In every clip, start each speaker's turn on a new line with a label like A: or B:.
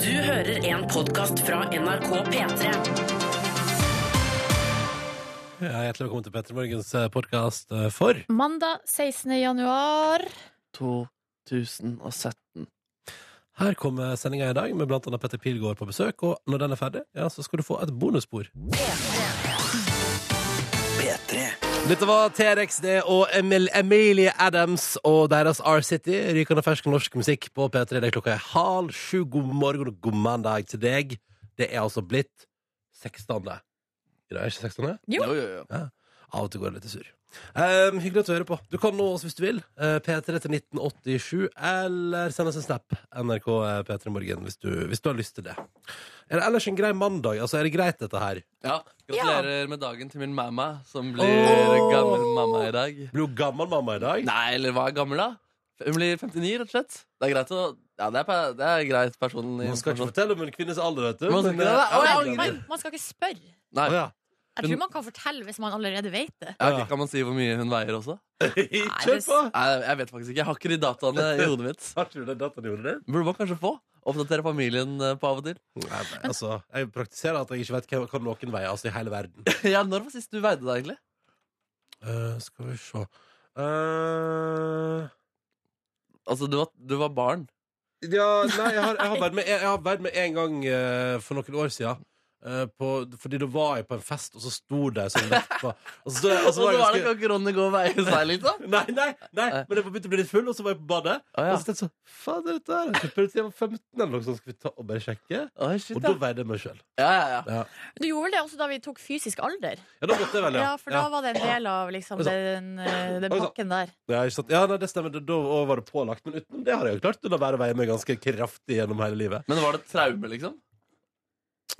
A: Du hører en podkast fra NRK P3.
B: Ja, hjertelig velkommen til Petter Morgens podkast for
C: Mandag 16. januar.
D: 2017.
B: Her kommer sendinga i dag med blant annet Petter Pilgaard på besøk, og når den er ferdig, ja, så skal du få et bonusspor. Dette var T-rex det og Emil, Emilie Adams og deres R-City. Rykende fersk norsk musikk på P3. Det er klokka er halv sju. God morgen og god mandag til deg. Det er altså blitt 16. I dag er det ikke 16.
C: Jo.
D: Jo, jo, jo.
B: Av og til går jeg litt sur. Ehm, hyggelig at du hører på. Du kan nå oss hvis du vil. Eh, P3 til 1987, eller send oss en snap. NRK eh, P3 Morgen, hvis du, hvis du har lyst til det. Er det ellers en grei mandag? Altså, er det greit, dette her?
D: Ja, gratulerer med dagen til min mamma, som blir
B: Åh!
D: gammel mamma i dag.
B: Blir du gammel mamma i dag?
D: Nei, eller hva er gammel, da? Hun blir 59, rett og slett. Det er greit å Ja, det er, pe- det er greit personen i
B: Man skal ikke fortelle om en kvinnes alder, vet du.
D: Man skal ikke det.
B: eh,
D: Oi,
B: ja,
D: oi,
C: Man,
B: men-
C: man skal ikke spørre.
D: Nei,
B: Å, ja.
C: Jeg tror man kan fortelle hvis man allerede vet det.
D: ja, ok, Kan man si hvor mye hun veier også?
B: Kjør på!
D: Nei, jeg vet faktisk ikke. Jeg har ikke de dataene i hodet mitt.
B: Har ikke du den dataen gjorde det?
D: Burde man kanskje få? Oppdatere familien eh, på av og til.
B: Nei, men, altså, jeg praktiserer at jeg ikke vet hva, hva noen veier altså, i hele verden.
D: ja, Når var sist du veide deg, egentlig?
B: Eh, skal vi se Eh,
D: Altså, du var, du var barn.
B: Ja, nei, jeg har, jeg har vært med Jeg har vært med en gang eh, for noen år siden eh, på, Fordi da var jeg på en fest Og så sto det sånn vekt på Og så, og så
D: Og så
B: var jeg
D: Altså, var det
B: ganske
D: ikke Ronny gå og veie seg, liksom?
B: Nei, nei, nei, men jeg begynte å bli litt full Og så var jeg på badet
D: Å, ja.
B: Og så tenkte jeg sånn, faen det dette her Jeg tror jeg var 15 eller noe sånt Skal vi ta og bare sjekke
D: Oi, shit,
B: Og da
D: ja.
B: veide jeg meg selv
D: Ja, ja, ja.
C: Du gjorde vel det også da vi tok fysisk alder?
B: Ja, da måtte jeg vel, ja
C: Ja, for da var det en del av liksom,
D: Altså-
B: Oi, sann.
C: den, eh, den
B: Oi, sann.
C: pakken der.
B: Ja, ikke sant? ja nei, det stemmer Da- Da var det pålagt Men utenom det har jeg jo klart Å la være å veie meg ganske kraftig gjennom hele livet
D: Men var det et traume, liksom?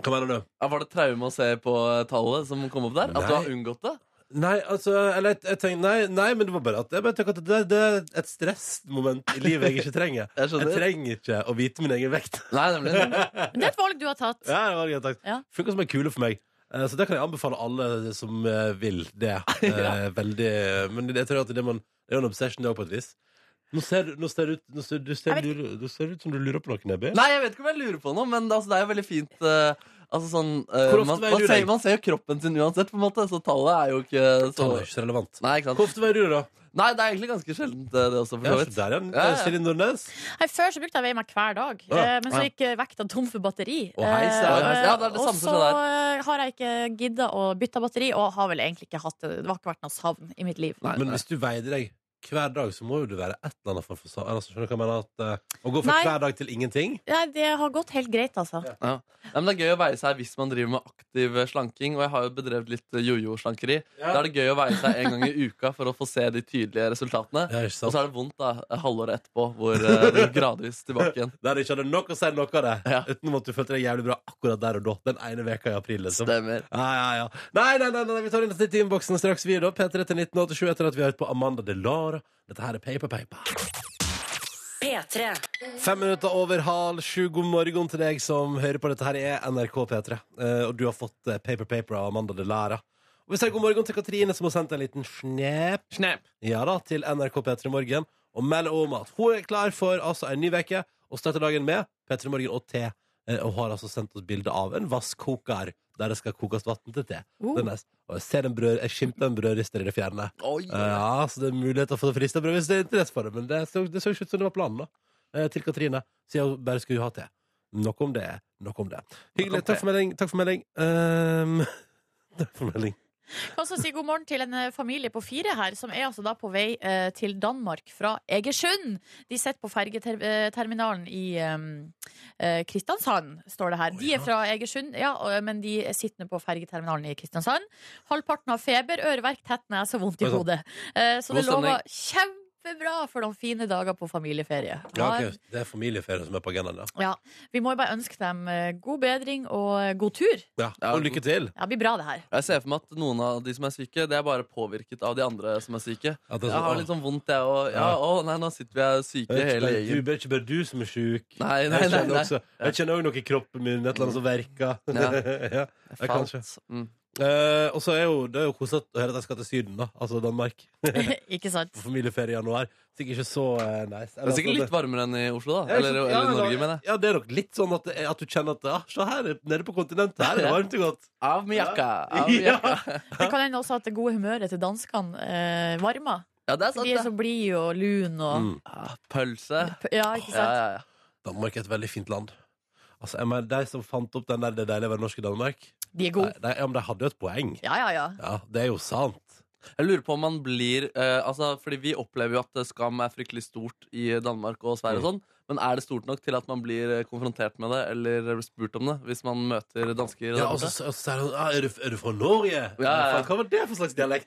B: Hva mener du?
D: Ja, var det et traume å se på tallet som kom opp der? At du
B: Nei.
D: har unngått det?
B: Nei, altså, eller jeg, jeg tenkte, nei, nei, men det var bare at jeg bare tenker at det, det er et stressmoment i livet jeg ikke trenger.
D: Jeg
B: Jeg
D: skjønner.
B: trenger ikke å vite min egen vekt.
D: Nei, nemlig.
C: Men det er et valg du har tatt.
B: Ja, det var greit sagt.
C: Ja.
B: Funker som en kule for meg. Eh, Så det kan jeg anbefale alle som eh, vil det. Eh, Veldig Men jeg tror at det, man, det er jo en obsession, det òg, på et vis. Nå ser, du- nå ser, du ut- nå ser, du, ser,
C: Jeg
B: du, du ser ut som du lurer på noe, Nebby.
D: Nei, jeg vet ikke om jeg lurer på noe, men det, altså, det er jo veldig fint eh, Altså sånn eh,
B: Hvor ofte
D: man,
B: veier
D: man,
B: du
D: ser,
B: deg?
D: man ser jo kroppen sin uansett, på en måte, så tallet er jo ikke så
B: Tallet er ikke så relevant.
D: Nei, ikke
B: Hvor
D: sant?
B: ofte veier du deg, da?
D: Nei, det er egentlig ganske sjeldent, eh, det også, for
B: Ja,
D: så
B: så
D: vidt.
B: der, ja.
D: Ja, ja.
B: Silje Nordnes.
C: Nei, før så brukte jeg å veie meg hver dag,
B: Ja.
C: eh, men så
D: Ja.
C: gikk eh, vekta tom for batteri.
B: Å, heis, ja,
C: Eh,
D: heis. Ja, det er det
C: og
D: samme som
C: så
D: skjer
C: eh, har jeg ikke gidda å bytte batteri, og har vel egentlig ikke hatt det. Det har ikke vært noe savn i mitt liv.
D: Nei,
B: Men
D: nei.
B: hvis du veide deg hver dag, så må jo du være et eller annet form for sa- altså, Skjønner du hva jeg mener? At, eh, å gå fra
C: Nei.
B: hver dag til ingenting
C: Nei, det har gått helt greit, altså.
D: Nei, men Det er gøy å veie seg hvis man driver med aktiv eh, slanking. Og jeg har jo bedrevet litt eh, jojo-slankeri. Da er det gøy å veie seg en gang i uka for å få se de tydelige resultatene.
B: Ja, ikke
D: Og
B: sant?
D: så er det vondt da, et halvår etterpå, hvor eh, det går gradvis tilbake igjen.
B: Der du ikke hadde nok å si noe av det,
D: Ja.
B: utenom at du følte deg jævlig bra akkurat der og da. Den ene veka i april, liksom.
D: Stemmer.
B: Ja, ja, ja. Nei, nei, nei, nei, vi tar inn litt i innboksen straks, vi, da. P3 til 1987 etter at vi har hørt på Amanda Delara. Dette her er Paper Paper.
A: P3.
B: Fem minutter over halv sju. God morgen til deg som hører på. Dette her er NRK P3, eh, og du har fått eh, Paper Paper av Amanda Delara. Og vi sier god morgen til Katrine, som har sendt en liten snap.
D: Snap.
B: Ja da, til NRK P3 Morgen og melde om at hun er klar for altså, en ny veke og starter dagen med P3 Morgen og te. eh, Og har altså sendt oss bilde av en vasskoker der det skal kokes vann til te. Det er nice. Og jeg ser en brød, jeg skimter en brødrister i det fjerne.
D: Oi.
B: Eh, Ja, så det er muligheter for frista brød hvis det er interesse for det. Men det så, det så ikke ut som det var planen, da. Eh, Til Katrine. Siden hun bare skulle ha te. Nok om det. Nok om det. Hyggelig.
D: om
B: Takk
D: te.
B: for melding. Takk for melding. Ehm, takk for melding.
C: kan også si god morgen til en eh, familie på fire her, som er altså da på vei eh, til Danmark fra Egersund. De sitter på fergeterminalen i eh, eh, Kristiansand, står det her. De er fra Egersund, ja, og- eh, men de sitter nå på fergeterminalen i Kristiansand. Halvparten har feber, øreverk, tett nese og vondt
B: Oi,
C: i
B: sann.
C: hodet. Eh, så
D: God
C: det lover kjempebra for noen fine dager på familieferie.
B: Ja,
C: Ha en
B: ok. Det er familieferie som er på agendaen, ja.
C: ja, Vi må jo bare ønske dem eh, god bedring og eh, god tur.
B: ja.
D: Ja,
B: Og lykke til.
C: Ja, det blir bra, det her.
D: Jeg ser for meg at noen av de som er syke, det er bare påvirket av de andre som er syke.
B: At det er
D: Jeg
B: sånn,
D: har
B: «Åh,
D: litt sånn vondt, jeg òg. Ja,
B: Ja.
D: å nei, nå sitter vi her syke
B: Det er ikke
D: hele
B: bare- Du
D: gjengen.
B: det er ikke bare du som er sjuk.
D: Nei, nei,
B: jeg
D: nei,
B: kjenner
D: nei.
B: også Jeg kjenner også noe i kroppen min, et eller annet som verker. Ja.
D: Ja.
B: ja, kanskje.
D: Falt. Mm.
B: Eh, og så er jo, det er jo koselig å høre at jeg skal til Syden, da. Altså Danmark.
C: Ikke sant?
B: På familieferie i januar. Sikkert ikke så eh, nice. sånn
D: Det er sikkert litt varmere enn i Oslo, da. Eller,
B: ja,
D: eller Norge, mener jeg.
B: Ja, det er nok litt sånn at, det er- at du kjenner at ja, se her, nede på kontinentet, her er det varmt og godt.
D: Av med jakka! Av med
B: Ja.
D: jakka.
C: Det kan hende også at det gode humøret til danskene eh, varmer.
D: Sånn, Ja, det er
C: De er så
D: sant, det.
C: blide og lune og
B: Mm.
D: Ja, pølse.
C: Ja, ikke sant?
D: Ja, ja, ja.
B: Danmark er et veldig fint land. Altså, jeg mener, De som fant opp den der 'det er deilig å være norsk i Danmark',
C: De
B: de,
C: er gode.
B: de, ja, men de hadde jo et poeng.
C: Ja, ja, ja.
B: Ja, Det er jo sant.
D: Jeg lurer på om man blir eh, altså, Fordi vi opplever jo at eh, skam er fryktelig stort i Danmark og Sverige og
B: Mm.
D: sånn. Men er det stort nok til at man blir eh, konfrontert med det eller spurt om det hvis man møter dansker?
B: Ja,
D: der
B: og så
D: borte?
B: og så sier han ah, er, du, 'Er du fra Norge?'
D: altså, ja, ja.
B: Faen, Hva var det for slags dialekt?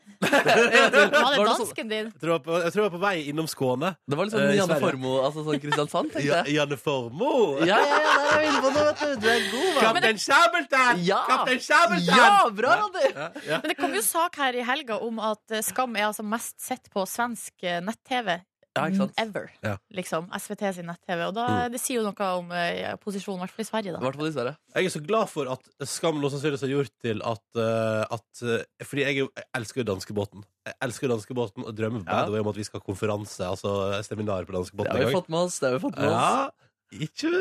C: Var det
D: Var det sånn-
C: dansken din?
B: Jeg tror jeg var på, jeg tror jeg var på vei innom Skåne.
D: det var litt
B: Eh,
D: sånn
B: i
D: Janne
B: Sverige.
D: Formoe, altså sånn Kristiansand, tenkte
B: Ja,
D: jeg.
B: Janne Formoe!
D: Ja, ja, ja, der er vi inne på noe, vet du. Du er god, mann.
B: Kaptein Sabeltann!
D: Ja!
B: Kaptein Sabeltann!
D: Ja, bra, Randi!
B: Ja, ja.
C: Men det kom jo sak her i helga om at eh, Skam er altså mest sett på svensk eh, nett-TV.
D: Ja, Mm. ikke sant?
C: Ever.
B: Ja.
C: Liksom. SVT sin nett-TV. Og da, det sier jo noe om eh, posisjonen, i hvert fall i Sverige.
D: I
C: Da.
D: hvert fall i Sverige.
B: Jeg er så glad for at Skam nå sannsynligvis har gjort til at, eh, at eh, Fordi jeg, er jo- jeg elsker jo danskebåten. Jeg elsker jo danskebåten og drømmer by
D: Ja.
B: the way om at vi skal ha konferanse, altså seminar på
D: Det
B: danskebåten
D: har
B: en
D: vi
B: gang.
D: fått med oss. Det har vi fått med oss.
B: Ja, ikke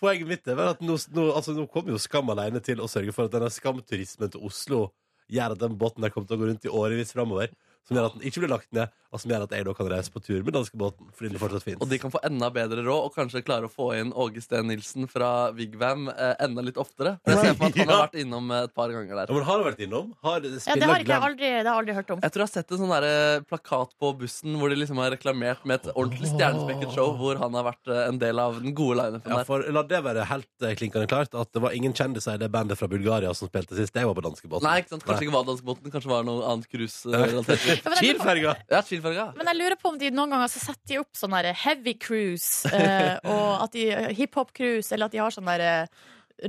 B: Poenget mitt er vel at nå, nå, altså, nå kommer jo Skam alene til å sørge for at denne skamturismen til Oslo gjør at den båten der kommer til å gå rundt i årevis framover. Som gjør at den ikke blir lagt ned, og som gjør at jeg da kan reise på tur med danskebåten. Fordi den fortsatt finnes.
D: Og de kan få enda bedre råd, og kanskje klare å få inn Åge Steen Nilsen fra Vigvam eh, enda litt oftere. For Jeg ser for meg at han har
B: Ja.
D: vært innom eh, et par ganger
B: Ja,
D: der.
B: men har du vært innom? Har
C: Ja, det har ikke jeg aldri, det har jeg aldri hørt om.
D: Jeg tror jeg har sett en sånn der, eh, plakat på bussen hvor de liksom har reklamert med et ordentlig stjernespekket show hvor han har vært eh, en del av den gode lineupen
B: Ja,
D: der.
B: for La det være helt eh, klinkende klart at det var ingen kjendiser i det bandet fra Bulgaria som spilte sist jeg var på danskebåten.
D: Nei, ikke sant? Kanskje ikke var danskebåten, kanskje var det noe annet cruise. eh, relatert.
C: Ja, men jeg-
B: Kiel-ferga!
D: Ja, chillfarga.
C: Men jeg lurer på om de noen ganger så setter de opp sånn der heavy cruise, eh, og at de hiphop-cruise, eller at de har sånn der eh,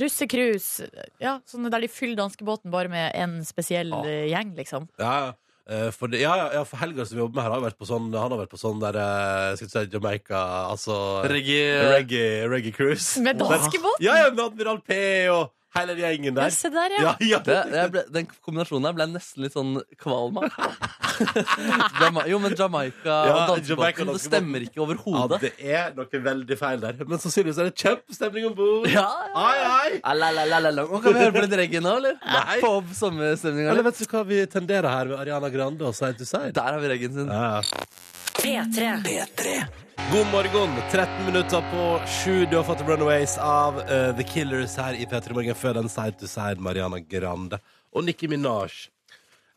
C: russecruise. Ja, sånne der de fyller danskebåten bare med en spesiell
D: Ja.
C: eh, gjeng, liksom.
B: Ja, ja. Eh, for, det, ja, ja, ja, for Helga som vi jobber med her, har vært på sånn, han har vært på sånn der eh, Skal vi si Jamaica Altså
D: Reggae.
B: reggae, reggae cruise.
C: Med danskebåt?
B: Ja, ja, med Admiral P og hele den gjengen
C: Ja,
B: der.
C: se der, ja.
B: Ja, ja.
D: Det, jeg ble, den kombinasjonen der ble jeg nesten litt sånn kvalm av. Jama- Jo, men Jamaica
B: Ja,
D: og
B: Jamaica og
D: danskebåten, det
B: danskebåten.
D: stemmer ikke
B: ja,
D: overhodet.
B: Oh, det er noe veldig feil der. Men sannsynligvis er det kjempestemning om bord.
D: Ja,
B: Ai, ai.
D: Ah, Alalalala. Nå Kan vi høre på litt reggae nå, eller?
B: Nei.
D: Få opp sommerstemninga
B: Eller
D: litt.
B: vet du hva vi tenderer her med Ariana Grande og Side to Side?
D: Der har vi reggaen sin.
B: Ja, ja.
A: P3.
B: God morgen. 13 minutter på sju. Du har fått Runaways av eh, The Killers her i P3 Morgen før den Side to Side, Mariana Grande og Nikki Minaj.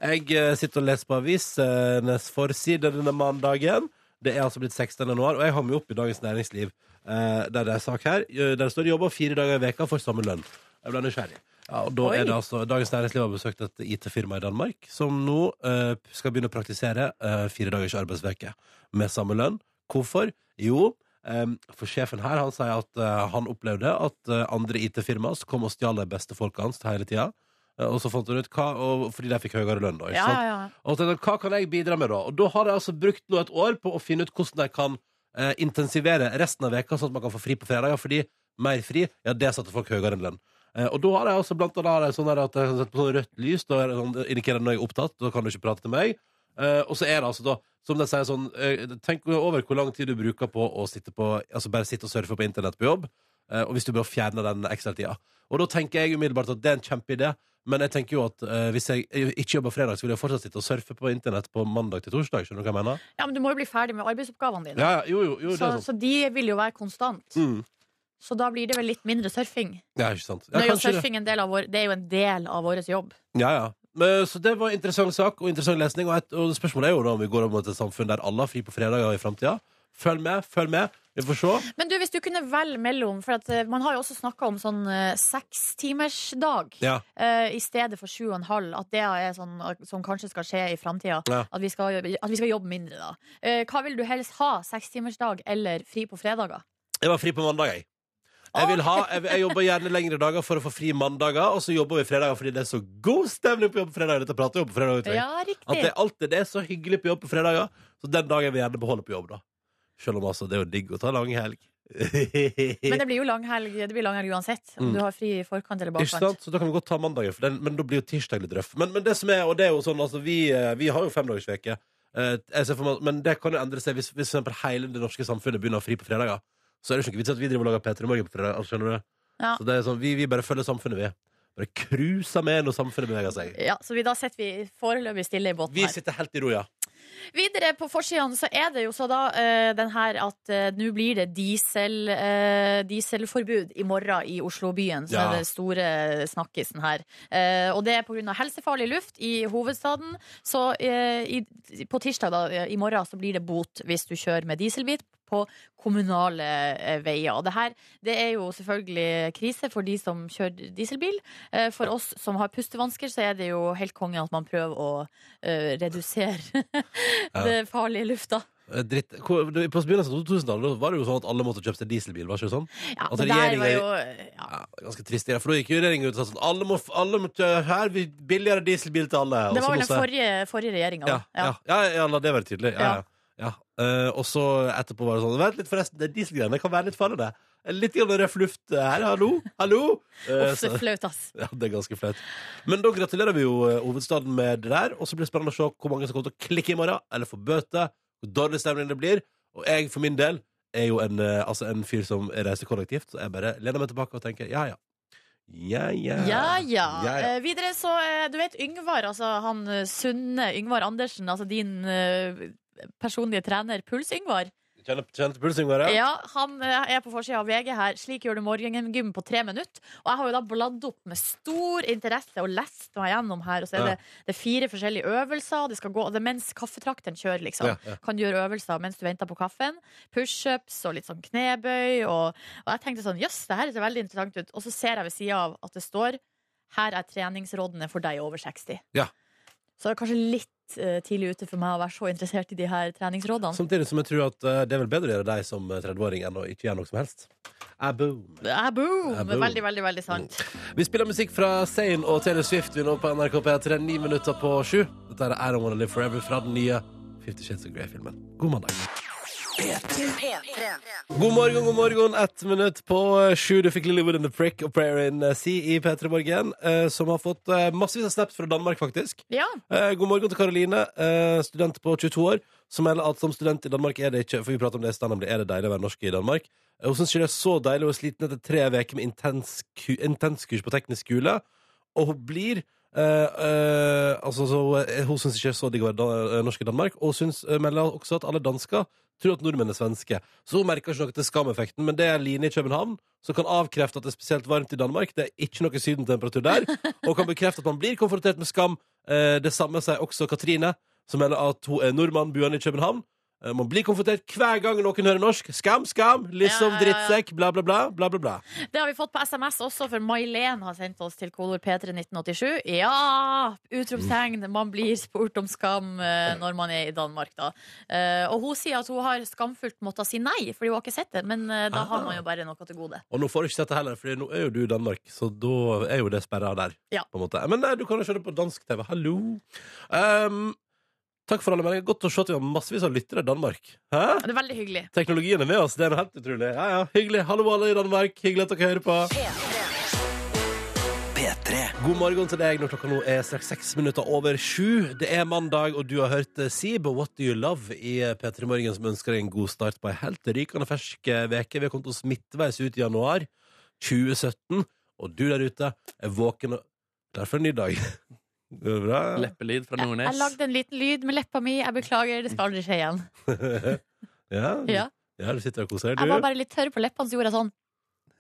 B: Jeg eh, sitter og leser på avisenes forside denne mandagen. Det er altså blitt 16. januar, og jeg har med opp i Dagens Næringsliv, eh, der det er sak her. Eh, Der står det 'jobber fire dager i veka for samme lønn'. Jeg ble nysgjerrig. Ja, og da
C: Oi.
B: er det altså, Dagens Næringsliv har besøkt et IT-firma i Danmark som nå eh, skal begynne å praktisere eh, fire dagers arbeidsveke med samme lønn. Hvorfor? Jo, eh, for sjefen her han sier at eh, han opplevde at eh, andre IT-firmaer kom og stjal de beste folka hans hele tida. Eh, og så fant hun ut hva, og, fordi de fikk høyere lønn, da. Ikke
C: Ja,
B: sant?
C: ja, ja.
B: Og tenkte, hva kan jeg bidra med da? Og da har jeg altså brukt nå et år på å finne ut hvordan jeg kan eh, intensivere resten av veka, sånn at man kan få fri på fredager, fordi mer fri, ja, det satte folk høyere enn lønn. Eh, og da har jeg altså blant annet har jeg sånn der at jeg kan sette på sånn rødt lys, da er det sånn, indikerer når jeg er opptatt, da kan du ikke prate til meg. Eh, og så er det altså da, som de sier sånn, eh, tenk over hvor lang tid du bruker på å sitte på, altså bare sitte og surfe på internett på jobb, eh, og hvis du bør fjerne den ekstra tida. Og da tenker jeg umiddelbart at det er en kjempeidé, men jeg tenker jo at eh, hvis jeg ikke jobber fredag, så vil jeg fortsatt sitte og surfe på internett på mandag til torsdag. Skjønner du hva jeg mener?
C: ja, men du må jo bli ferdig med arbeidsoppgavene dine.
B: Ja, ja, jo, jo, jo det
C: så,
B: er sant.
C: så de vil jo være konstant.
B: Mm.
C: Så da blir det vel litt mindre surfing.
B: Ja, ikke sant.
C: Nå
B: Ja,
C: er jo
B: kanskje det.
C: surfing en del av vår, det er jo en del av vår jobb.
B: Ja, ja. Men, så det var en interessant sak og interessant lesning. Og, et, og spørsmålet er jo da om vi går over til et samfunn der alle har fri på fredager i framtida. Følg med, følg med. Vi får se.
C: Men du, hvis du kunne velge mellom For at, eh, man har jo også snakka om sånn eh, sekstimersdag
B: Ja.
C: eh, i stedet for sju og en halv. At det er sånn eh, som kanskje skal skje i framtida.
B: Ja.
C: At, vi skal- at vi skal jobbe mindre, da. Eh, hva vil du helst ha? Sekstimersdag eller fri på fredager?
B: Jeg var fri på mandag, jeg. Jeg, vil ha, jeg, jeg jobber gjerne lengre dager for å få fri mandager, og så jobber vi fredager fordi det er så god stemning på jobb på fredager. Dette prater vi om på fredager. tror jeg.
C: Ja,
B: At
C: riktig.
B: det alltid det er så hyggelig på jobb på fredager. Så den dagen vil jeg gjerne beholde på jobb, da. Selv om altså, det er jo digg å ta lang helg.
C: Men det blir jo langhelg det blir langhelg uansett. Om
B: Mm.
C: du har fri i forkant eller
B: Ikke
C: bakkant.
B: sant? Så da kan vi godt ta mandagen, for den, men da blir jo tirsdag litt røff. Men, men det som er, og det er jo sånn, altså, vi, eh, vi har jo femdagersveke, Eh, jeg ser for meg- men det kan jo endre seg hvis, hvis for eksempel hele det norske samfunnet begynner å ha fri på fredager. Så er det jo ikke vits i at vi driver og lager P3 Morgen på fredag. Altså, skjønner du?
C: Ja.
B: Så det er sånn, vi, vi bare følger samfunnet, vi. Bare cruiser med når samfunnet beveger seg.
C: Ja, så vi, da sitter vi foreløpig stille i båten
B: Vi
C: her.
B: sitter helt i ro, ja.
C: Videre på forsidene så er det jo så da eh, den her at eh, nå blir det diesel, eh, dieselforbud i morgen i Oslobyen. Så
B: Ja.
C: er det store snakkisen her. Eh, og det er pga. helsefarlig luft i hovedstaden. Så eh, i, på tirsdag da, eh, i morgen så blir det bot hvis du kjører med dieselbit på kommunale eh, veier. Og det her det er jo selvfølgelig krise for de som kjører dieselbil. Eh, for oss som har pustevansker, så er det jo helt konge at man prøver å eh, redusere
B: Ja.
C: det farlige lufta.
B: Eh, Dritt. Hvor, du, på begynnelsen av 2000-tallet var det jo sånn at alle måtte kjøpe seg dieselbil. var det ikke sånn?
C: Ja,
B: Altså,
C: det der var
B: regjeringen-
C: jo ja.
B: Ja, ganske trist. det der, For da gikk jo regjeringen ut og sa sånn alle må, alle må kjø- her, vi- billigere dieselbil til alle. og
C: Det
B: så
C: var vel den
B: masse-
C: forrige, forrige regjeringa.
B: Ja, ja. ja, ja, la det være tydelig. Ja, ja. Ja. Eh, og så etterpå var det sånn Vent litt, forresten, det dieselgreiene kan være litt farlig, det. Litt grann røff luft eh, her, hallo? Hallo? Eh,
C: Uff, så
B: så-
C: flaut, ass.
B: ja, det er ganske flaut. Men da gratulerer vi jo eh, hovedstaden med det der. Og så blir det spennende å se hvor mange som kommer til å klikke i morgen, eller få bøter, hvor dårlig stemning det blir. Og jeg for min del er jo en, eh, altså en fyr som reiser kollektivt, så jeg bare lener meg tilbake og tenker ja ja. Ja ja.
C: Ja, ja.
B: ja, ja.
C: Eh, videre så eh, Du vet Yngvar, altså han eh, sunne Yngvar Andersen, altså din eh, personlige trener, Puls-Yngvar.
B: Kjenner, kjenner til pulsen, Yngvar?
C: Ja, han eh, er på forsida av VG her. Slik gjør du morgengym på tre minutter. Og jeg har jo da bladd opp med stor interesse og lest meg gjennom her. Og så er
B: Ja.
C: det, det er fire forskjellige øvelser. og Det skal gå, det er mens kaffetrakteren kjører, liksom.
B: Ja, ja.
C: Kan gjøre øvelser mens du venter på kaffen. Pushups og litt sånn knebøy. Og, og jeg tenkte sånn jøss, det her ser veldig interessant ut. Og så ser jeg ved sida av at det står her er treningsrådene for deg over 60.
B: Ja.
C: Så det er kanskje litt eh, tidlig ute for meg å være så interessert i de her treningsrådene.
B: Samtidig som jeg tror at eh, det er vel bedre å gjøre deg som 30-åring enn å ikke gjøre noe som helst. Ah, boom.
C: Ah, boom.
B: Ah, boom. Mm.
C: Veldig, veldig, veldig sant.
B: Vi spiller musikk fra Zayn og Taylor Swift vi nå på NRK P3, ni minutter på sju. Dette er I Don't Wanna Live Forever fra den nye Fifty Shades of Grey-filmen. God mandag. God morgen, god morgen. Ett minutt på eh, sju. Du fikk Lillywood and The Prick og Prayer in eh, Sea i P3 Morgen, eh, som har fått eh, massevis av snaps fra Danmark, faktisk.
C: Ja.
B: Eh, God morgen til Karoline, eh, student på 22 år, som melder at som student i Danmark er det ikke For vi prater om det i stand, nemlig, er det deilig å være norsk i Danmark. Eh, Hun syns ikke det er så deilig å være sliten etter tre uker med intens ku- intenskurs på teknisk skole, og hun blir eh, eh, altså, så, eh, Hun syns ikke det er så digg å være da- eh, norsk i Danmark, og hun syns, eh, melder også at alle dansker tror at nordmenn er svenske. Så hun merker ikke noe til skameffekten, men det er Line i København som kan avkrefte at det er spesielt varmt i Danmark. Det er ikke noe sydentemperatur der, og kan bekrefte at man blir konfrontert med skam. Eh, Det samme sier også Katrine, som melder at hun er nordmann, boende i København. Eh, Man blir konfrontert hver gang noen hører norsk. Skam, skam, liksom
C: Ja, ja, ja.
B: drittsekk, bla, bla, bla. bla, bla, bla.
C: Det har vi fått på SMS også, for May-Len har sendt oss til kodord P31987. Ja! Utropstegn. Man blir spurt om skam eh, når man er i Danmark, da. Eh, og hun sier at hun har skamfullt måttet si nei, fordi hun har ikke sett det. Men eh, da
D: Ah.
C: har man jo bare noe til gode.
B: Og nå får du ikke sett det heller, for nå er jo du i Danmark, så da er jo det sperra der.
C: Ja.
B: På en måte. Men nei, du kan jo se det på dansk TV. Hallo! Ehm, takk for alle meldinger. Godt å se at vi har massevis av lyttere i Danmark. Hæ?
C: Det er veldig hyggelig.
B: Teknologien er med oss, det er noe helt utrolig. Ja, ja, Hyggelig. Hallo, alle i Danmark. Hyggelig at dere hører på. God morgen til deg når klokka nå er straks seks minutter over sju. Det er mandag, og du har hørt eh, Sib og What Do You Love i eh, P3 Morgen, som ønsker deg en god start på ei helt rykende fersk eh, veke. Vi har kommet oss midtveis ut i januar 2017, og du der ute er våken og klar for en ny dag. Går det bra?
D: Leppelyd fra Nordnes.
C: Jeg lagde en liten lyd med leppa mi. Jeg beklager, det skal aldri skje igjen.
B: ja.
C: Ja.
B: ja, du sitter og koser
C: Jeg var
B: deg, du.
C: bare litt tørr på leppene, så gjorde jeg sånn.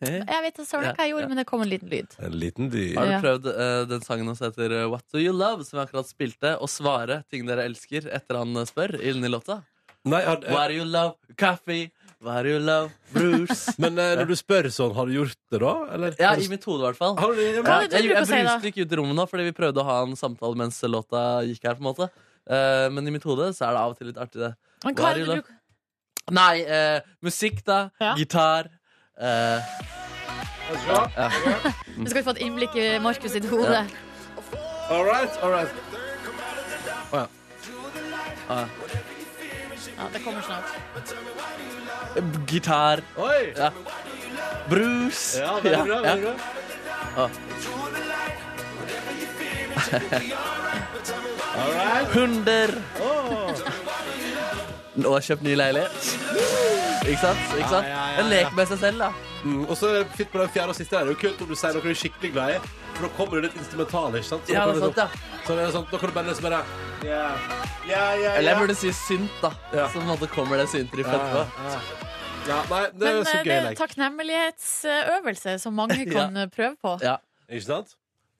D: Hei.
C: Jeg vet da søren hva jeg
D: Ja, ja.
C: gjorde, men det kom en liten lyd.
B: En liten dyr.
D: Har du
C: Ja.
D: prøvd eh, den sangen som heter eh, What Do You Love, som jeg akkurat spilte, å svare ting dere elsker etter han eh, spør inni låta?
B: Nei, har,
D: What do you love? Coffee? What do you love? Bruce?
B: Men eh, når du spør sånn, har du gjort det da? Eller?
D: Ja, i mitt hode i hvert fall.
B: Har du det?
C: Hva
D: Ja,
C: er det du
D: jeg jeg
C: bruker å si, da?
D: bruste ikke ut i rommet nå, fordi vi prøvde å ha en samtale mens låta gikk her. på en måte Eh, Men i mitt hode så er det av og til litt artig, det.
C: Men
D: Hva
C: hva
D: er
C: er det
D: det
C: du
D: Nei, eh, musikk, da.
C: Ja.
D: Gitar. eh,
C: Nå skal vi få et innblikk i Markus sitt hode.
B: All right, all right.
C: Ja, det kommer snart.
D: gitar,
B: Oi!
D: ja. brus
B: Ja, veldig bra.
D: ja.
B: Veldig bra. All right.
D: Hunder.
B: Åh.
D: Nå har jeg kjøpt ny leilighet. Ikke sant? Ikke sant?
B: Ja, ja, ja, ja.
D: En lek med seg selv, da.
B: Mm, og så er det fint på den fjerde og siste der. Det er jo kult om du sier noe du er skikkelig glad i, for da kommer det litt instrumentale, ikke sant? Så da
D: Ja, det er
B: kan du
D: sant, ja.
B: sånn- så det er sånn, da kan du bare liksom bare Ja, ja, ja.
D: Eller
B: ja.
D: jeg burde si synt, da.
B: Ja.
D: Så på en måte kommer det syntriffet
B: ja,
D: etterpå.
B: ja. ja, nei, det
C: Men
B: er
C: eh,
B: så
C: det
B: gøy
C: er en
B: lek.
C: takknemlighetsøvelse som mange kan eh, prøve på.
D: Ja.
B: Ikke sant?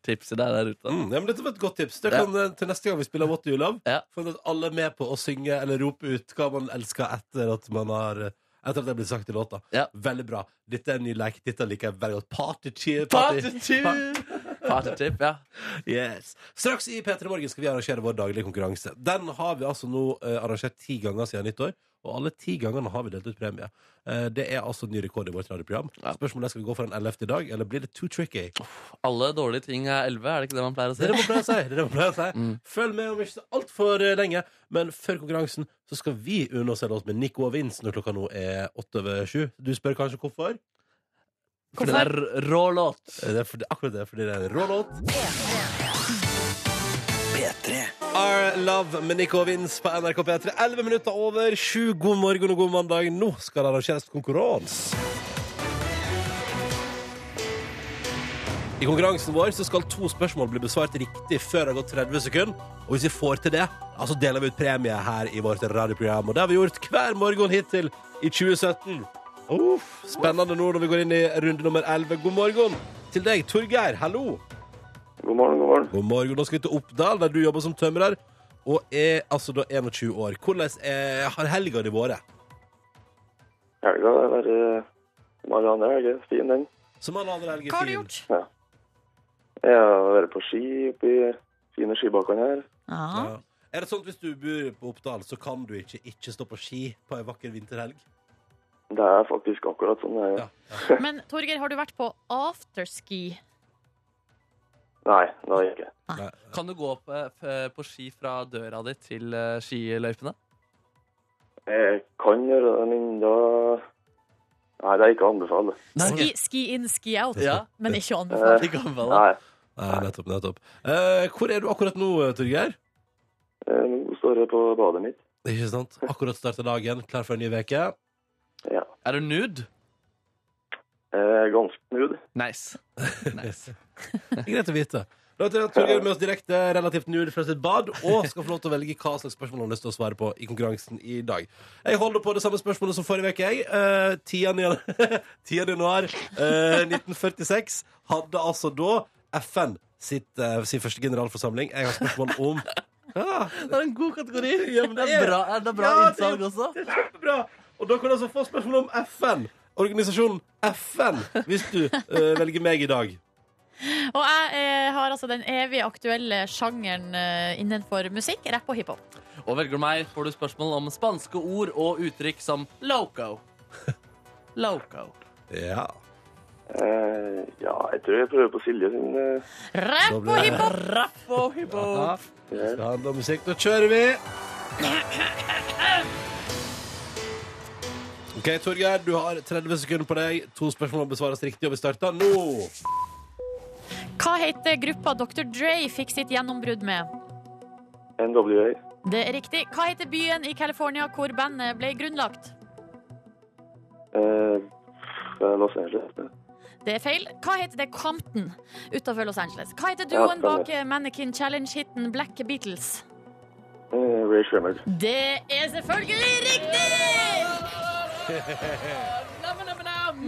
D: Tipset deg der ute.
B: Mm, ja, men dette var et godt tips. Det
D: Ja.
B: kan, eh, Til neste gang vi spiller What Do You Love,
D: Ja.
B: får at alle er med på å synge eller rope ut hva man elsker etter at man har etter at det er blitt sagt i låta.
D: Ja.
B: Veldig bra. Dette er en ny lek. Dette liker jeg veldig godt. Party cheer.
D: Partytip, ja.
B: Yes. Straks i P3 Morgen skal vi arrangere vår daglige konkurranse. Den har vi altså nå eh, arrangert ti ganger siden nyttår, og alle ti gangene har vi delt ut premie. Eh, det er altså ny rekord i vårt radioprogram.
D: Ja.
B: Spørsmålet er skal vi gå for en 11 i dag, eller blir det too tricky?
D: Alle dårlige ting er elleve, er det ikke det man pleier å
B: Det er
D: si?
B: det man pleier å si. Det er det man pleier å si. Følg med om ikke så altfor lenge, men før konkurransen så skal vi unne oss en låt med Nico og Vince når klokka nå er åtte over sju. Du spør kanskje hvorfor? Eh,
D: For det er rå låt.
B: Det er fordi, akkurat det, fordi det er en rå låt. Our Love med Nico og Vince på NRK P3. 11 minutter over sju. God morgen og god mandag. Nå skal det arrangeres konkurranse. I konkurransen vår så skal to spørsmål bli besvart riktig før det har gått 30 sekunder. Og hvis vi får til det, ja, så deler vi ut premie her i vårt radioprogram. Og det har vi gjort hver morgen hittil i 2017. Uff, spennende nå når vi går inn i runde nummer 11. God morgen til deg, Torgeir. Hallo.
E: God morgen, god morgen.
B: God morgen. Nå skal vi til Oppdal, der du jobber som tømrer. Og er altså da 21 år. Hvordan er, har helga di vært?
E: Helga det er bare som alle andre helger. Fin, den.
B: Som alle andre helger.
C: Hva har du
B: fin.
C: gjort?
E: Jeg har vært på ski oppi fine skibakkene her.
C: Ja.
B: Ja. Er det sånn at hvis du bor på Oppdal, så kan du ikke ikke stå på ski på ei vakker vinterhelg?
E: Det er faktisk akkurat sånn det er.
B: Ja.
C: Men Torgeir, har du vært på afterski?
E: Nei, det har jeg ikke.
D: Kan du gå opp eh, f- på ski fra døra di til eh, skiløypene?
E: Jeg kan gjøre det, men da Nei, det er ikke å anbefale.
C: Ski, ski in, ski out,
D: Ja.
C: men ikke å
E: Eh,
C: anbefale.
D: De gamle, da.
E: Nei.
B: Nei, nettopp, nettopp. Eh, hvor er du akkurat nå, Torgeir?
E: eh, Nå står jeg på badet mitt.
B: Ikke sant? Akkurat starta dagen, klar for en ny uke.
E: Ja.
D: Er du nude?
E: Jeg er ganske nude.
D: Nice. nice.
B: Det er Greit å vite. Da er Torgeir med oss direkte relativt null fra sitt bad og skal få lov til å velge hva slags spørsmål han har lyst til å svare på i konkurransen i dag. Jeg holder på det samme spørsmålet som forrige uke, jeg. Eh, 10. januar, 10. januar eh, 1946 hadde altså da FN sitt, eh, sin første generalforsamling. Jeg har spørsmål om ja,
D: Det er en god kategori.
B: Ja, men
D: det
B: det er-
D: er bra, er det bra
B: Ja, det er-
D: innsalg også.
B: det er kjempebra! Og da kan du altså få spørsmål om FN. Organisasjonen FN, hvis du eh, velger meg i dag.
C: Og jeg eh, har altså den evig aktuelle sjangeren eh, innenfor musikk, rapp og hiphop.
D: Og velger du meg, får du spørsmål om spanske ord og uttrykk som loco. Loco.
B: Ja.
E: Eh, ja, jeg tror jeg prøver på Silje sin eh,
C: Rapp
B: Da
C: og
B: blir det-
C: hiphop!
D: Rappo, hippo.
B: Ja. Det skal handle om musikk. Da kjører vi! OK, Torgeir, du har 30 sekunder på deg. To spørsmål besvares riktig, og vi starter nå.
C: Hva heter gruppa Dr. Dre fikk sitt gjennombrudd med?
E: NWA.
C: Det er riktig. Hva heter byen i California hvor bandet ble grunnlagt?
E: Eh, fra Los Angeles.
C: Det er feil. Hva heter det Compton utenfor Los Angeles? Hva heter duoen
E: stemmer.
C: bak eh, Mannequin Challenge-hiten Black Beatles?
E: Eh, Ray Shremmer.
C: Det er selvfølgelig riktig!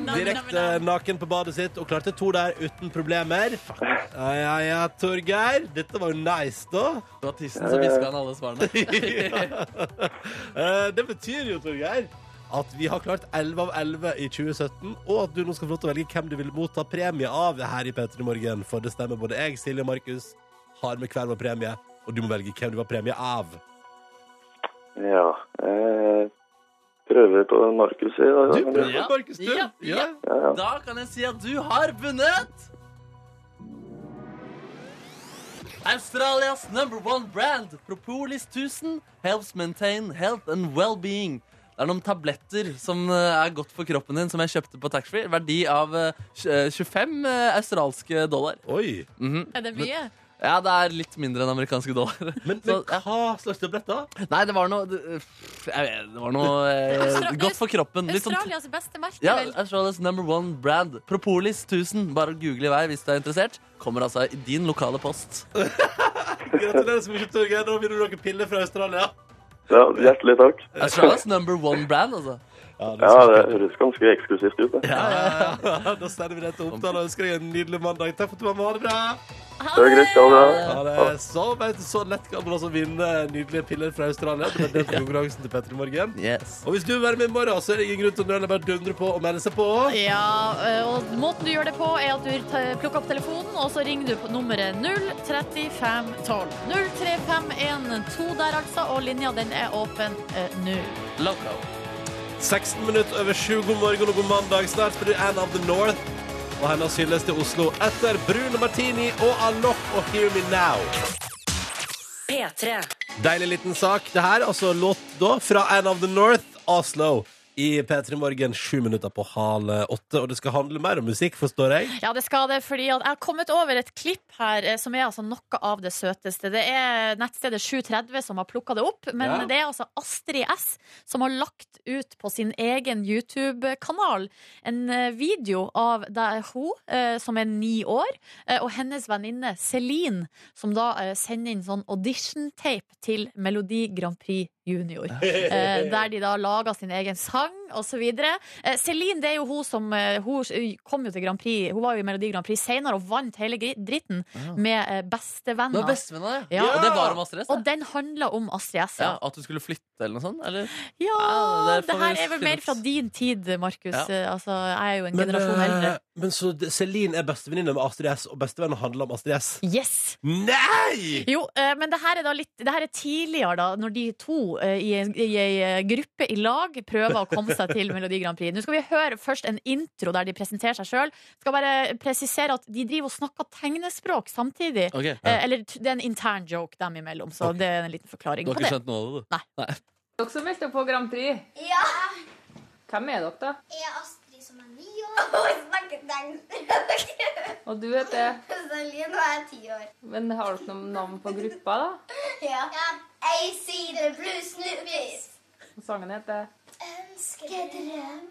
B: Direkte naken på badet sitt og klarte to der uten problemer. Ja, ja, ja, Torgeir. Dette var jo nice, da.
D: Det var tissen som hviska han alle svarene.
B: Eh, Det betyr jo, Torgeir, at vi har klart 11 av 11 i 2017, og at du nå skal få lov til å velge hvem du vil motta premie av her i P3 Morgen. For det stemmer både jeg, Silje og Markus har med hver vår premie, og du må velge hvem du har premie av.
E: Ja. Eh, prøver på Markus i dag.
B: Du
E: da.
B: prøver,
D: Ja.
B: Markus. Du.
D: Ja.
B: Ja.
D: Da kan jeg si at du har vunnet! Australias number one brand, Propolis 1000, helps maintain health and well-being. Det er noen tabletter som eh, er godt for kroppen din, som jeg kjøpte på taxfree. Verdi av eh, tj- eh, 25 eh, australske dollar.
B: Oi.
D: Mhm.
C: Er det mye?
D: Ja, det er litt mindre enn amerikanske dollar.
B: Men, men
D: Så, ja.
B: hva slags tablett da?
D: Nei, det var noe det, pff, jeg vet, det var noe eh,
C: Austra-
D: godt for kroppen. Litt sånn
C: Australias beste merke,
D: Ja,
C: vel?
D: Australias number one brand. Propolis 1000. Bare google i vei hvis du er interessert. Kommer altså i din lokale post.
B: Gratulerer så mye, Torgeir. Nå vinner du noen piller fra Australia.
E: Ja, hjertelig takk.
D: Australias number one brand, altså.
E: Ja, det høres ganske eksklusivt ut. Det.
B: Da sender vi deg til opptale og ønsker deg en nydelig mandag. Takk for at du var med. Ha det bra.
E: Det er greit, ha det.
B: Ha det. Så, vet du, så lett kan man altså vinne nydelige piller fra Australia. Det var den konkurransen til Petter i morgen.
D: Yes.
B: Og hvis du vil være med i morgen, så er det ingen grunn til å nøle. Bare dundre på og melde seg på.
C: Ja, eh, og måten du gjør det på er at du ta- plukker opp telefonen, og så ringer du på nummeret 03512. 03512 der altså, og linja den er åpen eh, nå.
D: Loco.
B: 16 minutter over sju. God morgen og god mandag. Snart blir Anne of the North. Og hennes hylles til Oslo etter Bruno Martini og Alok og Hear Me Now.
A: P3.
B: Deilig liten sak. Det her, altså låt da fra Anne of the North, Oslo. I P3 Morgen sju minutter på halv åtte. Og det skal handle mer om musikk, forstår jeg.
C: Ja, det skal det, fordi at jeg har kommet over et klipp her eh, som er altså noe av det søteste. Det er nettstedet 730 som har plukka det opp, men
B: Ja.
C: det er altså Astrid S som har lagt ut på sin egen YouTube-kanal en eh, video av der hun, eh, som er ni år, eh, og hennes venninne Celine, som da eh, sender inn sånn audition-tape til Melodi Grand Prix Junior. Eh, der de da lager sin egen sang osv. Eh, Celine det er jo hun som eh, Hun kom jo til Grand Prix Hun var jo i Melodi Grand Prix senere og vant hele gri- dritten med eh,
D: Det var
C: bestevenner.
D: bestevenner, ja.
C: Ja.
D: Og det var om Astrid S.
C: Og
D: det.
C: den handler om Astrid S. Ja,
D: Ja,
C: Eh,
D: at du skulle flytte eller noe sånt? Eller?
C: ja
D: Ja, det
C: det
D: får vi
C: her er vel
D: finne
C: mer
D: ut.
C: fra din tid, Markus.
D: Ja.
C: Eh, Altså, jeg er jo en generasjon eldre.
B: eh, men så det- Celine er bestevenninne med Astrid S, og bestevennen handler om Astrid S.
C: Yes!
B: Nei!
C: Jo, eh, men det her er da litt Det her er tidligere, da, når de to eh, i en, i en gruppe i lag prøver å komme seg til Melodi Grand Prix. Nå skal vi høre først en intro der de presenterer seg sjøl. Skal bare presisere at de driver og snakker tegnespråk samtidig.
D: Ok,
C: Eh, Eller t- det er en intern joke dem imellom, så det er en liten forklaring
D: Du har
C: på
D: ikke
C: det.
D: skjønt noe av det, du?
F: Dere som meldte på Grand Prix,
G: Ja,
F: hvem er dere, da?
G: jeg er Astrid som er ni år og snakker tegnspråk.
F: Og du heter
G: Selje, nå er jeg ti år.
F: Men har dere noen navn på gruppa, da?
G: Ja. A-side pluss snuppies.
F: Og Sangen heter
G: Ønsker drøm.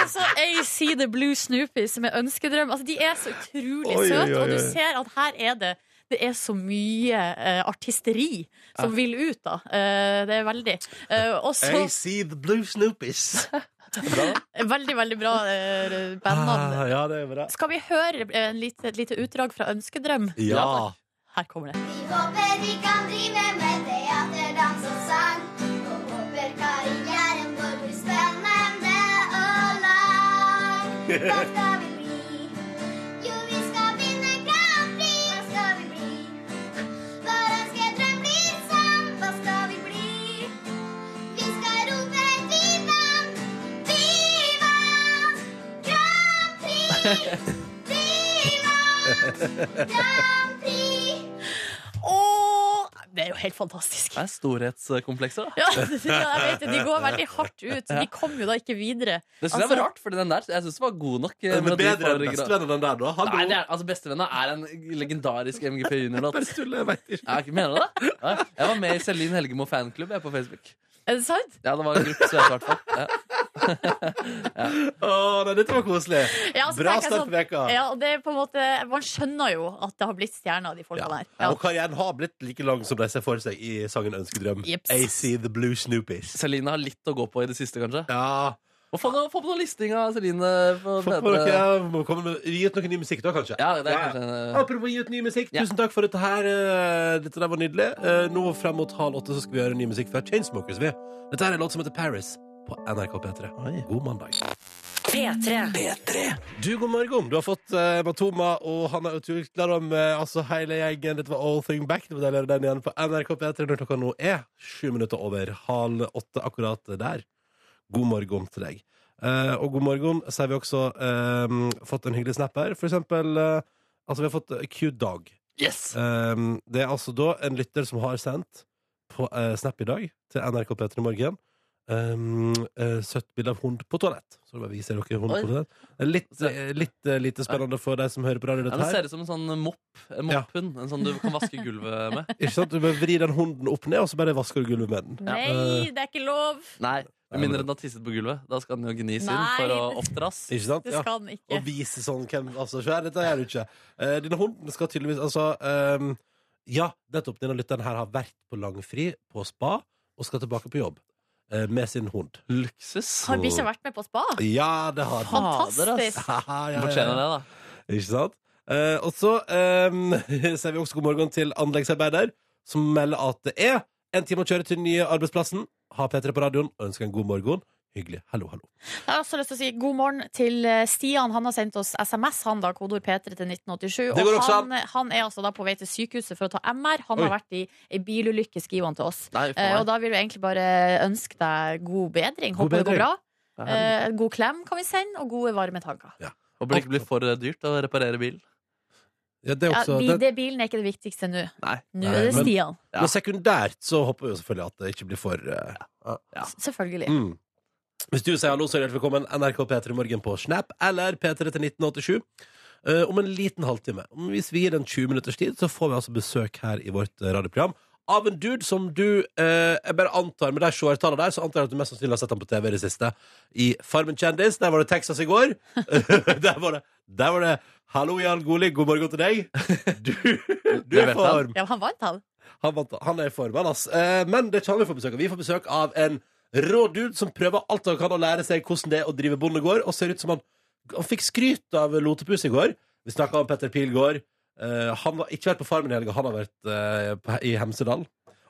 C: Altså, AC The Blue Snoopies med ønskedrøm. Altså, de er så utrolig
B: Oi, oi,
C: søte,
B: oi,
C: og du
B: oi.
C: ser at her er det det er så mye eh, artisteri som vil ut, da. Eh, det er veldig. Eh, og så
B: I see the blue snoopies.
C: Veldig, veldig bra eh, bandnavn.
B: Ah, ja, det er bra.
C: Skal vi høre eh, en lite, et lite utdrag fra Ønskedrøm?
B: Ja.
C: Her kommer det.
G: Vi håper vi kan drive med teater, dans og sang. Og håper karrieren vår blir spennende og lang. Hva skal vi bli? Jo, vi skal vinne Grand Prix. Hva skal vi bli? Vår ønskedrøm blir sann. Hva skal vi bli? Vi skal rope viva, viva Grand Prix! Viva Grand Prix!
C: Åh, det er jo helt fantastisk.
D: Det er storhetskomplekser, da.
C: Ja, jeg vet det. De går veldig hardt ut. De kom jo da ikke videre.
D: Det synes jeg
C: Altså-
D: var rart, fordi den der jeg synes det var god nok. eh,
B: Men
D: melodi
B: bedre
D: for
B: enn
D: Grand-
B: bestevennen den der, da. Hallo.
D: Nei, det er, altså Bestevenner er en legendarisk MGP
B: Bare
D: junior-låt.
B: tuller, jeg vet ikke.
D: Ja, ikke- Mener du det? Ja, Jeg var med i Celine Helgemo fanklubb jeg, på Facebook.
C: Er det sant?
D: Ja, det var en gruppe som jeg i hvert fall. Ja.
B: Å, nei, dette var koselig.
C: Ja, så
B: Bra
C: tenker jeg
B: start på
C: sånn-
B: veka.
C: Ja, og det er på en måte, Man skjønner jo at det har blitt stjerner av de folka der. Ja.
B: Og karrieren har blitt like lang som de ser for seg i sangen Ønskedrøm.
C: Jeps.
B: I see the blue snoopies.
D: Celine har litt å gå på i det siste, kanskje.
B: Ja,
D: Og få, noe- få på noe listing av Celine. På
B: Få på
D: bedre-
B: dere, må komme med, Gi ut noe ny musikk, da, kanskje.
D: Ja, det er
B: Ja.
D: kanskje en, eh,
B: Apropos gi ut ny musikk,
D: Ja.
B: tusen takk for dette her. eh, Dette der var nydelig. Eh, Nå frem mot halv åtte så skal vi gjøre ny musikk fra Chainsmokers. Vi. Dette her er en låt som heter Paris på NRK P3. God mandag.
A: P3.
B: Du, god morgen. Du har fått eh, Matoma og Hanna Utukler om eh, altså hele gjengen. Dette var All Thing Back. Det var deilig å høre den igjen på NRK P3 når klokka nå er sju minutter over halv åtte akkurat der. God morgen til deg. Eh, og god morgen så har vi også eh, fått en hyggelig snap her. For eksempel eh, Altså, vi har fått Q-Dag.
D: yes!
B: det er altså da en lytter som har sendt på eh, Snap i dag til NRK P3 Morgen. Um, eh, søtt bilde av hund på toalett. Så det bare viser dere hund
D: Oi.
B: på toalett. Eh, Litt, eh, litt eh, lite spennende for de som hører på radio.
D: Ja,
B: Dette
D: det
B: her.
D: ser ut som en sånn mopp. En
B: Ja.
D: mopphund. En sånn du kan vaske gulvet med.
B: Ikke sant? Du bare vrir den hunden opp ned, og så bare vasker du gulvet med den. Eh,
C: Nei, det er ikke lov!
D: Nei, med mindre den har tisset på gulvet. Da skal den jo gnis inn
C: Nei.
D: for å oppdras.
B: Ikke sant?
C: Det
B: Ja.
C: skal den ikke.
B: Og vise sånn hvem Altså, skjær, dette gjør du ikke. Eh, denne hunden skal tydeligvis Altså, ehm, ja, nettopp denne lytteren her har vært på langfri på spa og skal tilbake på jobb eh, med sin hund.
D: Luksus.
C: Har bikkja vært med på spa?
B: Ja, det har den.
D: Fader, ass.
C: Fantastisk!
B: Ja, ja, ja.
D: Den fortjener det, da.
B: Ikke sant? Eh, og så um, sier vi også god morgen til anleggsarbeider, som melder at det er en time å kjøre til den nye arbeidsplassen. Ha P3 på radioen og ønsker en god morgen. Hyggelig. Hallo, hallo.
C: Jeg har også lyst til å si god morgen til eh, Stian. Han har sendt oss SMS, han da, kodord P3 til 1987.
B: Det går
C: og
B: også
C: han, han er altså da på vei til sykehuset for å ta MR. Han
B: Oi.
C: har vært i ei bilulykke, skriver han til oss.
D: Nei,
C: Eh, og
D: faen.
C: da vil vi egentlig bare ønske deg god bedring.
B: God
C: Håper det
B: bedring.
C: går bra.
D: Ja, herregud.
C: Eh, god klem kan vi sende, og gode varme tanker.
D: Håper det ikke blir for dyrt å reparere bilen.
B: Ja, det er
C: Ja,
B: også,
C: bil,
B: det-
C: det, bilen er ikke det viktigste nå.
D: Nei.
B: Nei,
C: Nå er det
B: men-
C: Stian.
D: Ja.
B: Men sekundært så håper vi jo selvfølgelig at det ikke blir for eh,
D: Ja.
C: S- Selvfølgelig.
B: mm. Hvis du sier hallo, så er du hjertelig velkommen. NRK P3 Morgen på Snap eller P3 til 1987. Eh, om en liten halvtime. Om- Hvis vi gir den 20 minutters tid, så får vi altså besøk her i vårt eh, radioprogram av en dude som du eh, Jeg bare antar, med de seertallene der, så antar jeg at du mest sannsynlig har sett ham på TV i det siste. I Farmen kjendis. Der var det Texas i går. der var det der var det Hallo, Jan Goli. God morgen til deg. Du, du
D: Det
B: er
D: vet
B: i
D: han.
B: form.
C: Ja, men han vant, han.
B: Han, vant, han er i form, han, ass. Eh, men det er ikke han vi får besøk av. Vi får besøk av en rå dude som prøver alt han kan å lære seg hvordan det er å drive bondegård, og ser ut som han Han fikk skryt av Lotepus i går. Vi snakka om Petter Pilgaard. Eh, han har ikke vært på Farmen i helga, han har vært eh, på, i Hemsedal.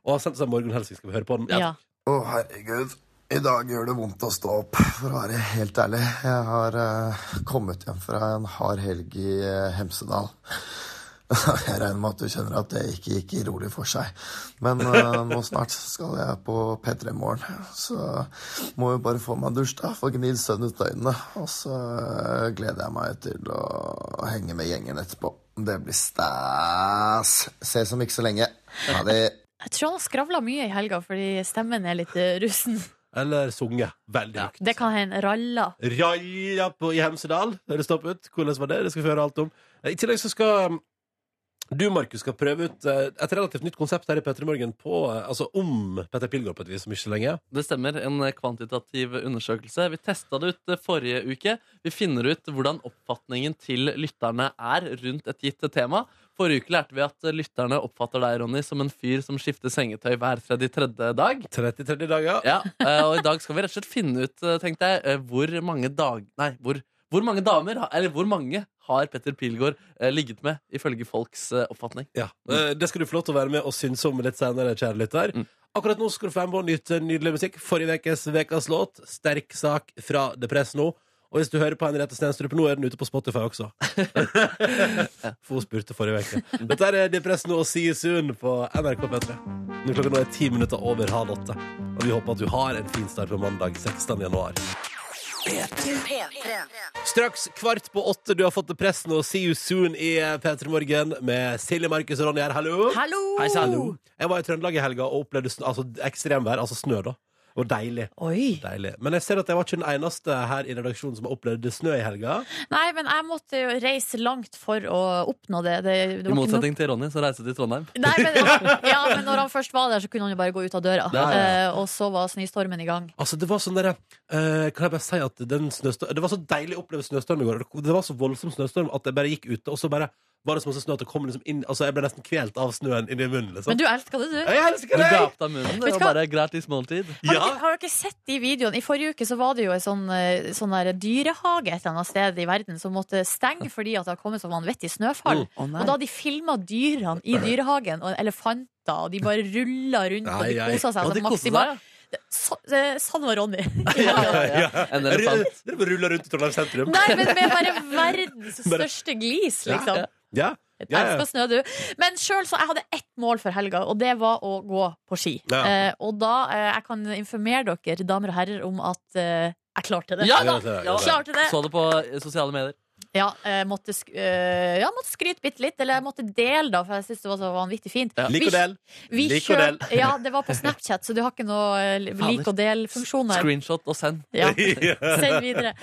B: Og har sendt seg morgenhelsing. Skal vi høre på den?
C: Ja.
H: Å, herregud. I dag gjør det vondt å stå opp, for å være helt ærlig. Jeg har eh, kommet hjem fra en hard helg i eh, Hemsedal. Jeg regner med at du kjenner at det ikke gikk rolig for seg. Men eh, nå snart skal jeg på P3 Morgen, så må jeg bare få meg en dusj, da. Få gnidd søvn ut av øynene. Og så eh, gleder jeg meg til å henge med gjengen etterpå. Det blir stas. Ses om ikke så lenge. Ha det.
C: Jeg tror han har skravla mye i helga fordi stemmen er litt eh, russen.
B: Eller sunge veldig høyt.
C: Det kan hende ralla.
B: Raja på, i Hemsedal. Høres topp ut. Hvordan var det? Det skal vi høre alt om. Eh, I tillegg så skal um, du, Markus, skal prøve ut eh, et relativt nytt konsept her i P3 Morgen på, eh, altså om Petter Pilgaard på et vis om ikke så lenge.
D: Det stemmer. En kvantitativ undersøkelse. Vi testa det ut eh, forrige uke. Vi finner ut hvordan oppfatningen til lytterne er rundt et gitt tema. Forrige uke lærte vi at eh, lytterne oppfatter deg, Ronny, som en fyr som skifter sengetøy hver 33. dag.
B: 33 dager.
D: Ja, eh, Og i dag skal vi rett og slett finne ut, eh, tenkte jeg, eh, hvor mange dag... Nei, hvor, hvor mange damer, har- eller hvor mange har Petter Pilgaard eh, ligget med, ifølge folks eh, oppfatning?
B: Ja. Eh, Det skal du få lov til å være med og synse om litt senere, kjære lytter.
D: Mm.
B: Akkurat nå skal du få være med og nyte nydelig musikk. Forrige ukes Vekas låt, 'Sterk sak' fra The Press nå. Og hvis du hører på Henriette Stenstrup nå, er den ute på Spotify også. For hun spurte forrige uke. Dette er Depress nå og See you soon på NRK P3. Nå klokka nå er ti minutter over halv åtte. Og vi håper at du har en fin start på mandag 16. januar. Straks kvart på åtte. Du har fått Depress nå og See you soon i P3 Morgen med Silje, Markus og Ronny her. Hallo!
C: Hallo!
B: Jeg var i Trøndelag i helga og opplevde sn- altså, ekstremvær, altså snø, da. Det var deilig.
C: Oi.
B: deilig. Men jeg ser at jeg var ikke den eneste her i redaksjonen som har opplevd snø i helga.
C: Nei, men jeg måtte jo reise langt for å oppnå det. det, det var
D: I
C: ikke noe-
D: motsetning til Ronny, som reiste til Trondheim.
C: Nei, men, ja, men når han først var der, så kunne han jo bare gå ut av døra.
D: Ja, ja, ja.
C: Eh, og så var snøstormen i gang.
B: Altså, det var sånn derre eh, Kan jeg bare si at den snøstorm Det var så deilig å oppleve snøstorm i går. Det var så voldsom snøstorm at jeg bare gikk ute, og så bare var det så masse snø at det kom liksom inn Altså, jeg ble nesten kvelt av snøen inni munnen, liksom.
C: Men du elska det, du.
B: jeg elsker
D: Du
B: deg!
D: gapte av munnen.
C: Vet
D: Det
C: du
D: var bare gratis måltid.
C: Har,
B: Ja.
C: dere, har dere sett de videoene? I forrige uke så var det jo en sånn, eh, sånn der dyrehage et eller annet sted i verden som måtte stenge fordi at det har kommet så vanvittig snøfall.
D: Å, nei.
C: Og da de filma dyrene i dyrehagen, og elefanter, og de bare rulla rundt og
B: Nei,
C: de
B: nei.
C: kosa seg.
D: Og de
C: Sånn,
D: koste
C: maksimalt. Så, eh, sånn var Ronny.
D: Ja, ja, ja. En elefant.
B: Dere bare ruller rundt i Trondheim sentrum.
C: Nei, men med bare verdens største glis, liksom.
B: Ja.
C: Jeg elsker snø, du. Men selv så jeg hadde ett mål for helga, og det var å gå på ski.
B: Ja.
C: Eh, og da eh, jeg kan informere dere, damer og herrer, om at eh, jeg klarte det.
D: Ja da!
B: Ja, ja, ja.
C: Klarte det.
D: Så det på eh, sosiale medier.
C: Ja, jeg måtte, sk eh, ja, måtte skryte bitte litt, eller jeg måtte dele, da, for jeg syns det var så vanvittig fint.
D: Ja.
B: Lik og del.
C: Vi
B: Lik og
C: kjøp- Ja, det var på Snapchat, så du har ikke noe eh, lik og del-funksjon der.
D: Screenshot og send.
C: Ja. Send videre.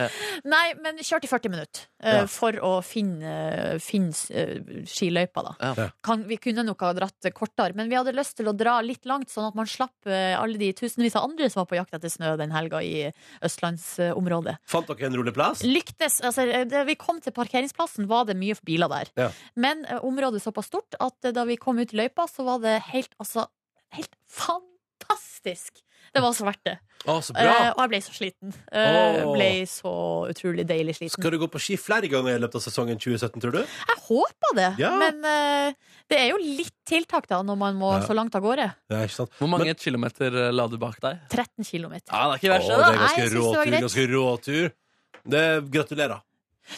C: Nei, men kjørt i 40 minutter eh,
D: Ja.
C: for å finne, finne eh, skiløypa, da.
D: Ja.
C: Kan, vi kunne nok ha dratt kortere, men vi hadde lyst til å dra litt langt, sånn at man slapp eh, alle de tusenvis av andre som var på jakt etter snø den helga i østlandsområdet.
B: Fant dere en rolig plass?
C: Lyktes, altså eh, Da vi kom til parkeringsplassen, var det mye biler der.
B: Ja.
C: Men eh, området er såpass stort at eh, da vi kom ut i løypa, så var det helt, altså, helt fantastisk! Det var så verdt det.
B: Å, så
C: Eh,
B: bra.
C: og jeg ble så sliten. Eh,
B: Åh.
C: Ble så utrolig deilig sliten.
B: Skal du gå på ski flere ganger i løpet av sesongen 2017, tror du?
C: Jeg håper det,
B: Ja.
C: men eh, det er jo litt tiltak da når man må
B: Ja.
C: så langt av gårde.
B: Ja, ikke sant?
D: Hvor mange kilometer eh, la du bak deg?
C: 13 km.
D: Ja, det er ikke
B: Å,
D: verst,
B: det
D: det.
B: er
D: da.
C: Nei,
B: ganske
C: jeg synes det
B: rå
C: var
B: tur.
C: greit.
B: Ganske rå tur. Det, gratulerer.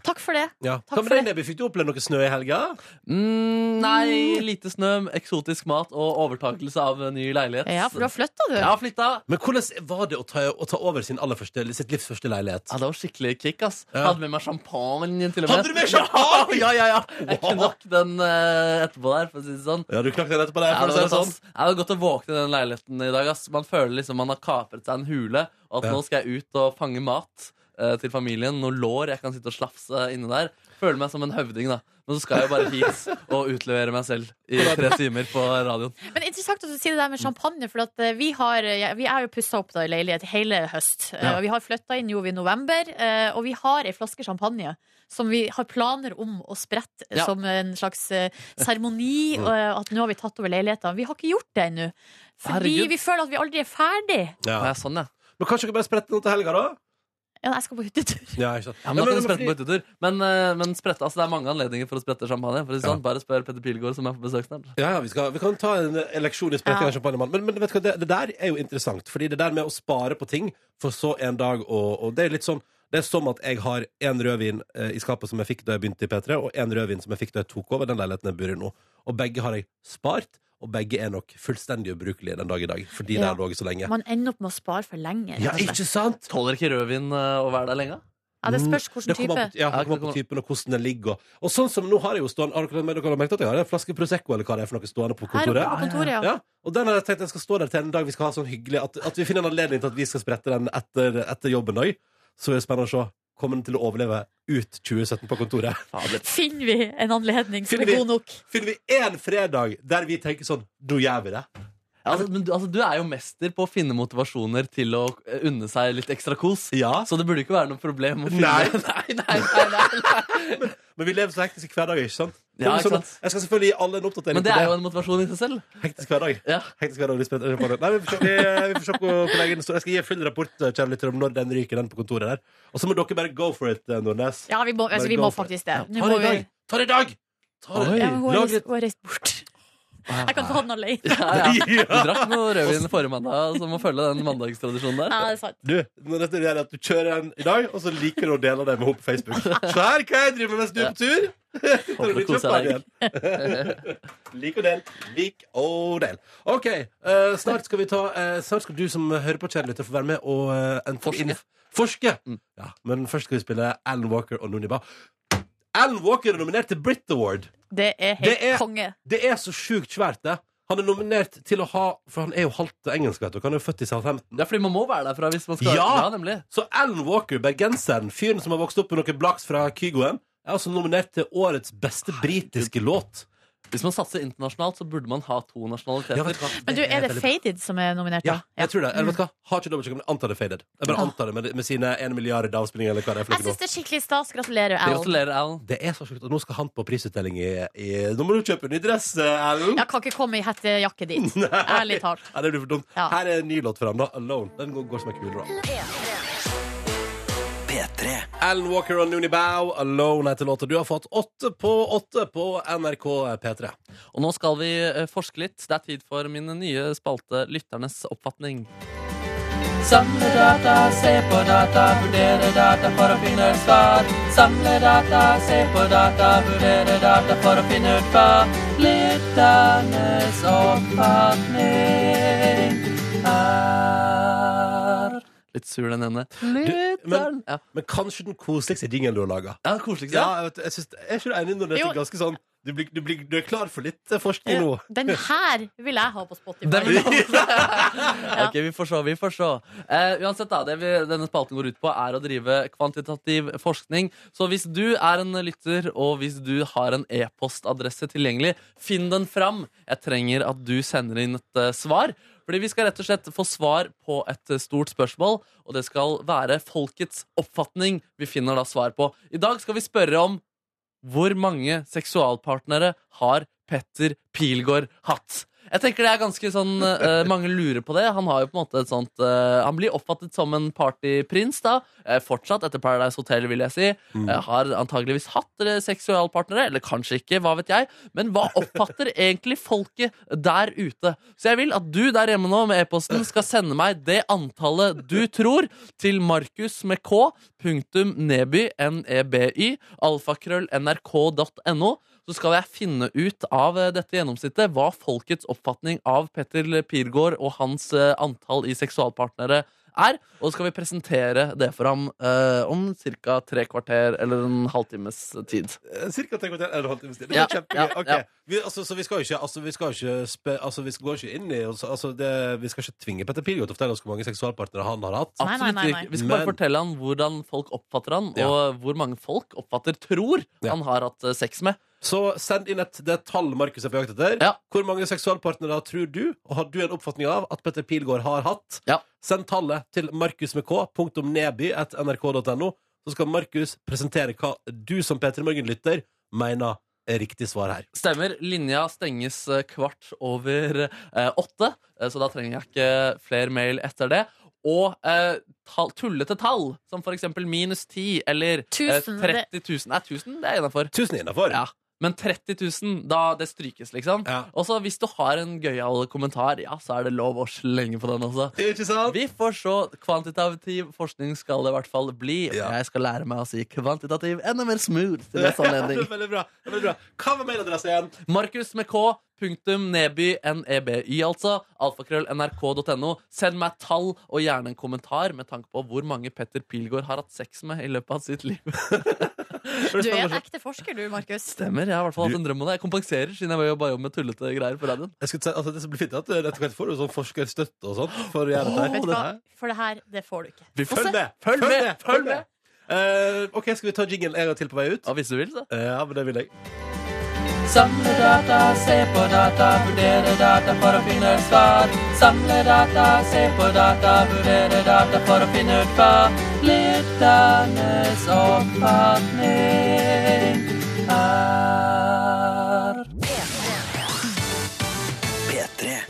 C: Takk for det.
B: Ja.
C: Takk
B: Hva med
C: for
B: deg, Nebby? Fikk du oppleve noe snø i helga?
D: Mm, nei, lite snø, eksotisk mat og overtakelse av eh, ny leilighet.
C: Ja, for du har flytta, du.
D: Jeg har flytta.
B: Men hvordan var det å ta, å ta over sin aller første, sitt livs første leilighet?
D: Ja, det var skikkelig kick, ass.
B: Ja.
D: Hadde med meg champagne til og med.
B: Hadde du med champagne?
D: Ja, ja, ja. Jeg
B: Wow.
D: knakk den eh, etterpå der, for å si det sånn.
B: Ja, du knakk den etterpå der,
D: Ja,
B: for å
D: det,
B: si
D: var
B: det sånn.
D: godt, ass. Ja, det var godt å våkne i den leiligheten i dag. Ass. Man føler liksom man har kapret seg en hule, og
B: Ja.
D: at nå skal jeg ut og fange mat eh, til familien. Noe lår jeg kan sitte og slafse inne der. Føler meg som en høvding, da. Men så skal jeg jo bare hit og utlevere meg selv i tre timer på radioen.
C: Men interessant at du sier det der
B: Mm.
C: med champagne, for at eh, vi, har, ja, vi er jo pussa opp da i leilighet hele høst. Eh,
D: Ja.
C: og Vi har flytta inn jo i november, eh, og vi har ei flaske champagne. Som vi har planer om å sprette
D: Ja.
C: som en slags eh,
B: Mm.
C: seremoni. og, eh, At nå har vi tatt over leiligheten. Vi har ikke gjort det ennå. Fordi
D: Herregud.
C: vi føler at vi aldri er ferdig.
B: Ja.
D: Ja. Sånn, ja.
B: Men kanskje dere bare sprette noe til helga, da?
C: Ja, jeg skal på hyttetur.
B: Ja, ikke sant?
D: Ja,
B: Ja,
D: men, at
B: men-
D: dere spretter på hyttetur. men, eh, men sprette, altså, det er mange anledninger for å sprette champagne. For å si
B: Ja.
D: sånn. Bare spør Petter Pilgaard, som er på besøk snart.
B: Ja, ja, vi, skal, vi kan ta en eh, leksjon i sprekking
C: Ja.
B: av champagnemann. Men, men vet du hva, det, det der er jo interessant. Fordi det der med å spare på ting for så en dag og, og Det er litt sånn Det er som at jeg har én rødvin eh, i skapet som jeg fikk da jeg begynte i P3, og én rødvin som jeg fikk da jeg tok over den leiligheten jeg bor i nå. Og begge har jeg spart, og begge er nok fullstendig ubrukelige den dag i dag. Fordi de
C: Ja.
B: har ligget så lenge.
C: Man ender opp med å spare for lenge.
B: Ja,
C: rett og slett.
B: ikke sant?
D: Tåler ikke rødvin eh, å være der lenge?
C: Ja, det spørs hvilken
B: Mm, Det kommer
C: type.
B: an på, ja, det
D: Ja,
B: kommer an på
D: det
B: typen og hvordan den ligger. Og, og sånn som nå har jeg jo stående Har dere, dere har merket at jeg har en flaske Prosecco eller hva det er for noe stående på
C: Her
B: kontoret?
C: oppe på kontoret, ja.
B: Ja, og den har jeg tenkt jeg skal stå der til en dag vi skal ha sånn hyggelig At, at vi finner en anledning til at vi skal sprette den etter, etter jobben òg. Så er det spennende å se. Kommer den til å overleve ut 2017 på kontoret?
C: Finner vi en anledning som
B: Finner
C: er
B: vi-
C: god nok?
B: Finner vi én fredag der vi tenker sånn Nå gjør vi det.
D: Ja, Altså, men du, altså, du er jo mester på å finne motivasjoner til å eh, unne seg litt ekstra kos.
B: Ja.
D: Så det burde ikke være noe problem å finne
B: Nei.
D: nei, nei, nei, nei, nei.
B: Men vi lever så hektisk hver dag, ikke sant?
D: Ja,
B: Kommer
D: ikke
B: sånn-
D: sant?
B: Jeg skal selvfølgelig gi alle en oppdatering
D: Men det er jo
B: på det.
D: en motivasjon i seg selv.
B: Hektisk hver dag.
D: Ja.
B: Hektisk hver dag vi spretter champagne. Nei, vi får se, vi, vi får se hvor, hvor lenge den står. Jeg skal gi full rapport eh, kjære lytter, om når den ryker, den på kontoret der. Og så må dere bare go for it, eh, Nordnes.
C: Ja, vi må, altså,
B: Bare
C: vi
B: go
C: må
B: for
C: faktisk det. Nå
B: Ta det i
C: må vi
B: dag! Ta det i dag! Ta det.
D: Oi.
C: Ja, men hun har
B: Lag
C: reist-
B: litt-
C: hun har reist bort. Jeg kan få ha den alene.
D: Ja, ja. Du drakk noe rødvin forrige mandag, så må følge den mandagstradisjonen
C: Ja,
D: der.
C: det er sant.
B: Du, når dette er at du kjører en i dag, og så liker du å dele det med henne på Facebook. Se her, hva jeg driver med mens du er på tur!
D: Håper du
B: Litt
D: koser deg.
B: champagne igjen. Lik og del. Lik og del. OK, eh, snart skal vi ta eh, Snart skal du som hører på, kjære lytter, få være med og eh, enten
D: Forske. Mm.
B: innf- Forske! Ja, men først skal vi spille Alan Walker og Nuniba. Alan Walker er nominert til Brit Award.
C: Det er helt
B: Det er-
C: konge.
B: Det er så sjukt svært, det. Han er nominert til å ha For han er jo halvt engelsk, vet du. og Han er jo født i Southampton.
D: Ja, fordi man må være derfra hvis man skal
B: Ja.
D: nemlig.
B: Så Alan Walker, bergenseren, fyren som har vokst opp med noe blaks fra Kygoen, er altså nominert til årets beste britiske låt.
D: Hvis man satser internasjonalt, så burde man ha to nasjonaliteter.
B: Ja, vet du hva?
C: Men du,
B: er
C: er det Mm.
B: veldig-
C: Faded som er nominert,
B: Ja,
C: da?
B: jeg tror det. Eller vet du hva? Har ikke dobbeltsjekka, men antar det faded. Jeg bare antar det med, med sine en milliard avspillinger eller hva det er for
C: Jeg
B: noe.
C: syns det er skikkelig stas. Gratulerer, Al.
D: Gratulerer, Alan.
B: nå. Det er så sjukt. Og nå skal han på prisutdeling i, i Nå må du kjøpe en ny dress, eh, Alan!
C: Jeg kan ikke komme i hettejakke dit. Ærlig talt.
B: Ja, det blir for dumt.
C: Ja.
B: Her er en ny låt for ham, da. Alone. Den går, går som en kule, da. Alan Walker og Noonie Bow, Alone heter låta. Du har fått åtte på åtte på NRK P3.
D: Og nå skal vi eh, forske litt. Det er tid for min nye spalte Lytternes oppfatning. Samle data, se på data, vurdere data for å finne ut svar. Samle data, se på data, vurdere data for å finne ut hva. Lytternes oppfatning er Litt sur, den ene.
B: Du, men,
D: Ja,
B: men kanskje den koseligste jingelen du har laga.
D: ja koseligste.
B: Ja, jeg vet, jeg syns- jeg er ikke du enig når det
C: Jo.
B: er ganske sånn du, blir, du, blir, du er klar for litt eh, forskning nå.
C: Den her vil jeg ha på Spotify.
D: Den vil Ok, vi får se, vi får se. Eh, uansett da, det vi, denne spalten går ut på er å drive kvantitativ forskning. Så hvis du er en lytter, og hvis du har en e-postadresse tilgjengelig, finn den fram. Jeg trenger at du sender inn et eh, svar. Fordi vi skal rett og slett få svar på et eh, stort spørsmål, og det skal være folkets oppfatning vi finner da svar på. I dag skal vi spørre om hvor mange seksualpartnere har Petter Pilgaard hatt? Jeg tenker det er ganske sånn eh, Mange lurer på det. Han har jo på en måte et sånt eh, Han blir oppfattet som en partyprins, da. Eh, fortsatt, etter Paradise Hotel, vil jeg si. Eh, har antageligvis hatt eh, seksualpartnere, eller kanskje ikke, hva vet jeg. Men hva oppfatter egentlig folket der ute? Så jeg vil at du der hjemme nå med e-posten skal sende meg det antallet du tror til Markus med K, punktum Neby, N-E-B-Y, alfakrøll nrk.no. Så skal jeg finne ut av eh, dette gjennomsnittet hva folkets oppfatning av Petter Pilgaard og hans eh, antall i seksualpartnere er, og så skal vi presentere det for ham eh, om ca. tre kvarter eller en halvtimes tid.
B: Eh, Cirka tre kvarter eller en halvtimes tid. Det
D: Ja,
B: var
D: ja,
B: kjempegøy. Ok.
D: ja.
B: Vi, altså, så vi skal jo ikke, altså, vi skal ikke spe, altså, vi går ikke inn i altså, altså, det, Vi skal ikke tvinge Petter Pilgaard til å fortelle oss hvor mange seksualpartnere han har hatt.
C: Nei, nei,
D: Absolutt
C: nei, nei.
D: ikke. Vi skal bare
B: Men-
D: fortelle han hvordan folk oppfatter han,
B: Ja.
D: og hvor mange folk oppfatter tror
B: Ja.
D: han har hatt eh, sex med.
B: Så send inn et, det tall Markus er på jakt etter.
D: Ja.
B: Hvor mange seksualpartnere tror du, og har du en oppfatning av, at Petter Pilgaard har hatt?
D: Ja.
B: Send tallet til markus med k, punktum neby, at nrk.no. Så skal Markus presentere hva du som Peter Morgen-lytter mener er riktig svar her.
D: Stemmer. Linja stenges eh, kvart over eh, åtte, eh, så da trenger jeg ikke flere mail etter det. Og eh, tall, tullete tall, som for eksempel minus 10 eller eh,
C: Tusen,
D: 30 000. Nei, 1000 det er innafor.
B: Tusen innafor.
D: Ja. Men 30 000, da det strykes, liksom.
B: Ja.
D: Og så hvis du har en gøyal kommentar, ja, så er det lov å slenge på den også.
B: Ikke sant?
D: Vi får se. Kvantitativ forskning skal det i hvert fall bli. Og
B: Ja.
D: jeg skal lære meg å si kvantitativ enda mer smooth til neste anledning.
B: Veldig bra. Veldig bra. Hva var mailadressen igjen?
D: Markus med K. Punktum Neby, N-E-B-Y, altså. Alfakrøll nrk.no. Send meg tall og gjerne en kommentar med tanke på hvor mange Petter Pilgaard har hatt sex med i løpet av sitt liv.
C: Du er en ekte forsker, du, Markus.
D: Stemmer. Jeg har i hvert fall hatt en drøm om det. Jeg kompenserer siden jeg bare jobber med tullete greier på radioen.
B: Jeg skulle si, altså, det som blir fint, er at du etter hvert får du sånn forskerstøtte og sånn. For å gjøre dette. her.
C: Vet du hva? For det her, det får du ikke.
D: Vi får
B: Følg
D: se.
B: med!
D: Følg med! Følg med!
B: Eh, OK, skal vi ta jinglen en gang til på vei ut?
D: Ja, hvis du vil, så.
B: Ja, men det vil jeg.
D: Samle data, se på data, vurdere data for å finne ut svar. Samle data, se på data, vurdere data for å finne ut hva lytternes oppfatning er.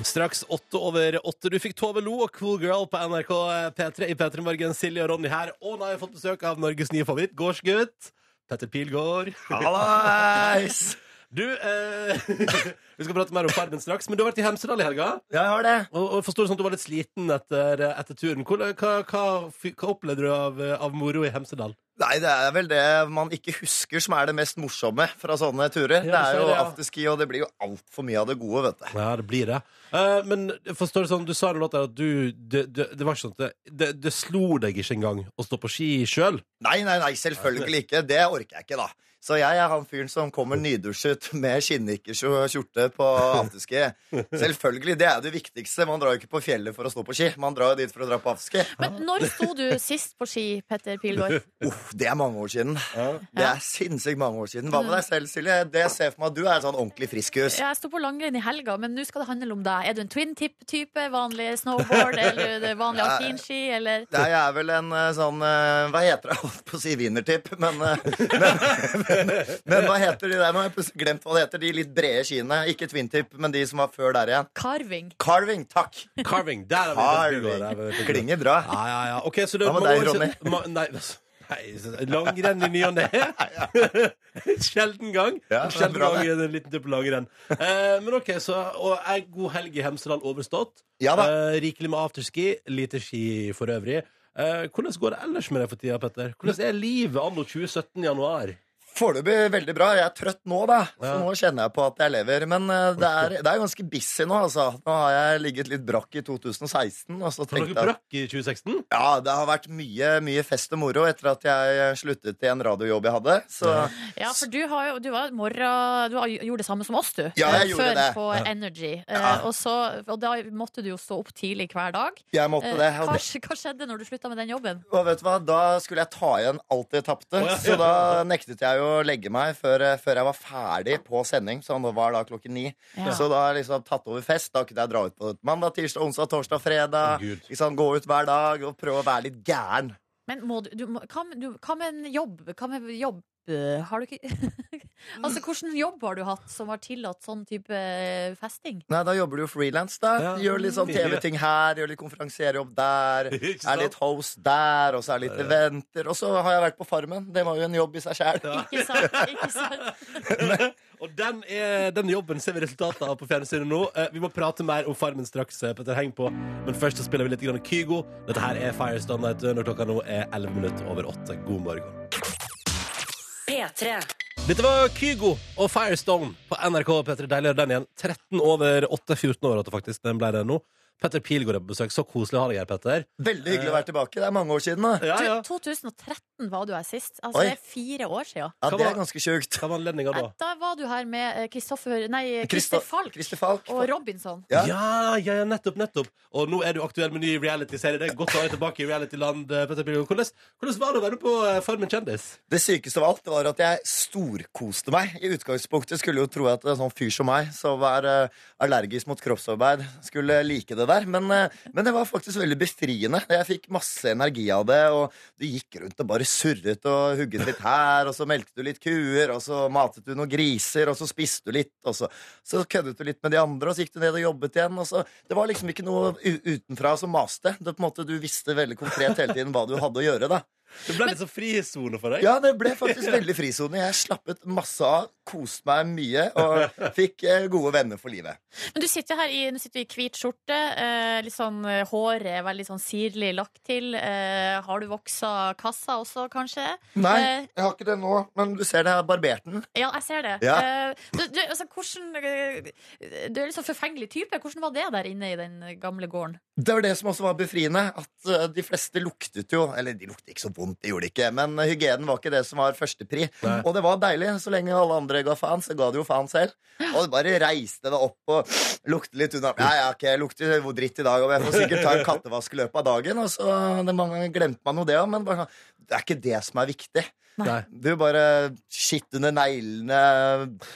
B: Straks åtte over åtte. Du fikk Tove Lo og Cool Girl på NRK P3 i P3 Morgen. Silje og Ronny her. Og nå har jeg fått besøk av Norges nye favoritt, gårdsgutt. Petter Pilgaard.
I: Hallais!
B: Du, eh, vi skal prate mer om Farmen straks, men du har vært i Hemsedal i helga.
I: Jeg har det.
B: Og, og forstår det sånn at du var litt sliten etter, etter turen. Hvordan- Hva, hva, fy- hva opplevde du av, av moro i Hemsedal?
I: Nei, det er vel det man ikke husker som er det mest morsomme fra sånne
B: Ja,
I: turer. det er
B: så er
I: jo
B: det, ja.
I: afterski, og det blir jo altfor mye av det gode, vet du.
B: Ja, det blir det. Eh, men forstår det sånn, du sa i den låta at du det, det, det var ikke sånn at det, det, det slo deg ikke engang å stå på ski sjøl.
I: Nei, nei, nei, selvfølgelig ikke. Det orker jeg ikke, da. Så jeg er han fyren som kommer nydusjet med skinnnikerskjorte på afterski. Selvfølgelig. Det er det viktigste. Man drar jo ikke på fjellet for å stå på ski. Man drar jo dit for å dra på afterski.
C: Men når sto du sist på ski, Petter Pilgaard?
I: Uff, det er mange år siden. Det er sinnssykt mange år siden. Hva med deg selv, Silje? Det jeg ser for meg at du er en sånn ordentlig friskus.
C: Jeg sto på langrenn i helga, men nå skal det handle om deg. Er du en twin tip-type? Vanlig snowboard? Eller det vanlige alpinski? Eller
I: Nei, jeg er vel en eh, sånn eh, Hva heter det? Jeg holdt på å si wienertipp, men, eh, men, men, men hva heter de der? Nå har jeg plutselig glemt hva det heter. De litt brede skiene. Ikke twintip, men de som var før der igjen.
C: carving?
I: Carving, takk!
B: Carving. Der er vi Petter Pilgaard, der er vi Petter Pilgaard.
I: Klinger bra.
B: Ja, ja, ja. Ok, så det
I: Hva med
B: mange
I: deg,
B: år siden- ma- Nei, altså, nei langrenn i ny og ne. Sjelden gang.
I: Ja, det er
B: Sjelden
I: bra,
B: gang
I: det.
B: er det en liten tur på langrenn. Eh, men ok, så og ei god helg i Hemsedal overstått.
I: Ja da.
B: Eh, rikelig med afterski. Lite ski for øvrig. Eh, hvordan går det ellers med deg for tida, Petter? Hvordan er livet anno 2017 januar?
I: Foreløpig veldig bra. Jeg er trøtt nå, da. Så nå kjenner jeg på at jeg lever. Men eh, det er, det er ganske busy nå, altså. Nå har jeg ligget litt brakk i 2016. Og så
B: Har dere
I: tenkte jeg at-
B: brakk i 2016?
I: ja, det har vært mye, mye fest og moro etter at jeg sluttet i en radiojobb jeg hadde. Så
C: Ja, for du, har jo, du, var et morra, du har, gjorde det samme som oss, du.
I: Ja, jeg
C: eh,
I: gjorde
C: Før
I: det.
C: på Energy. Eh,
I: Ja.
C: Og, så, og da måtte du jo stå opp tidlig hver dag.
I: jeg måtte
C: Eh,
I: det. Og
C: hva,
I: det-
C: hva skjedde når du slutta med den jobben?
I: Og vet du hva, da skulle jeg ta igjen alt det
B: Å,
I: tapte.
B: ja.
I: Så da nektet jeg jo å legge meg før, eh, før jeg var ferdig på sending. Så det var da klokken ni.
C: Ja.
I: Så da har jeg liksom tatt over fest. Da kunne jeg dra ut på mandag, tirsdag, onsdag, torsdag, fredag.
B: Å, Gud.
I: Ikke sant, Gå ut hver dag og prøve å være litt gæren.
C: Men må du, du, må- hva, med- du, hva med en jobb? Hva med jobb? eh, Har du ikke Altså, Hvilken jobb har du hatt som har tillatt sånn type festing?
I: Nei, da jobber du jo frilans, da.
B: Ja.
I: Gjør litt sånn TV-ting her, gjør litt konferansierjobb der.
B: Ikke sant?
I: Er litt host der, og så er litt eventer. Og så har jeg vært på Farmen. Det var jo en jobb i seg sjæl.
C: Ikke sant? Ikke sant?
B: Og den, er, den jobben ser vi resultatet av på fjernsynet nå. Eh, vi må prate mer om Farmen straks. eh, Petter, heng på. Men først så spiller vi litt grann Kygo. Dette her er Firestone Night når klokka nå er 11 minutter over 8. God morgen.
A: P3.
B: Dette var Kygo og Firestone på NRK Petter. Deilig å høre den igjen. 13 over 8. 14 over 8, faktisk. Den ble det nå. Petter Pilgaard er på besøk. Så koselig å ha deg her, Petter.
I: Veldig hyggelig å være tilbake. Det er mange år siden, da.
B: Ja, ja.
C: Du, 2013 var du her sist. Altså,
I: Oi.
C: Det er fire år sia.
I: Ja, det er ganske sjukt.
B: Hva var anledninga da?
C: Da var du her med eh, Kristoffer Nei, Christer
I: Christo-
C: Falk
I: Christer Falk.
C: og Robinson.
I: Ja.
B: Ja, ja, ja, nettopp, nettopp. Og nå er du aktuell med ny reality-serie. Det er godt å ha deg tilbake i reality-land. eh, Petter Pilgaard. Hvordan, hvordan var det å være på eh, Farmen kjendis?
I: Det sykeste av alt var at jeg storkoste meg. I utgangspunktet skulle jo tro at en sånn fyr som meg, som er eh, allergisk mot kroppsarbeid, skulle like det der. Men, eh, men det var faktisk veldig befriende. Jeg fikk masse energi av det, og du gikk rundt og bare surret og hugget litt her, og så melket du litt kuer, og så matet du noen griser, og så spiste du litt, og så, så køddet du litt med de andre, og så gikk du ned og jobbet igjen, og så Det var liksom ikke noe u utenfra som maste. Det, på en måte, du visste veldig konkret hele tiden hva du hadde å gjøre, da.
B: Det ble litt sånn frisone for deg.
I: Ja, det ble faktisk veldig frisone. Jeg slappet masse av, koste meg mye og fikk eh, gode venner for livet.
C: Men du sitter her i, nå sitter du i hvit skjorte. Eh, litt sånn eh, Håret er veldig sånn sirlig lagt til. Eh, har du voksa kassa også, kanskje?
I: Nei,
C: Eh,
I: jeg har ikke det nå, men du ser det, jeg har barbert den.
C: ja, jeg ser det.
I: Ja.
C: Eh, du, du, altså, hvordan, eh, du er litt sånn forfengelig type. Hvordan var det der inne i den gamle gården?
I: Det var det som også var befriende, at eh, de fleste luktet jo Eller de luktet ikke så vondt, det gjorde de ikke, men eh, hygienen var ikke det som var førstepri.
B: Nei.
I: Og det var deilig. Så lenge alle andre ga faen, så ga du jo faen selv. Og du bare reiste deg opp og lukte litt unna. Ja, ja, ok, jeg lukter jo dritt i dag, og jeg får sikkert ta en kattevask i løpet av dagen. Og så det mange, glemte man jo det òg, men bare, sånn, det er ikke det som er viktig.
B: Nei.
I: Du bare Skitt under neglene,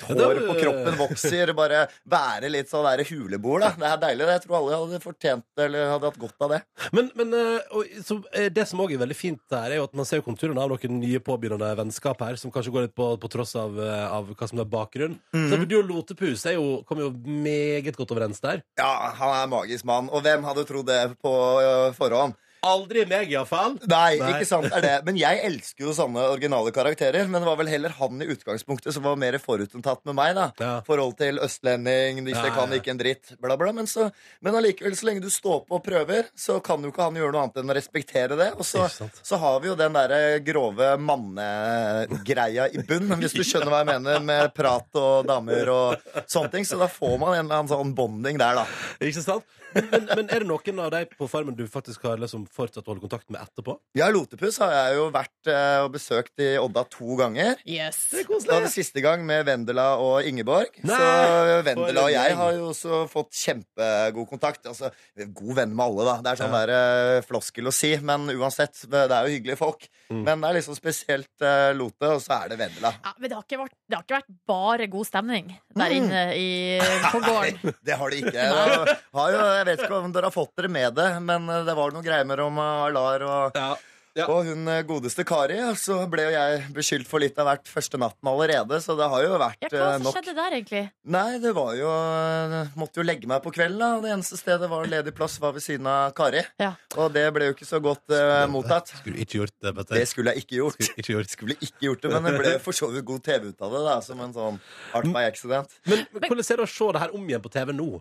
I: håret på kroppen vokser. Bare være litt sånn der huleboer, da. Det er deilig. det. Jeg tror alle hadde fortjent det, eller hadde hatt godt av det.
B: Men, men eh, og, så, eh, det som òg er veldig fint her, er jo at man ser jo konturene av noen nye påbegynnende vennskap her, som kanskje går litt på, på tross av, eh, av hva som er bakgrunn.
I: Mhm.
B: Så du og Lotepus er jo, kommer jo meget godt overens der.
I: Ja, han er en magisk mann. Og hvem hadde trodd det på ø, forhånd?
B: Aldri meg, iallfall.
I: Nei,
B: Nei.
I: ikke sant er det. Men jeg elsker jo sånne originale karakterer. Men det var vel heller han i utgangspunktet som var mer forutinntatt med meg, da.
B: Ja.
I: Forhold til østlending, ikke
B: Ja,
I: kan
B: ja.
I: ikke en dritt, bla, bla. Men, så, men allikevel, så lenge du står på og prøver, så kan jo ikke han gjøre noe annet enn å respektere det. Og så,
B: Ikke sant.
I: så har vi jo den derre grove mannegreia i bunn, hvis du skjønner hva jeg mener, med prat og damer og sånne ting. Så da får man en eller annen sånn bonding der, da.
B: Ikke sant? Men, men, men er det noen av de på Farmen du faktisk har liksom fortsatt å holde kontakt med etterpå?
I: Ja, Lotepus har jeg jo vært eh, og besøkt i Odda to ganger.
C: Yes.
I: Det var det siste gang med Vendela og Ingeborg.
B: Nei,
I: så
B: for
I: Vendela
B: en
I: og jeg
B: gjeng.
I: har jo også fått kjempegod kontakt. Altså, vi er god venn med alle, da. Det er sånn der eh, floskel å si, men uansett, det er jo hyggelige folk.
B: Mm.
I: Men det er liksom spesielt eh, Lote, og så er det Vendela.
C: Ja, men det har, ikke vært, det har ikke vært bare god stemning der
I: Mm.
C: inne i, eh, på gården.
I: Nei, det har de ikke. Det har jo, jeg vet ikke om dere har fått dere med det, men eh, det var noen greier med om eh, Alar og
B: Ja. Ja.
I: Og hun eh, godeste Kari, og så ble jo jeg beskyldt for litt av hvert første natten allerede, så det har jo
C: Ja,
I: vært
C: hva
I: eh,
C: som
I: nok.
C: skjedde der, egentlig?
I: Nei, det var jo eh, Måtte jo legge meg på kvelden, da. og Det eneste stedet var ledig plass var ved siden av Kari.
C: Ja.
I: Og det ble jo ikke så godt eh, mottatt.
B: Skulle ikke gjort det, Petter.
I: Det skulle jeg ikke gjort.
B: Skulle ikke gjort.
I: Skulle ikke gjort det, men det ble jo for så vidt god TV ut av det, da, som en sånn art by accident.
B: Men, men hvordan er det å se det her om igjen på TV nå?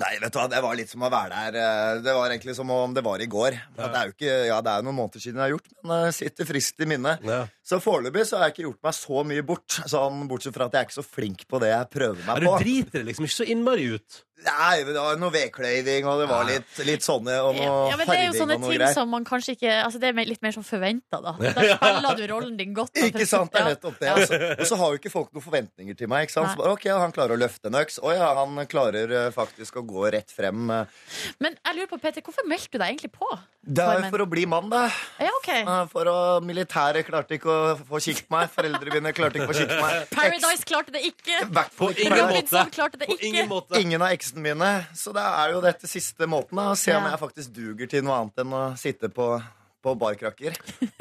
I: Nei, vet du hva, det var litt som å være der eh, Det var egentlig som om det var i går. Ja, det er jo ikke, ja, det er jo noen måneder siden jeg har gjort, men det sitter eh, friskt i minnet.
B: Ja.
I: Så foreløpig så har jeg ikke gjort meg så mye bort, sånn, bortsett fra at jeg er ikke så flink på det jeg prøver
B: Ja,
I: meg
B: du
I: på.
B: driter det liksom ikke så innmari ut.
I: Nei, men det var noe vedkløyving, og det var litt, litt sånne og noe
C: Ja, men det er jo
I: farging
C: sånne
I: og noe
C: ting
I: greier.
C: som man kanskje ikke Altså Det er mer- litt mer som forventa, da. Da spiller du rollen din godt. da,
I: Ikke sant, det er
C: Ja.
I: nettopp det. Altså. Og så har jo ikke folk noen forventninger til meg. Ikke sant? Så
C: Nei.
I: bare, ok, Han klarer å løfte en øks. Å ja, han klarer eh, faktisk å gå rett frem. eh.
C: Men jeg lurer på, Peter, hvorfor meldte du deg egentlig på?
I: Det er
C: Formen.
I: jo for å bli mann, da.
C: Ja, ok
I: Eh, For å, Militæret klarte ikke å få kikket meg. Foreldrene mine klarte ikke å få kikket meg.
C: Paradise klarte det ikke.
I: Eks- hvert fall
B: På
I: ikke
B: ingen
I: Paradise.
C: Robinson
B: måte.
C: klarte det
B: På ingen
C: ikke.
B: måte.
I: Ingen av eksene mine. Så det er jo dette siste måten. da Å se om
C: Ja.
I: jeg faktisk duger til noe annet enn å sitte på, på barkrakker.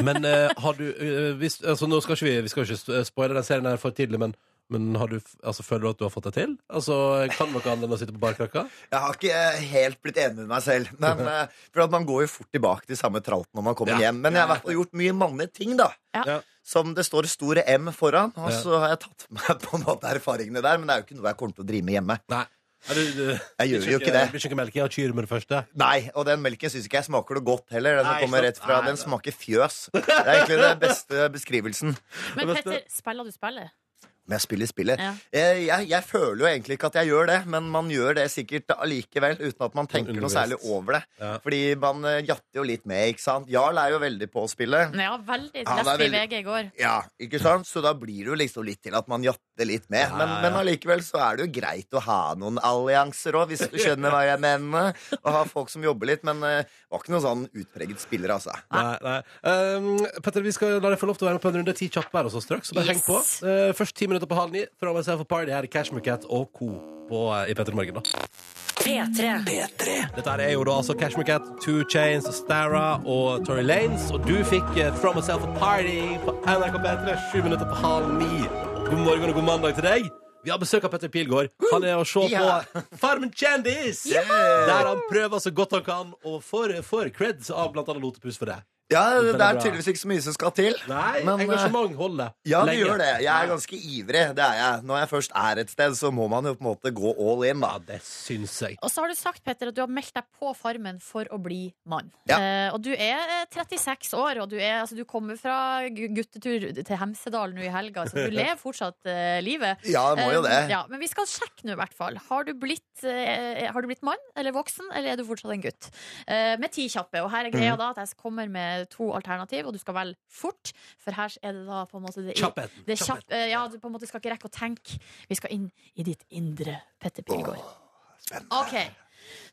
B: Men eh, har du eh, hvis, altså, nå skal ikke vi, vi skal ikke spoile den serien her for tidlig, men, men har du, f- altså, føler du at du har fått det til? Altså, Kan noe annet enn å sitte på barkrakka?
I: Jeg har ikke eh, helt blitt enig med meg selv. Men, eh, for at Man går jo fort tilbake til samme tralten når man kommer
B: Ja.
I: hjem. Men jeg har i hvert fall gjort mye mannlige ting, da.
C: Ja.
B: Ja.
I: Som det står store M foran. Og
B: Ja.
I: så har jeg tatt med på en måte erfaringene der, men det er jo ikke noe jeg kommer til å drive med hjemme.
B: Nei. Er du, du,
I: Jeg gjør jo ikke det.
B: Blir ikke melking av kyr med det første.
I: Nei, og den melken syns ikke jeg smaker noe godt heller. Den som
B: Nei,
I: kommer
B: sant.
I: rett fra,
B: Nei,
I: den
B: det-
I: smaker fjøs. Det er egentlig den beste beskrivelsen.
C: Men
B: Det beste-
C: Petter, spiller du spillet?
I: Men jeg spiller spillet.
C: Ja.
I: Jeg, jeg, jeg føler jo egentlig ikke at jeg gjør det, men man gjør det sikkert allikevel, uten at man tenker noe
B: underbevisst.
I: særlig over det.
B: Ja.
I: Fordi man eh, jatter jo litt med, ikke sant? Jarl er jo veldig på å spille.
C: Ja, veldig.
I: Ja, det er
C: Leste i
I: veldig-
C: VG i går.
I: Ja, ikke sant? Så da blir det jo liksom litt til at man jatter litt med.
B: Ja,
I: Men,
B: ja, ja.
I: men allikevel så er det jo greit å ha noen allianser òg, hvis du skjønner hva jeg mener. Og ha folk som jobber litt, men eh, var ikke noen sånn utpreget spiller, altså.
B: Nei, nei. Um, Petter, vi skal la deg få lov til å være med på en runde ti kjappe her også straks. Så bare heng på.
C: Yes.
B: Eh, først ti minutter på halv ni. Fra myself a party her i Cashmere Cat og Co. På, eh, i Petter Morgen, da.
A: P3.
B: Dette her er jo da altså Cashmere Cat, Two Chains, Stara og Tory Lanes. Og du fikk eh, From Myself a Party på NRK P3 sju minutter på halv ni. God morgen og god mandag til deg. Vi har besøk av Petter Pilgaard. Han er å se
I: Ja.
B: på Farmen kjendis! Der han prøver så godt han kan, og får, får creds av blant annet Lotepus for det.
I: Ja,
B: Veldig
I: det er
B: bra.
I: tydeligvis ikke så mye som skal til.
B: Nei,
I: Men, eh,
B: engasjement holder.
I: Ja, det
B: lenge.
I: gjør det. Jeg er ganske ivrig. det er jeg Når jeg først er et sted, så må man jo på en måte gå all in. da
B: Ja, det syns jeg.
C: Og så har du sagt Petter, at du har meldt deg på Farmen for å bli mann.
I: Ja.
C: Eh, og du er eh, 36 år, og du, er, altså, du kommer fra gu- guttetur til Hemsedal nå i helga, så du lever fortsatt eh, livet.
I: Ja, jeg må jo det.
C: Eh, ja, men vi skal sjekke nå, i hvert fall. Har du, blitt, eh, har du blitt mann eller voksen, eller er du fortsatt en gutt? Eh, med ti kjappe. Og her er
I: Mm.
C: greia da at jeg kommer med to alternativ, og du skal velge fort, for her er det da på en måte det
B: Kjappheten.
C: Det er kjapp,
B: Kjappheten.
C: eh, ja, du på en måte skal ikke rekke å tenke. Vi skal inn i ditt indre, Petter Pilgaard. Ok.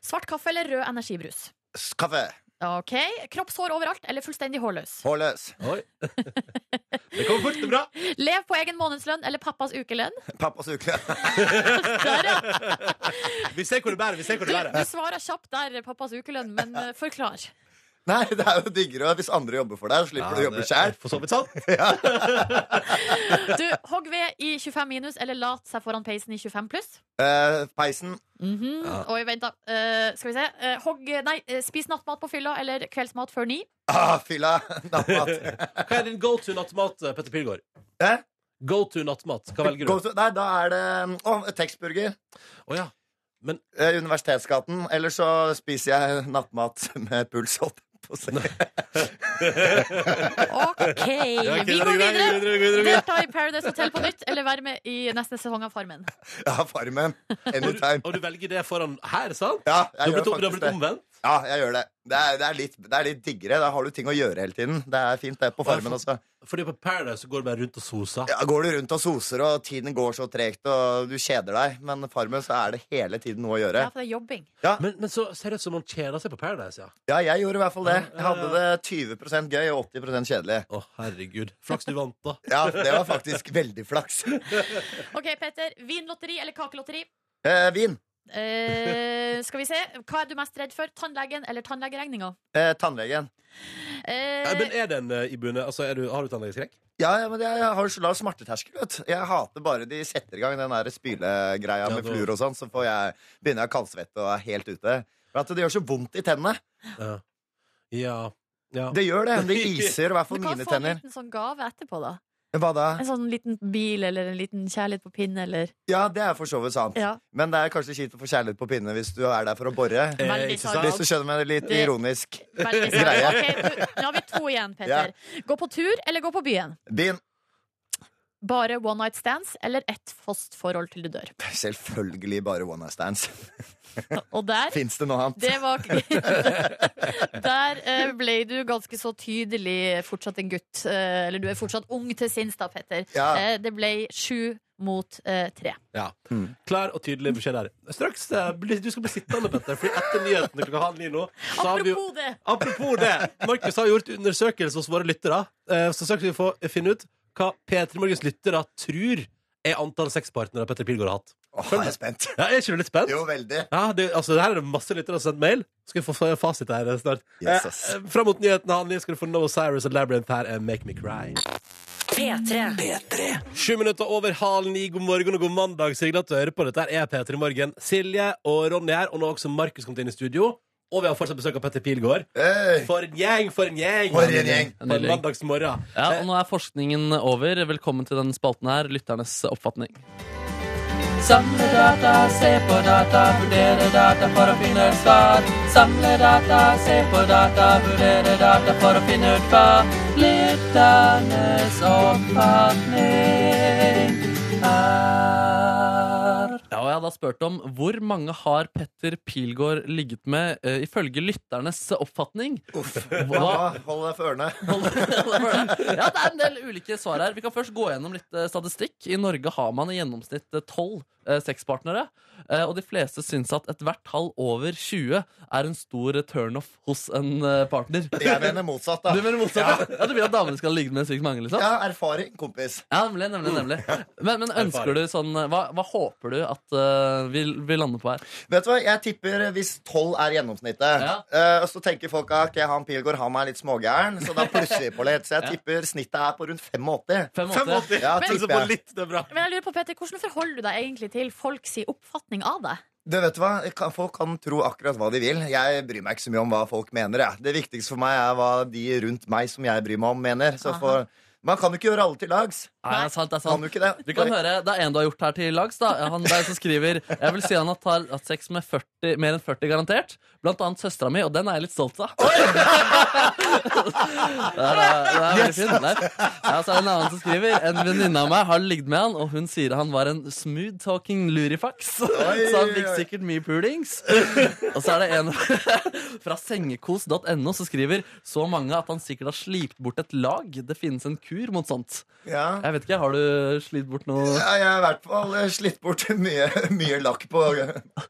C: Svart kaffe eller rød energibrus?
I: Kaffe.
C: Ok. Kroppshår overalt eller fullstendig hårløs?
I: Hårløs.
B: Oi. det kommer fort og bra.
C: Lev på egen månedslønn eller pappas ukelønn?
I: Pappas uke.
B: Vi ser hvor det bærer. vi ser hvor
C: Du,
B: det
C: du
B: bærer
C: svarer kjapt der, pappas ukelønn, men eh, forklar.
I: Nei, det er jo diggere hvis andre jobber for deg. så Slipper du å jobbe sjæl.
B: For så vidt sant.
C: Du, hogg ved i 25 minus eller lat seg foran peisen i 25 pluss.
I: Eh, peisen.
C: Mhm. Oi, vent, da. Eh, skal vi se. Eh, hogg, nei, eh, spis nattmat på fylla eller kveldsmat før ni.
I: Ah, fylla. Nattmat.
B: Hva er din go to nattmat, eh, Petter Pilgaard?
I: Hæ?
B: Go to nattmat, hva velger du?
I: Go to- Nei, da er det Å, tekstburger.
B: Å ja.
I: Eh, Universitetsgaten. Eller så spiser jeg nattmat med puls. holdt jeg på å si.
C: OK, vi går videre. Delta i Paradise Hotel på nytt eller være med i neste sesong av Farmen.
I: Ja, Farmen.
B: Og du,
I: Anytime.
B: og du velger det foran her, sant?
I: Ja,
B: Du
I: jeg
B: har
I: gjør
B: blitt, du har
I: faktisk
B: blitt
I: det.
B: omvendt?
I: Ja, jeg gjør det. Det er, det, er litt, det er litt diggere. Da har du ting å gjøre hele tiden. Det er fint, det, på farmen også.
B: Fordi på Paradise så går du bare rundt og soser.
I: Ja, går du rundt og soser, og tiden går så tregt, og du kjeder deg. Men på farmen så er det hele tiden noe å gjøre.
C: Ja, for det er jobbing.
B: Men, men så ser det ut som man kjeder seg på Paradise, ja.
I: Ja, jeg gjorde i hvert fall det.
B: Ja,
I: Jeg
B: ja, ja.
I: hadde det 20 gøy og 80 kjedelig.
B: Å, herregud. Flaks du vant, da.
I: Ja, det var faktisk veldig flaks.
C: OK, Peter. Vinlotteri eller kakelotteri?
I: Eh, vin.
C: Eh, skal vi se. Hva er du mest redd for? Tannlegen eller tannlegeregninga?
I: Eh, tannlegen.
B: Ja, men
C: Eh,
B: er den eh, i bunnen? Altså, er du, har du tannlegeskrekk?
I: Ja, ja, men jeg har jo så lav smerteterskel, vet du. Jeg hater bare de setter i gang den der spylegreia
B: Ja,
I: med
B: da-
I: fluor og sånn, så får jeg, begynner jeg å kaldsvette og er helt ute. For at det gjør så vondt i tennene.
B: Ja. ja. ja.
I: Det gjør det. Det iser i hvert
C: du
I: fall
C: kan
I: mine
C: få en
I: tenner.
C: liten sånn gave etterpå, da.
I: Hva da?
C: En sånn liten bil eller en liten kjærlighet på pinne eller
I: Ja, det er for så vidt sant.
C: Ja.
I: Men det er kanskje kjipt å få kjærlighet på pinne hvis du er der for å bore.
B: Eh,
C: Veldig
B: ikke sant?
C: sant.
I: Hvis du skjønner meg, det er litt
C: Det-
I: ironisk.
C: Veldig sant.
I: Greie.
C: Ok, du, nå har vi to igjen, Petter. Gå på tur eller gå på byen?
I: Bin.
C: Bare one night stands eller ett fast forhold til du dør?
I: Selvfølgelig bare one night stands.
C: Og der
I: Fins det noe annet?
C: det var Der eh, ble du ganske så tydelig fortsatt en gutt. eh, Eller du er fortsatt ung til sinns, da, Petter.
I: Ja.
C: Eh, Det ble sju mot eh, tre.
B: Ja.
I: Mm.
B: Klar og tydelig beskjed der. Straks eh, bli- Du skal bli sittende, Petter, Fordi etter nyhetene klokka halv ni nå så har vi jo-
C: Apropos det!
B: Apropos det. Markus har gjort undersøkelse hos våre lyttere. Eh, Så straks vi får finne ut hva P3 Morgens lyttere tror er antall sexpartnere Petter Pilgaard har hatt.
I: Åh, jeg er spent.
B: Ja, er ikke du litt spent?
I: Jo, veldig.
B: Ja, det, altså, her er det masse lyttere som har sendt mail. Skal vi få fa- fasit her snart.
I: Yes, ass.
B: Eh, Fram mot nyhetene, Hanni, skal du få No Cyrus og Labyrinth her. er Make Me Cry.
A: P3.
B: Sju minutter over halv ni. God morgen og god mandag. Så hyggelig at du hører på. Dette er P3 Morgen. Silje og Ronny her, og nå har også Markus kommet inn i studio. Og vi har fortsatt besøk av Petter Pilgaard.
I: Hey.
B: For en gjeng, for en gjeng!
I: For en gjeng.
B: På en mandagsmorgen.
D: Ja, og nå er forskningen over. Velkommen til denne spalten her, lytternes oppfatning. Samle data, se på data, vurdere data for å finne ut svar. Samle data, se på data, vurdere data for å finne ut hva. Lytternes oppfatning er Ja, og jeg hadde spurt om hvor mange har Petter Pilgaard ligget med eh, ifølge lytternes oppfatning? Hva,
I: Hva? Hold deg for ørene.
D: ja, det er en del ulike svar her. Vi kan først gå gjennom litt eh, statistikk. I Norge har man i gjennomsnitt eh, tolv sexpartnere. eh, Og de fleste syns at ethvert tall over 20 er en stor turnoff hos en eh, partner.
I: Jeg mener motsatt, da.
D: Du mener motsatt? Ja, du vil at damene skal ligge med sykt mange? liksom?
I: Ja, erfaring, kompis.
D: Ja, nemlig, nemlig, nemlig. Men, men ønsker du sånn eh, Hva, hva håper du at eh, vi, vi lander på her?
I: Vet du hva, Jeg tipper hvis 12 er gjennomsnittet,
D: Ja.
I: eh, og så tenker folk at ok, han Pilgaard han er litt smågæren, så da plusser vi på litt. Så jeg tipper snittet er på rundt 85.
D: 85?
I: Ja,
C: Men-
I: tipper jeg.
B: litt, det er bra.
C: Men jeg lurer på, Petter, hvordan forholder du deg egentlig til folks oppfatning av deg?
I: Du vet du hva, Jeg kan- Folk kan tro akkurat hva de vil. Jeg bryr meg ikke så mye om hva folk mener. Jeg. Det viktigste for meg er hva de rundt meg som jeg bryr meg om, mener. Så
C: Aha.
I: for, man kan jo ikke gjøre alle til lags.
D: Nei, det er sant, det er sant.
I: Kan du ikke det?
D: Vi kan høre, Det er en du har gjort her til lags. da Han der som skriver Jeg vil si han har tar- hatt sex med 40, mer enn 40 garantert. Blant annet søstera mi, og den er jeg litt stolt av. det er, eh, det er veldig fint. Der. Ja, så er det en annen som skriver En venninne av meg har ligget med han, og hun sier han var en smooth talking lurifax. så han fikk
I: oi.
D: sikkert mye pulings. Og så er det en fra sengekos.no som skriver så mange at han sikkert har slipt bort et lag. Det finnes en kur mot sånt.
I: Ja.
D: Jeg vet ikke, Har du slitt bort noe
I: Ja, jeg har i hvert fall eh, slitt bort mye, mye lakk på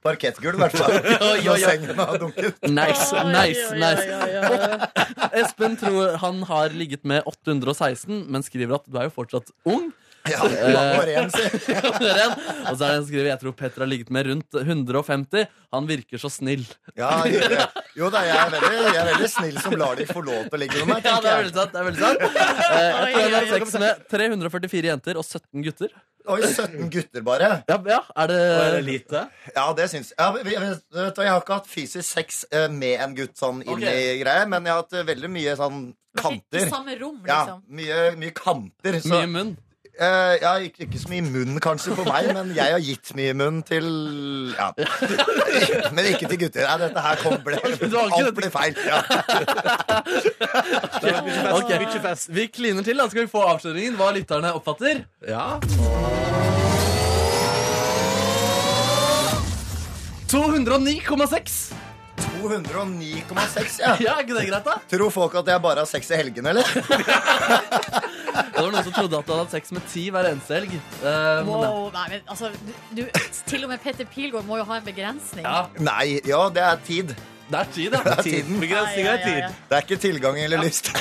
I: parkettgulv, i hvert fall.
D: Oi, oi, oi.
I: Når sengen har dunket.
D: Nice,
C: Oi,
D: nice,
C: oi,
D: nice.
C: oi, oi, oi.
D: Espen tror han har ligget med 816, men skriver at du er jo fortsatt ung.
I: Ja, Eh. bare én, si.
D: Og så er det en som skriver jeg tror Petter har ligget med rundt 150. Han virker så snill.
I: Ja, hyggelig. jo da, jeg er, veldig, jeg er veldig snill som lar de få lov til å ligge med meg.
D: Ja, det er veldig
I: tenker jeg.
D: sant. det er veldig sant Eh, Jeg tror han har sex med 344 jenter og 17 gutter.
I: Oi, 17 gutter bare.
D: Ja, ja
B: Er
D: er
B: det
D: det
B: lite?
I: Ja, det syns ja, vi- vi- vet du hva, Jeg har ikke hatt fysisk sex eh, med en gutt sånn inn
D: Ok.
I: i greia, men jeg har hatt eh, veldig mye sånn
C: I
I: kanter.
C: samme rom,
I: Ja,
C: liksom.
I: mye, mye kanter. Så,
D: mye munn?
I: eh, ja, ikke, ikke så mye munn kanskje på meg, men jeg har gitt mye munn til Ja. Men ikke til gutter. Nei, dette her kom ble,
D: var ikke
I: alt ble feil. Ja.
B: Det er mye fest,
D: Ok.
B: mye fest.
D: Vi kliner til, da skal vi få avsløringen hva lytterne oppfatter.
B: Ja.
D: Å, 209,6!
I: 209,6, ja.
D: Ja, er ikke det greit, da?
I: Tror folk at jeg bare har sex i helgene, eller?
D: Det var noen som trodde at du hadde hatt sex med ti hver eneste helg. Eh, men da-
C: Wow, nei, men altså, du, du, til og med Petter Pilgaard må jo ha en begrensning.
D: ja,
I: Nei. Ja, det er tid.
D: det er tid, da.
I: Det er tiden.
B: Begrensning
C: Ja,
B: er
C: ja, ja,
B: tid.
C: ja.
I: Det er ikke tilgang eller lyst.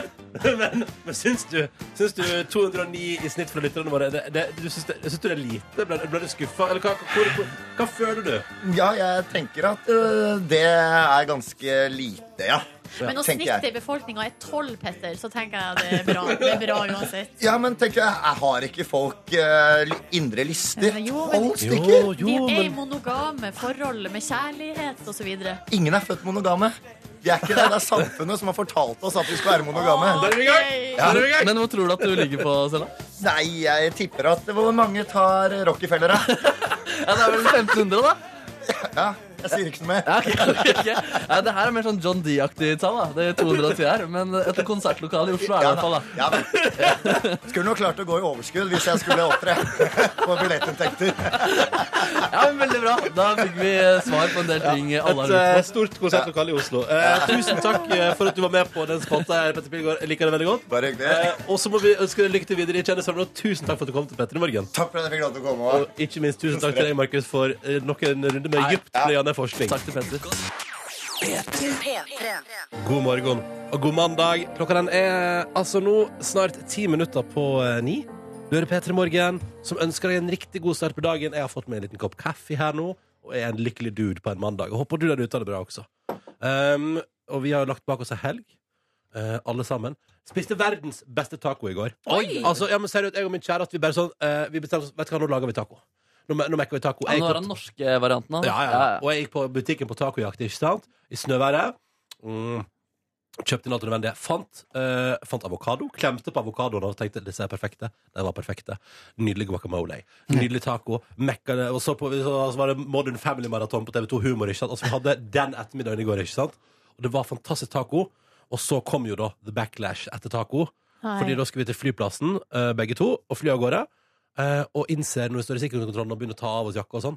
B: Men, men syns, du, syns du 209 i snitt fra lytterne våre det, det, du syns, det, syns du det er lite? Ble, ble du skuffa? Eller hva, hvor, hvor, hva føler du?
I: Ja, jeg tenker at øh, det er ganske lite, ja.
C: Men når
I: tenker jeg.
C: snittet i befolkninga er tolv, Petter, så tenker jeg det er bra. Det er bra uansett.
I: Ja, men tenker jeg, jeg har ikke folk øh, li- indre lyster.
C: Men jo, men-
I: Tolv stykker!
C: De er i monogame forhold med kjærlighet osv.
I: Ingen er født monogame. Vi er ikke det, det er samfunnet som har fortalt oss at vi skal være monogame.
B: Der er vi i gang! Der er vi i gang!
D: Men hvor tror du at du ligger på, Stella?
I: Nei, jeg tipper at Hvor mange tar Rockefeller, da?
D: Ja, det er vel 1500, da?
I: Ja, jeg sier ikke noe mer.
D: Ja, ok, ok, ok. Ja, det her er mer sånn John D-aktig tall, da. Det er 210 her. Men et konsertlokale i Oslo er det i hvert fall, da.
I: Ja, da. Skulle nok klart å gå i overskudd hvis jeg skulle opptre på billettinntekter.
D: Ja, men Veldig bra. Da fikk vi eh, svar på en del ting alle har
B: Et
D: lurt
B: eh,
D: på.
B: stort konsertlokale i Oslo. Eh, tusen takk eh, for at du var med på den spalta her, Petter Pilgaard. Jeg liker det veldig godt.
I: Bare hyggelig.
B: Eh, og så må vi ønske deg lykke til videre i Kjendisholmen, og tusen takk for at du kom til Petter i morgen.
I: Takk for at jeg fikk lov til å komme. også.
B: Og ikke minst tusen takk til deg, Markus, for eh, nok en runde med dyptpløyende forskning.
D: Takk til Petter.
B: God morgen og god mandag. Klokka den er altså nå snart ti minutter på eh, ni. Du hører P3 Morgen, som ønsker deg en riktig god start på dagen. Jeg har fått meg en liten kopp kaffe her nå, og er en lykkelig dude på en mandag. Og håper du der ute har det bra også. Um, og vi har jo lagt bak oss en helg, eh, alle sammen. Spiste verdens beste taco i går.
D: Oi!
B: Altså, ja, men seriøst, jeg og min kjære at vi bare sånn eh, Vi bestemte oss Vet du hva, nå lager vi taco. Nå, me- nå mekker vi taco.
D: Ja,
B: Jeg
D: nå
B: gikk
D: er den norske varianten av det.
B: ja, ja, ja. Og jeg gikk på butikken på tacojakt, ikke sant? I snøværet. Mm. Kjøpte inn alt det nødvendige. Fant, eh, fant avokado. Klemte på avokadoen og tenkte disse er perfekte. De var perfekte. Nydelig guacamole. Nydelig taco. Mekka det. Og så, på, så, så var det Modern Family Marathon på TV2 Humor. ikke sant? Altså, vi hadde den ettermiddagen i går. ikke sant? Og det var fantastisk taco. Og så kom jo da The Backlash etter taco.
C: Nei.
B: Fordi da skulle vi til flyplassen, eh, begge to, og fly av gårde. eh, og innser når vi står i sikkerhetskontrollen og begynner å ta av oss jakka og sånn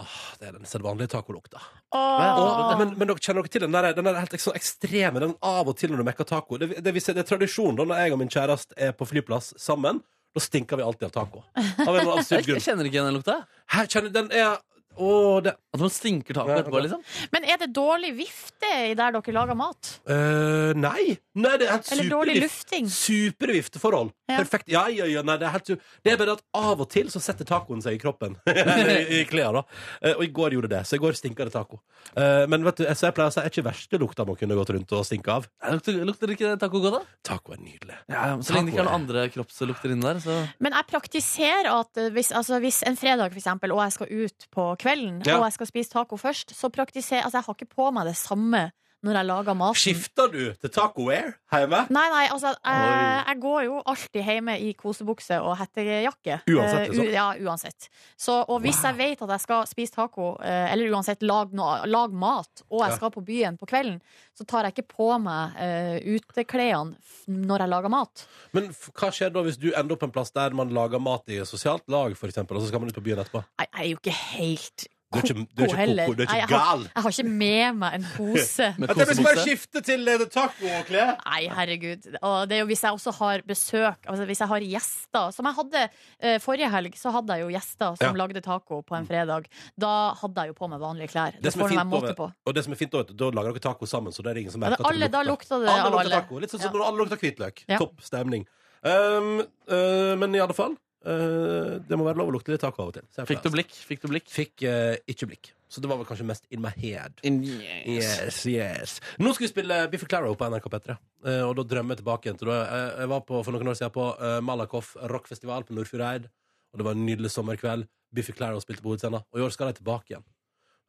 B: Ah, det er den sedvanlige tacolukta. Og-
C: Åh.
B: Men, men dere kjenner dere til den der, den der helt sånn ekstreme den av og til når du mekker taco? Det, det, vi ser- det er tradisjon da når jeg og min kjæreste er på flyplass sammen. Da stinker vi alltid av taco. Av en eller annen absurd
D: Jeg
B: grunn.
D: jeg kjenner ikke igjen den lukta.
B: Her kjenner den er Å, det
D: At man stinker taco etterpå, liksom.
C: Men er det dårlig vifte i der dere lager mat?
B: øh, Nei! Nei, det er helt
C: Eller dårlig
B: supervift-
C: lufting?
B: Supervifteforhold.
C: Ja.
B: Perfekt. Ja, ja, ja, nei, det er helt su- Det er bare at av og til så setter tacoen seg i kroppen. Eller I i klærne. Eh, Og i går gjorde det, så i går stinka det taco. Eh, Men vet du, så jeg pleier å si, er ikke verste lukta man kunne gått rundt og stinke av?
D: Ja, Lukter, lukter ikke taco godt, da?
B: Taco er nydelig.
D: Ja, Så lenge det ikke er noen andre kroppslukter inni der, så
C: Men jeg praktiserer at eh, hvis, altså hvis en fredag for eksempel, og jeg skal ut på kvelden,
B: Ja.
C: og jeg skal spise taco først, så praktiserer altså jeg har ikke på meg det samme når jeg lager maten.
B: Skifter du til tacoware hjemme?
C: Nei, nei, altså jeg,
D: Oi.
C: jeg går jo alltid hjemme i kosebukse og hettejakke.
B: Uansett,
C: Eh,
B: liksom?
C: u- ja, uansett. Så, og hvis jeg vet at jeg skal spise taco, eh, eller uansett lag, noe- lag mat, og jeg
B: Ja.
C: skal på byen på kvelden, så tar jeg ikke på meg uh, uteklærne f- når jeg lager mat.
B: Men f hva skjer da hvis du ender opp en plass der man lager mat i sosialt lag, for eksempel, og så skal man ut på byen etterpå?
C: Nei, jeg er jo ikke helt
B: Du er ikke, du er
C: ko-ko
B: ikke,
C: heller.
B: koko, du er
C: Nei,
B: ikke
C: jeg har-
B: gal!
C: Jeg har ikke med meg en pose.
D: med
B: At jeg vil liksom bare
D: kosebukse.
B: skifte til eh, tacoklær!
C: Nei, herregud. Og det er jo hvis jeg også har besøk, altså hvis jeg har gjester Som jeg hadde eh, forrige helg, så hadde jeg jo gjester som
B: Ja.
C: lagde taco på en fredag. Da hadde jeg jo på meg vanlige klær.
B: Det
C: Det
B: som er
C: får
B: fint
C: meg måte på.
B: over- og det som er fint over, da lager dere taco sammen, så det er ingen som
C: Ja,
B: merker
C: det, alle, da lukta det
B: Alle
C: av
B: lukter
C: alle.
B: taco. Litt sånn
C: Ja.
B: som når alle lukter hvitløk.
C: Ja.
B: Topp stemning. Um, øh, men i alle fall, øh, det må være lov å lukte litt taco av og til. Så jeg
D: Fikk du blikk? Fikk du blikk?
B: Fikk eh, ikke blikk. Så det var vel kanskje mest in my head.
D: Yes.
B: Yes, yes. Nå skal vi spille Biffy Claro på NRK P3. Eh, og da drømmer jeg tilbake igjen til da jeg, jeg var på, for noen år siden på eh, Malakoff rockfestival på Nordfjordeid. Og det var en nydelig sommerkveld. Biffy Claro spilte på hovedscenen. Og i år skal de tilbake igjen.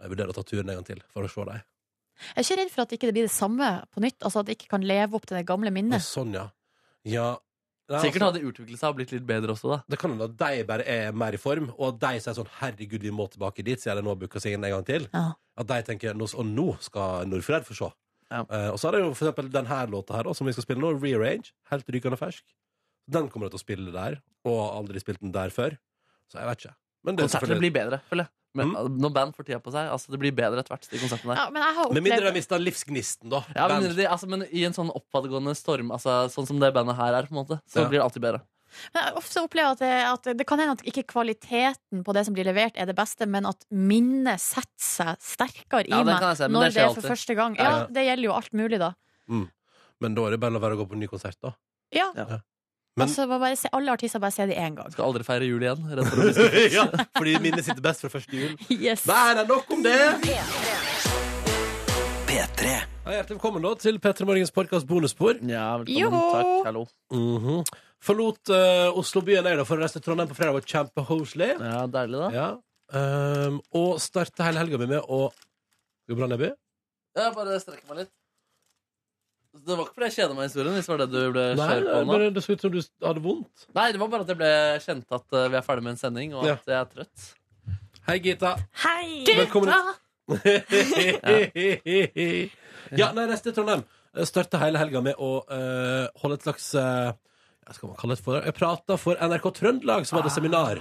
B: Jeg vurderer å ta turen en gang til for å se dem.
C: Jeg er ikke redd for at ikke det ikke blir det samme på nytt. Altså At det ikke kan leve opp til det gamle
B: Og
C: minnet.
B: Sånn, ja. ja. Nei,
D: Sikkert
B: altså,
D: hadde utviklet seg og blitt litt bedre også, da.
B: Det kan hende at de bare er mer i form, og at de sier sånn 'herregud, vi må tilbake dit', siden de nå har booka seg inn en gang til.
C: Ja.
B: At de tenker nå, Og nå skal Nordfred få se.
D: Ja.
B: Eh, og så er det jo for eksempel denne låta her, da, som vi skal spille nå, 'Rearrange'. Helt rykende fersk. Den kommer jeg til å spille der, og har aldri spilt den der før. Så jeg vet ikke. Men det er
D: Konsertene
B: selvfølgelig- Mm.
D: blir bedre, føler jeg. Men Når band får tida på seg, altså det blir bedre etter hvert. de konsertene der.
C: Ja, men jeg har
B: Med mindre de
C: opplevd
B: mister livsgnisten, da.
D: Ja, men,
B: Band.
D: de, altså, men i en sånn oppadgående storm, altså, sånn som det bandet her er, på en måte, så
B: Ja.
D: blir det alltid bedre.
C: men jeg ofte opplever at det, at det kan hende at ikke kvaliteten på det som blir levert, er det beste, men at minnet setter seg sterkere i
D: Ja, det
C: meg
D: kan jeg si, men
C: når det,
D: det skjer
C: er for
D: alltid.
C: første gang.
B: Ja,
C: Ja,
B: ja.
C: Det gjelder jo alt mulig, da.
B: Men da er det bare å la være å gå på en ny konsert, da.
C: Ja.
D: Ja.
B: Men-
C: altså, bare- bare se, alle artister bare se de én gang.
D: Skal aldri feire jul igjen. Redd for å bli skuffet.
B: ja, fordi minnet sitter best fra første jul.
C: Yes.
B: Nei, det er nok om det! Ja, hjertelig velkommen da til P3 Morgens podkast bonusspor.
D: ja, velkommen.
C: Joho!
D: Takk. Hallo.
B: Mhm. Forlot eh, Oslo-byen jeg da for å reise til Trondheim på fredag. Det var kjempekoselig.
D: Ja, Deilig, da.
B: Ja. Ehm, Um, og starta hele helga mi med å Går det bra, Nebby?
D: Jeg bare strekker meg litt. Altså, Det var ikke fordi jeg kjeda meg i historien. Hvis det var det du ble
B: Nei,
D: skjør på nå.
B: men det så ut som du hadde vondt.
D: Nei, det var bare at jeg ble kjent at eh, vi er ferdig med en sending, og
B: Ja.
D: at jeg er trøtt.
B: Hei, Gita.
C: Hei!
B: Velkommen ut. ja, nei, neste Trondheim. Starta hele helga med å eh, holde et slags eh, Hva skal man kalle det for? Jeg prata for NRK Trøndelag, som hadde seminar.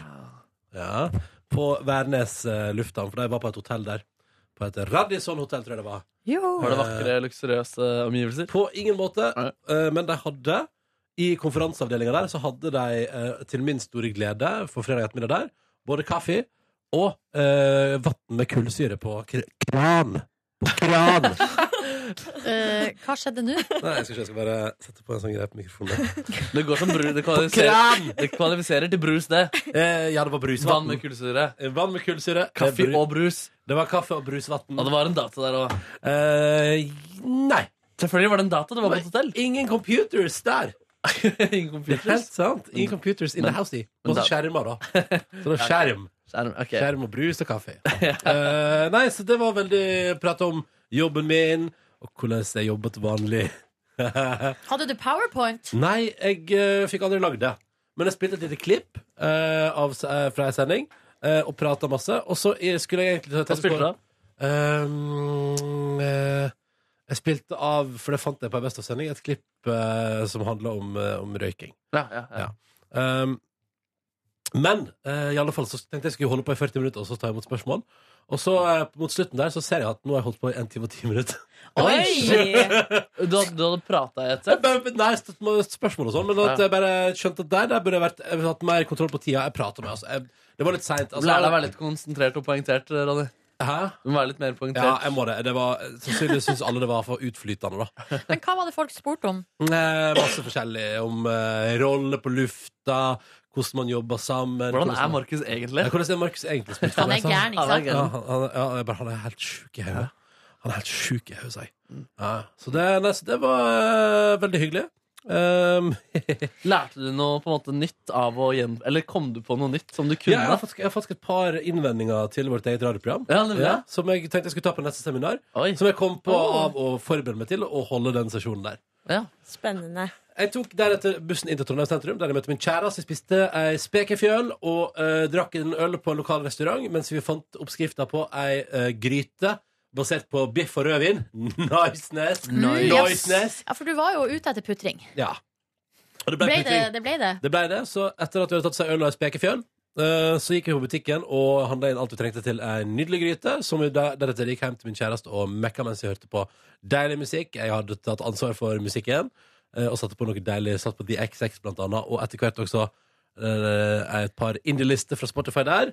B: Ja, På Værnes eh, lufthavn, for de var på et hotell der. På et Radisson hotell, tror jeg det var.
C: Jo.
D: Var det
B: Eh.
D: vakre, luksuriøse eh, omgivelser?
B: På ingen måte,
D: Nei.
B: eh, men de hadde I konferanseavdelinga der så hadde de eh, til min store glede for fredag ettermiddag der både kaffe og eh, vann med kullsyre på kr kran. På kran! Nei,
C: Eh, hva skjedde nå?
B: jeg skal, ikke, jeg skal bare sette på en sånn greie på mikrofonen.
D: Det går som bru, det kvalifiserer,
B: Kran!
D: det kvalifiserer til brus, det.
B: Eh, ja, det var brusvann.
D: Vann med kullsyre.
B: Eh, Vann med kullsyre.
D: Kaffe
B: Det er bru-
D: og brus.
B: Det var kaffe og brusvann.
D: Ja, det var en data der òg.
B: Eh, nei.
D: Selvfølgelig var det en data. Det var på et hotell.
B: Ingen computers der!
D: Ingen
B: Det er
D: computers.
B: helt sant. Ingen computers in the house. i. Og så skjermer, da. Så det var skjerm.
D: Skjerm. ok.
B: Skjerm og brus og kaffe. Eh, nei, så det var veldig prat om jobben min, og hvordan jeg jobber til vanlig.
C: Hadde du powerpoint?
B: nei, jeg eh, fikk aldri lagd det. Men jeg spilte et lite klipp eh, av, s- eh, fra en sending eh, og prata masse. Og så eh, skulle jeg egentlig
D: Hva spilte du da?
B: Ehm, eh, jeg spilte av, for det fant jeg på en Best of-sending, et klipp eh, som handla om, eh, om røyking.
D: Ja, ja, ja.
B: Um, men eh, i alle fall så tenkte jeg skulle holde på i 40 minutter og så ta imot spørsmål. Og så eh, mot slutten der så ser jeg at nå har jeg holdt på i 1 time og 10 minutter.
C: Oi!
D: Du, hadde- du hadde prata i et
B: Jeg
D: sett?
B: bare, nei, stått med spørsmål og sånn, men at
D: Ja.
B: jeg bare skjønte at der, der burde jeg vært Jeg burde hatt mer kontroll på tida. Jeg prater med, altså. Jeg, det var litt seint. Altså,
D: Lær deg å være litt konsentrert og poengtert, Ronny.
B: Hæ?
D: Du må være litt mer
B: Ja,
D: poengtert.
B: jeg må det. det var, sannsynligvis syns alle det var for utflytende, da.
C: Men hva var det folk spurte om?
B: Eh, masse forskjellig om eh, roller på lufta, hvordan man jobber sammen
D: Hvordan
B: hvordan
D: er
B: man-
D: Markus egentlig?
B: Ja, Hvordan er Markus egentlig? spilt for
C: Han
B: meg,
C: er
B: sant?
C: gæren, ikke
D: Han er
C: sant?
D: gæren.
B: Ja, han, han, ja, jeg bare, han er helt sjuk i hodet. Han er helt sjuk i hodet, sier jeg.
D: Mm.
B: Ja, så det, nei, så det var eh, veldig hyggelig. Um,
D: Lærte du noe på en måte nytt av å gjen... Eller kom du på noe nytt som du
B: ja,
D: kunne?
B: jeg, har fått, jeg har fått et par innvendinger til vårt eget radioprogram.
D: Ja, nemlig.
B: Ja, som jeg tenkte jeg skulle ta på neste seminar.
D: Oi.
B: Som jeg kom på av å forberede meg til å holde den sesjonen der.
D: Ja.
J: Spennende.
B: Jeg tok deretter bussen inn til Trondheim sentrum, der jeg møtte min kjæreste. Jeg spiste ei spekefjøl og eh, drakk en øl på en lokal restaurant, mens vi fant oppskrifta på ei eh, gryte basert på biff og rødvin. Niceness!
C: Yes.
B: Niceness!
C: Ja, for du var jo ute etter putring.
B: Ja. Og det ble,
C: Ble det,
B: putting.
C: det ble det.
B: Det ble det, så etter at vi hadde tatt seg øl og ei spekefjøl, eh, så gikk vi på butikken og handla inn alt vi trengte til ei nydelig gryte, som vi der, deretter gikk hjem til min kjæreste og mekka mens vi hørte på deilig musikk. Jeg hadde tatt ansvar for musikken eh, og satte på noe deilig. Satt på The XX blant annet, og etter hvert også eh, et par indie-lister fra Spotify der.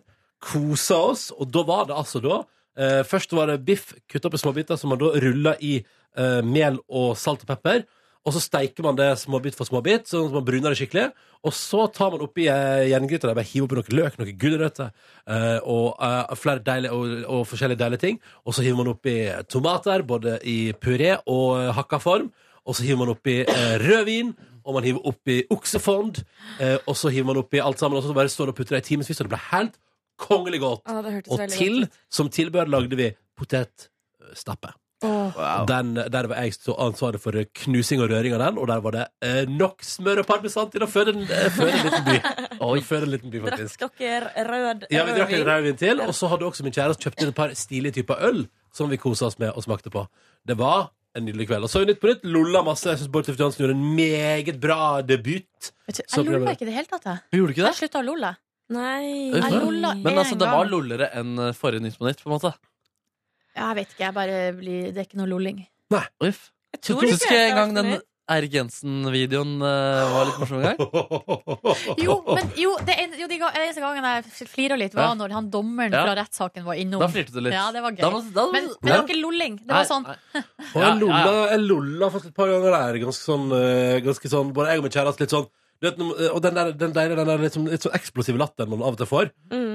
B: Kosa oss, og da var det altså da eh, Først var det biff kutta opp i småbiter, som man da rulla i eh, mel og salt og pepper. Og så steiker man det småbit for småbit, sånn at man bruner det skikkelig. Og så tar man oppi eh, jerngryta der, bare hiver oppi noe løk, noen gulrøtter eh, og, eh, flere deilige, og, og forskjellige deilige ting. Og så hiver man oppi eh, tomater, både i puré og eh, hakka form. Og så hiver man oppi eh, rødvin, og man hiver oppi oksefond. Eh, og så hiver man oppi alt sammen, og så bare står det og putter det i timevis, og det blir helt kongelig godt.
J: Å, det hørtes
B: Og
J: veldig
B: til,
J: godt ut.
B: som tilbehør, lagde vi potetstappe. Den, der var jeg så ansvarlig for knusing og røring av den, og der var det eh, nok smør og parmesan til å føde en, eh, føde en liten by. Å Føde en liten by, faktisk.
J: Drakk dere rød
B: Ja, vi drakk en
J: rødvin?
B: rødvin til, og så hadde også min kjæreste kjøpt inn et par stilige typer øl som vi kosa oss med og smakte på. Det var en nydelig kveld. Og så Nytt på Nytt lolla masse. Jeg syns Bård Tufte Johansen gjorde en meget bra debut.
C: Vet
B: Så
C: du, Jeg
B: ble det-
C: lolla ikke i det hele tatt, jeg.
D: Gjorde du ikke
C: Jeg
D: det?
C: slutta å lolle.
J: Nei.
D: Jeg
J: Nei.
C: lolla
D: Men
C: en
D: altså, det var
C: gang.
D: lollere enn eh, forrige Nytt på Nytt, på en måte.
C: Ja, Jeg vet ikke, jeg bare blir Det er ikke noe lolling.
D: Uff.
J: Jeg
D: Du
J: tror ikke
D: husker
J: jeg
D: en
J: har
D: gang den
J: vært
D: Eirik Jensen-videoen eh, var litt morsom en gang?
C: Jo, men jo, det en, jo de ga- eneste gangen jeg flira litt,
D: Ja.
C: var når han dommeren
D: Ja.
C: fra rettssaken var innom.
D: Da flirte du litt.
C: Ja, det var gøy.
D: Da, da,
C: Men, men det var ikke lolling. Det var sånn
D: Nei,
B: Og jeg lolla, jeg lolla faktisk et par ganger der. Ganske sånn, eh, ganske sånn Både jeg og min kjæreste litt sånn du vet, når- og den der, den der, den der litt, sånn, litt sånn eksplosive latteren man av og til får,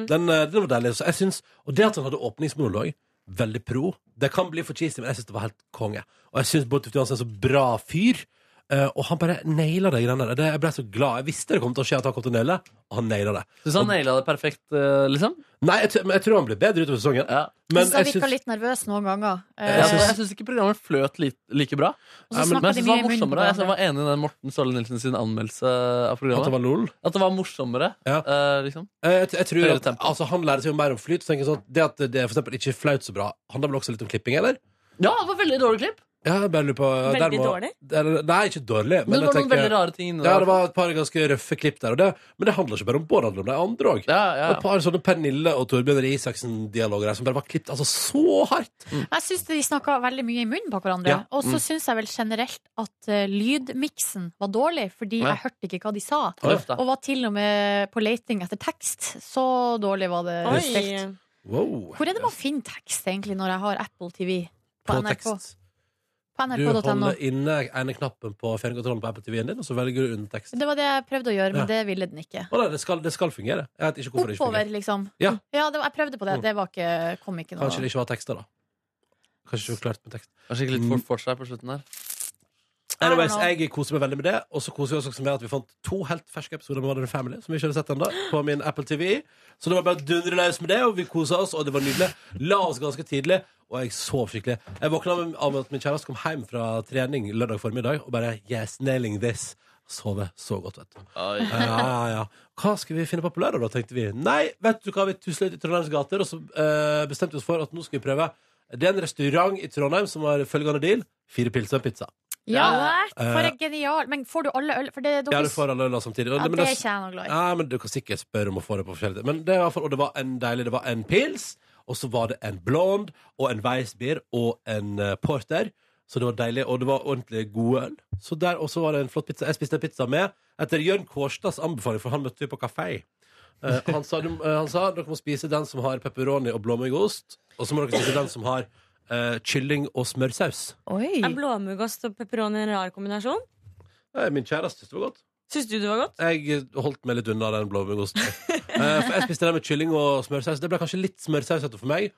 B: den, eh, den var deilig. Så jeg synes, og det at han hadde åpningsmonolog, veldig pro. Det kan bli for cheesy, men jeg syns det var helt konge. Og jeg syns Bård Tufte Johansen er en så bra fyr. Eh, Eh, og han bare naila det greiene der. Det- Jeg ble så glad. Jeg visste det kom til å skje at han kom til å naile, det, og han naila det.
D: Syns han naila det perfekt, eh, liksom?
B: Nei, jeg, t- men jeg tror han blir bedre utover sesongen.
D: Ja.
B: Men
C: jeg
B: jeg
C: virka
B: syns
C: litt nervøs noen ganger. Eh,
D: Jeg, jeg syns ikke programmet fløt li like bra.
C: Og så
D: Men jeg
C: snakker de
D: synes det
C: mye
D: var
C: i munnen på
D: morsommere. Jeg synes jeg
C: hverandre.
D: var enig i den Morten Solle Nilsen sin anmeldelse
B: at
D: av
B: det
D: programmet.
B: var lol.
D: At det var morsommere.
B: Ja.
D: eh, liksom.
B: Eh, Jeg, jeg tror
D: Høyere
B: at,
D: tempo.
B: altså, Han lærer seg jo mer om flyt. Så tenker jeg sånn, at det at det for eksempel ikke flaut så bra, handler vel også litt om klipping, eller?
D: Ja, det var veldig dårlig klipp.
B: Ja, jeg bare lurer på der
J: Veldig
B: må-
J: dårlig?
B: der- Nei, ikke dårlig.
D: Men det var
B: jeg
D: noen
B: tenker-
D: veldig rare ting inni
B: Ja, det
D: der.
B: var et par ganske røffe klipp der. Og det, men det handler ikke bare om Bård, det handler om de andre òg.
D: Ja, ja,
B: Et par sånne Pernille og Torbjørn Røe Isaksen-dialoger her som bare var klippet altså, så hardt.
C: Jeg syns de snakka veldig mye i munnen på hverandre.
B: Ja. Mm.
C: Og så syns jeg vel generelt at eh, lydmiksen var dårlig, fordi
D: Ja.
C: jeg hørte ikke hva de sa.
D: Røft, da.
C: Og var til og med på leiting etter tekst. Så dårlig var det
J: Oi.
C: stelt.
B: Wow.
C: Hvor er det man finner tekst, egentlig, når jeg har Apple TV på,
B: På
C: NRK?
B: tekst.
C: På
B: Du
C: nrk.no.
B: holder inne ene knappen på fjernkontrollen på Apple TV-en din, og så velger du undertekst.
C: Det var det jeg prøvde å gjøre, men
B: Ja.
C: det ville den ikke.
B: Å, nei, det, skal, det skal fungere. Jeg vet ikke hvorfor det ikke
C: Oppover,
B: fungerer.
C: liksom.
B: Ja. Mm.
C: det var, jeg prøvde på det. Det var ikke, kom ikke noe.
B: Kanskje det ikke var tekster, da. Kanskje ikke var klart med tekst.
D: Kanskje ikke litt
B: Mm.
D: fort for seg på slutten der.
B: Anyways,
C: know.
B: jeg koser meg veldig med det. Og så koser vi oss også med at vi fant to helt ferske episoder med Modern Family som vi ikke hadde sett ennå, på min Apple TV. Så det var bare å dundre løs med det, og vi kosa oss, og det var nydelig. La oss ganske tidlig, og jeg sov skikkelig. Jeg våkna med- av at min kjæreste kom hjem fra trening lørdag formiddag og bare Yes, nailing this. Sove så godt, vet du. Ja, ja, ja. Hva skal vi finne på på lørdag, da, tenkte vi. Nei, vet du hva, vi tusla ut i Trondheims gater, og så eh, bestemte vi oss for at nå skal vi prøve. Det er en restaurant i Trondheim som har følgende deal. Fire pils og en pizza.
C: Ja,
J: What?
C: for en genial Men får du alle øl? For det, dere,
B: Ja, du får alle øla samtidig. Og-
C: ja,
B: men
C: det er ikke jeg noe glad i.
B: Nei, men du kan sikkert spørre om å få det på forskjellig Men det, var i hvert fall- og det var en deilig Det var en pils, og så var det en blond Og en weissbier og en eh, porter Så det var deilig, og det var ordentlig god øl Så der, og så var det en flott pizza Jeg spiste en pizza med Etter Jørn Kårstads anbefaling, for han møtte vi på kafé Eh, han, sa, du- eh, han sa dere må spise den som har pepperoni og blåmuggost Og så må dere spise den som har eh, kylling og smørsaus
J: Er
C: Oi.
J: blåmuggost og pepperoni en rar kombinasjon?
B: Eh, Min kjæreste synes det var godt
J: Syns du det var godt?
B: Jeg holdt meg litt unna den blåmuggosten. Eh, for jeg spiste den med kylling og smørsaus. Det ble kanskje litt smørsausete for meg,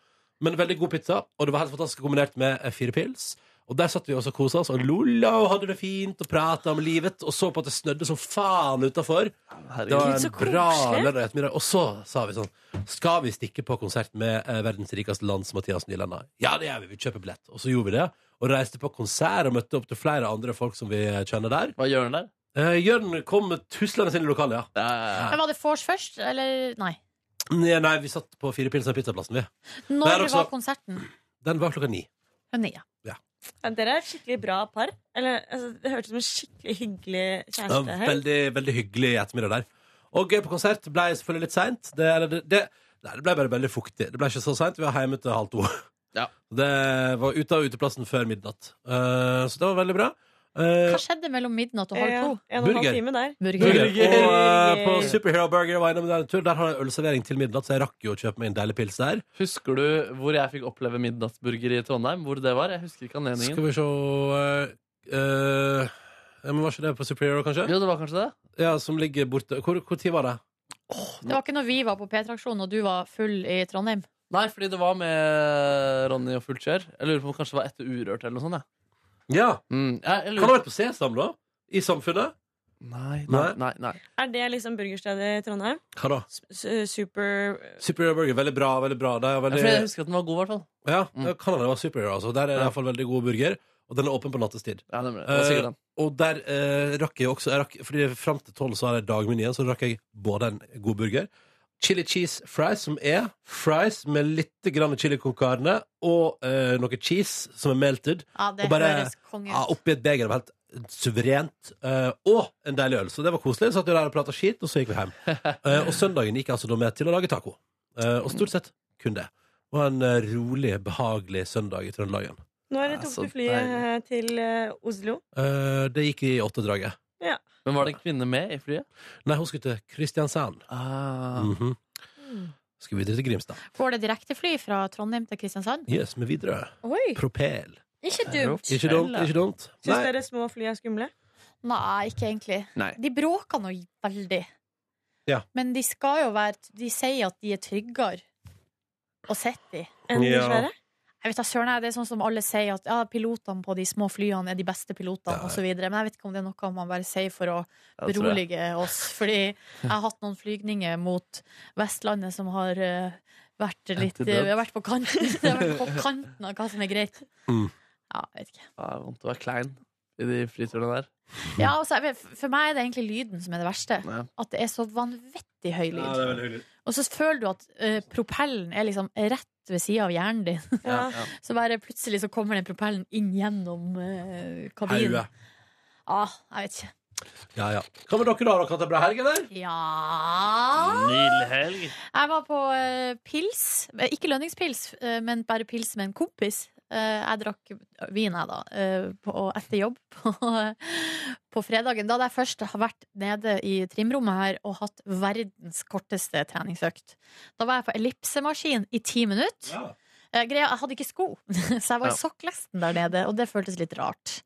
B: men veldig god pizza. Og det var helt fantastisk kombinert med eh, fire pils. Og der satt vi også og kosa oss og lolla og hadde det fint og prata om livet. Og så på at det snødde som faen utafor. Det var
J: Gud,
B: en
J: så
B: bra
J: koselig.
B: lørdag ettermiddag. Og så sa vi sånn Skal vi stikke på konsert med eh, verdens rikeste lands Mathias Nylander? Ja, det gjør vi. Vi kjøper billett. Og så gjorde vi det. Og reiste på konsert og møtte opp til flere andre folk som vi eh, kjenner der.
D: Hva gjør han der?
B: Eh, Jørn kom tuslende inn i lokalet, ja.
D: Ja, ja, ja.
C: Men var det vors først, eller nei?
B: Nei, nei, vi satt på Fire pils og pizzaplassen, vi. Der
C: Når
B: også.
C: var konserten?
B: Den var klokka ni.
C: Ja, Nei, ja.
J: Ja, dere er et skikkelig bra par. Eller, altså, det hørtes ut som en skikkelig hyggelig
B: Det
J: kjæreste.
B: var
J: her.
B: veldig, veldig hyggelig ettermiddag der. Og gøy på konsert ble selvfølgelig litt seint. Det, eller det, det, nei, det ble bare veldig fuktig. Det ble ikke så seint. Vi var hjemme til halv to.
D: Ja.
B: Det var ute av uteplassen før midnatt. Eh, så det var veldig bra. Eh,
C: Hva skjedde mellom midnatt og halv
J: Ja,
C: to?
J: en og en
B: Burger.
J: halv time der.
C: Burger.
B: burger. Og eh, på Superhero Burger var jeg innom der en tur. Der har jeg ølservering til midnatt, så jeg rakk jo å kjøpe meg en deilig pils der.
D: Husker du hvor jeg fikk oppleve midnattsburger i Trondheim? Hvor det var? Jeg husker ikke anledningen.
B: Skal vi se eh, eh, Men var ikke det på Superhero, kanskje?
D: Jo, det var kanskje det?
B: Ja, som ligger borte Hvor, hvor tid var det?
C: Det var ikke når vi var på P-traksjonen og du var full i Trondheim.
D: Nei, fordi det var med Ronny og Fullt kjør. Jeg lurer på om det kanskje var etter Urørt eller noe sånt. jeg.
B: Ja,
D: Mm, jeg, jeg
B: Kan det ha
D: lurer...
B: vært på Sesam, da? I Samfunnet?
D: Nei, nei, nei, nei.
J: Er det liksom burgerstedet i Trondheim?
B: Hva da?
J: S- s- Super
B: Superhero Burger. Veldig bra. veldig bra Det er
D: Ja,
B: veldig,
D: fordi jeg husker at den var god, i hvert fall.
B: ja,
D: Mm.
B: det kan hende det var Superhero. Altså. Der er det i hvert fall veldig god burger, og den er åpen på nattestid.
D: Ja, nemlig. Det var sikkert den.
B: Og der eh, rakk jeg også jeg rakk, Fordi Fram til tolv har jeg dagmenyen, så rakk jeg både en god burger Chili cheese fries, som er fries med litt grann chili con carne og eh, noe cheese som er melted.
C: Ja, det
B: Og bare-
C: høres konge
B: Ja,
C: ut.
B: oppi et beger. Det var helt suverent. eh, og en deilig øl. Så det var koselig. Satt jo der og prata skit, og så gikk vi hjem. Eh, og søndagen gikk jeg altså da med til å lage taco. Eh, og stort sett kun det. Det var en eh, rolig, behagelig søndag i Trøndelagen.
J: Nå er det
D: Ja,
J: tok
D: så
J: du flyet
D: deilig.
J: eh, til eh, Oslo.
B: Eh, det gikk i åttedraget.
D: Men var det en kvinne med i flyet?
B: Nei, hun skulle til Kristiansand.
D: Ah.
B: Mhm. Skal videre til Grimstad.
C: Går det direktefly fra Trondheim til Kristiansand?
B: Yes, med Widerøe.
J: Oi!
B: Propel.
J: Ikke
D: dumt.
J: dumt.
B: Ikke dumt. ikke dumt
J: Syns
B: Nei.
J: dere små fly er skumle?
C: Nei, ikke egentlig.
D: Nei.
C: De bråker nå veldig.
B: Ja.
C: Men de skal jo være De sier at de er tryggere å sitte i.
J: Enn de
B: Ja.
J: svære?
C: Jeg vet da søren, jeg, Det er sånn som alle sier, at ja, pilotene på de små flyene er de beste pilotene og så videre Men jeg vet ikke om det er noe man bare sier for å
D: det tror jeg.
C: berolige oss. Fordi jeg har hatt noen flygninger mot Vestlandet som har eh, vært litt eh,
D: Til
C: Vi
D: døds.
C: har vært på kanten, det har vært på kanten av hva som er greit.
B: Mm.
C: Ja, jeg vet ikke.
D: Det er vondt å være klein i de flyturene der.
C: Ja, altså, jeg vet- for meg er det egentlig lyden som er det verste.
D: Ja.
C: At det er så vanvittig høy lyd.
B: det er veldig hyggelig.
C: Og så føler du at eh, propellen er liksom rett ved sida av hjernen din.
J: Ja.
C: Så bare plutselig så kommer den propellen inn gjennom eh, kabinen.
B: Hauet.
C: Ah, jeg vet ikke.
B: Ja, ja. Hva med dere, da? Har dere hatt ei bra helg, eller?
C: Ja
D: Nydelig helg.
C: Jeg var på eh, pils. Eh, Ikke lønningspils, eh, men bare pils med en kompis. Eh, jeg drakk vin, jeg, da, eh, på, etter jobb på, på fredagen. Da hadde jeg først har vært nede i trimrommet her og hatt verdens korteste treningsøkt. Da var jeg på ellipsemaskin i ti minutter. Eh, greia, jeg hadde ikke sko, så jeg var
D: Ja.
C: i sokklesten der nede, og det føltes litt rart.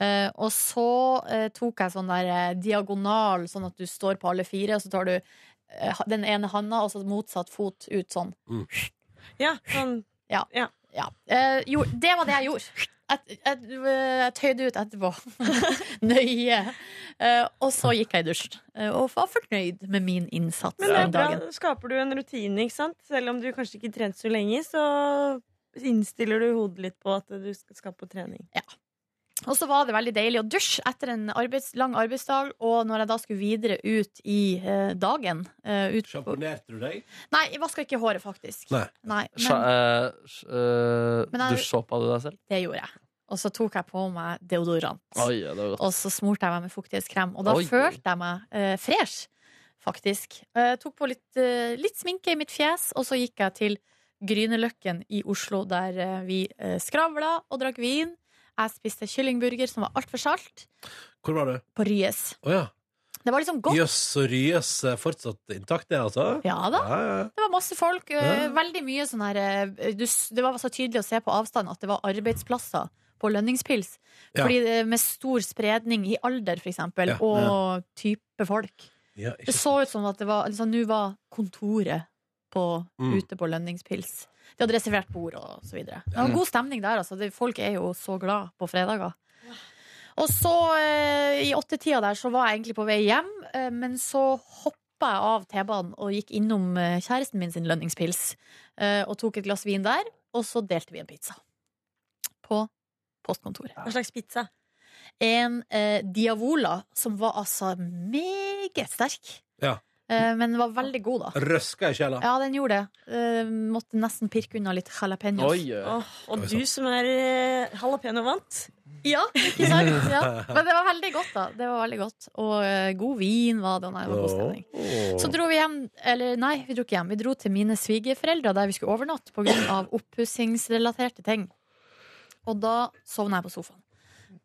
C: Eh, og så eh, tok jeg sånn der eh, diagonal, sånn at du står på alle fire, og så tar du eh, ha- den ene handa og så motsatt fot ut sånn.
J: Ja, sånn.
C: Ja. Eh, jo, det var det jeg gjorde. Jeg, jeg, jeg tøyde ut etterpå. Nøye. Eh, og så gikk jeg i dusjen eh, og var fornøyd med min innsats
J: Men det er
C: den
J: bra.
C: dagen.
J: Da Skaper du en rutine, ikke sant? Selv om du kanskje ikke trente så lenge, så innstiller du hodet litt på at du skal- skal på trening.
C: Og så var det veldig deilig å dusje etter en arbeids, lang arbeidsdag, og når jeg da skulle videre ut i eh, dagen eh, ut, på-
B: Sjamponerte du deg?
C: Nei, jeg vaska ikke håret, faktisk.
B: Nei.
C: men
D: Sja- eh, sj- eh,
C: Men er-
D: Dusjsåpa du deg selv?
C: det gjorde jeg. Og så tok jeg på meg deodorant.
D: Oi, det var godt.
C: Og så smurte jeg meg med fuktighetskrem, og da
D: Oi.
C: følte jeg meg eh, fresh, faktisk. Eh, tok på litt, eh, litt sminke i mitt fjes, og så gikk jeg til Grünerløkken i Oslo, der eh, vi eh, skravla og drakk vin. Jeg spiste kyllingburger som var altfor salt,
B: Hvor var du?
C: på Ryes.
B: Å ja.
C: Det var liksom godt.
B: Jøss og Ryes eh, fortsatt intakt, det, altså?
C: Ja da.
B: Ja, ja.
C: Det var masse folk. eh,
B: Ja.
C: Veldig mye sånn her eh, du, s- Det var så tydelig å se på avstand at det var arbeidsplasser på lønningspils.
B: Ja.
C: Fordi det, med stor spredning i alder, for eksempel,
B: Ja.
C: og type folk.
B: Ja,
C: Det
B: ikke
C: så ut som at det var liksom, Nå var kontoret på,
B: Mm.
C: ute på lønningspils. De hadde reservert bord og så videre. Det var
D: Mm.
C: god stemning der, altså. Det, folk er jo så glad på fredager. Og så, eh, i åttetida der, så var jeg egentlig på vei hjem, eh, men så hoppa jeg av T-banen og gikk innom eh, kjæresten min sin lønningspils eh, og tok et glass vin der, og så delte vi en pizza. På postkontoret
J: Hva slags pizza?
C: en eh, Diavola som var altså meget sterk.
B: Ja.
C: Eh, men var veldig god, da.
B: Røska i sjela.
C: Ja, den gjorde det. Eh, måtte nesten pirke unna litt jalapeños.
D: Oi, eh,
J: Åh, og
B: Oi,
J: du som er eh, jalapeno-vant.
C: Ja, ikke sant? Ja. Men det var veldig godt, da. Det var veldig godt. Og eh, god vin var det. og Nei, det var god stemning. Så dro vi hjem, eller nei, vi dro ikke hjem. Vi dro til mine svigerforeldre der vi skulle overnatte pga. oppussingsrelaterte ting. Og da sovna jeg på sofaen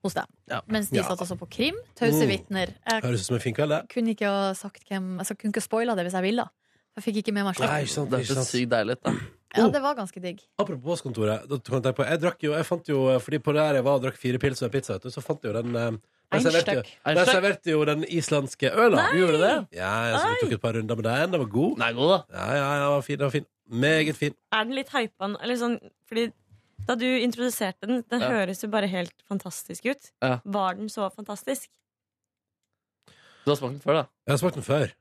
C: hos dem.
D: Ja.
C: Mens de
B: Ja.
C: satt og så på krim. Tause
B: Mm.
C: vitner. Jeg
B: Høres ut som en fin kveld, det.
C: kunne ikke ha sagt hvem altså, Kunne ikke ha spoila det hvis jeg ville. Jeg fikk ikke med meg
B: Nei,
C: selv.
B: ikke sant,
D: Det er
B: ikke
D: så
B: sant.
D: sykt deilig. Da.
C: Ja, det var ganske digg.
B: Apropos postkontoret. Da kan jeg tenke på Jeg drakk jo, jeg fant jo eh, Fordi på der jeg var og drakk fire pils og en pizza, vet du, så fant jeg jo den eh, der serverte,
C: Einstøkk.
B: der serverte jo den islandske øla.
D: Du gjorde det?
B: Ja, ja, så vi tok et par runder med den. Den var god.
D: Nei, god, da.
B: Ja, ja, ja, den var fin. Den var fin. Meget fin.
J: Er den litt hypa? nå? Eller sånn, fordi da du introduserte den, den
D: Ja.
J: høres jo bare helt fantastisk ut.
D: Ja.
J: Var den så fantastisk?
D: Du har smakt den før, da.
B: Jeg har smakt den før.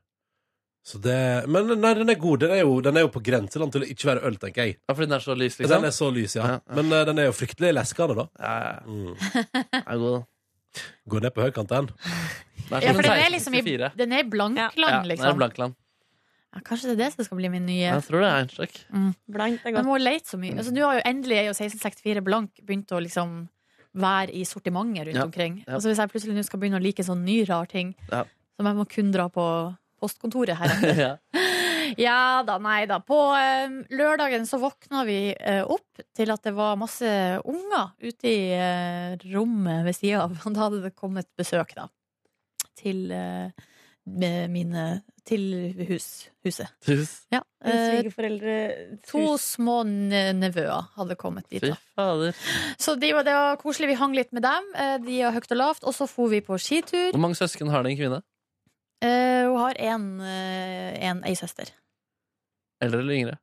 B: Så det, men nei, den er god. Den er jo, den er jo på grenseland til å ikke være øl, tenker jeg.
D: Ja, fordi den er så lys, liksom.
B: Den er så lys, ja.
D: Ja, ja.
B: Men eh, den er jo fryktelig leskende, da.
D: Ja, ja, ja.
B: Mm.
D: Den er god, da.
B: Går ned på høykant, den.
D: Den
C: Ja,
D: som
C: for
D: en
C: den er liksom i,
D: 1664.
C: den er i
D: Ja,
C: blankland,
D: den er en
C: liksom.
D: blankland.
C: Ja, kanskje det er det som skal bli min nye
D: Jeg tror det er en stykk.
J: Blankt er
C: Jeg
J: godt.
C: må leite så mye. Altså, nå har jo endelig er jo 1664 blank begynt å liksom være i sortimenter rundt
D: Ja,
C: omkring.
D: ja.
C: Altså, hvis jeg plutselig nå skal begynne å like sånn ny, rar ting,
D: Ja.
C: som jeg må kun dra på postkontoret her
D: ja.
C: Ja da, nei da. På eh, lørdagen så våkna vi eh, opp til at det var masse unger ute i eh, rommet ved sida av. Og Da hadde det kommet besøk, da. Til eh, med mine Til hus, huset.
D: Tus.
C: Ja.
J: Dine
C: eh,
J: Svigerforeldre
C: to små ne- nevøer hadde kommet dit.
D: Fy
C: da
D: fader.
C: Så de, var- det var koselig. Vi hang litt med dem. eh, De har høyt og lavt. Og så for vi på skitur.
D: Hvor mange søsken har den kvinne?
C: Eh, Hun har en, eh, en ei søster.
D: Eldre eller yngre?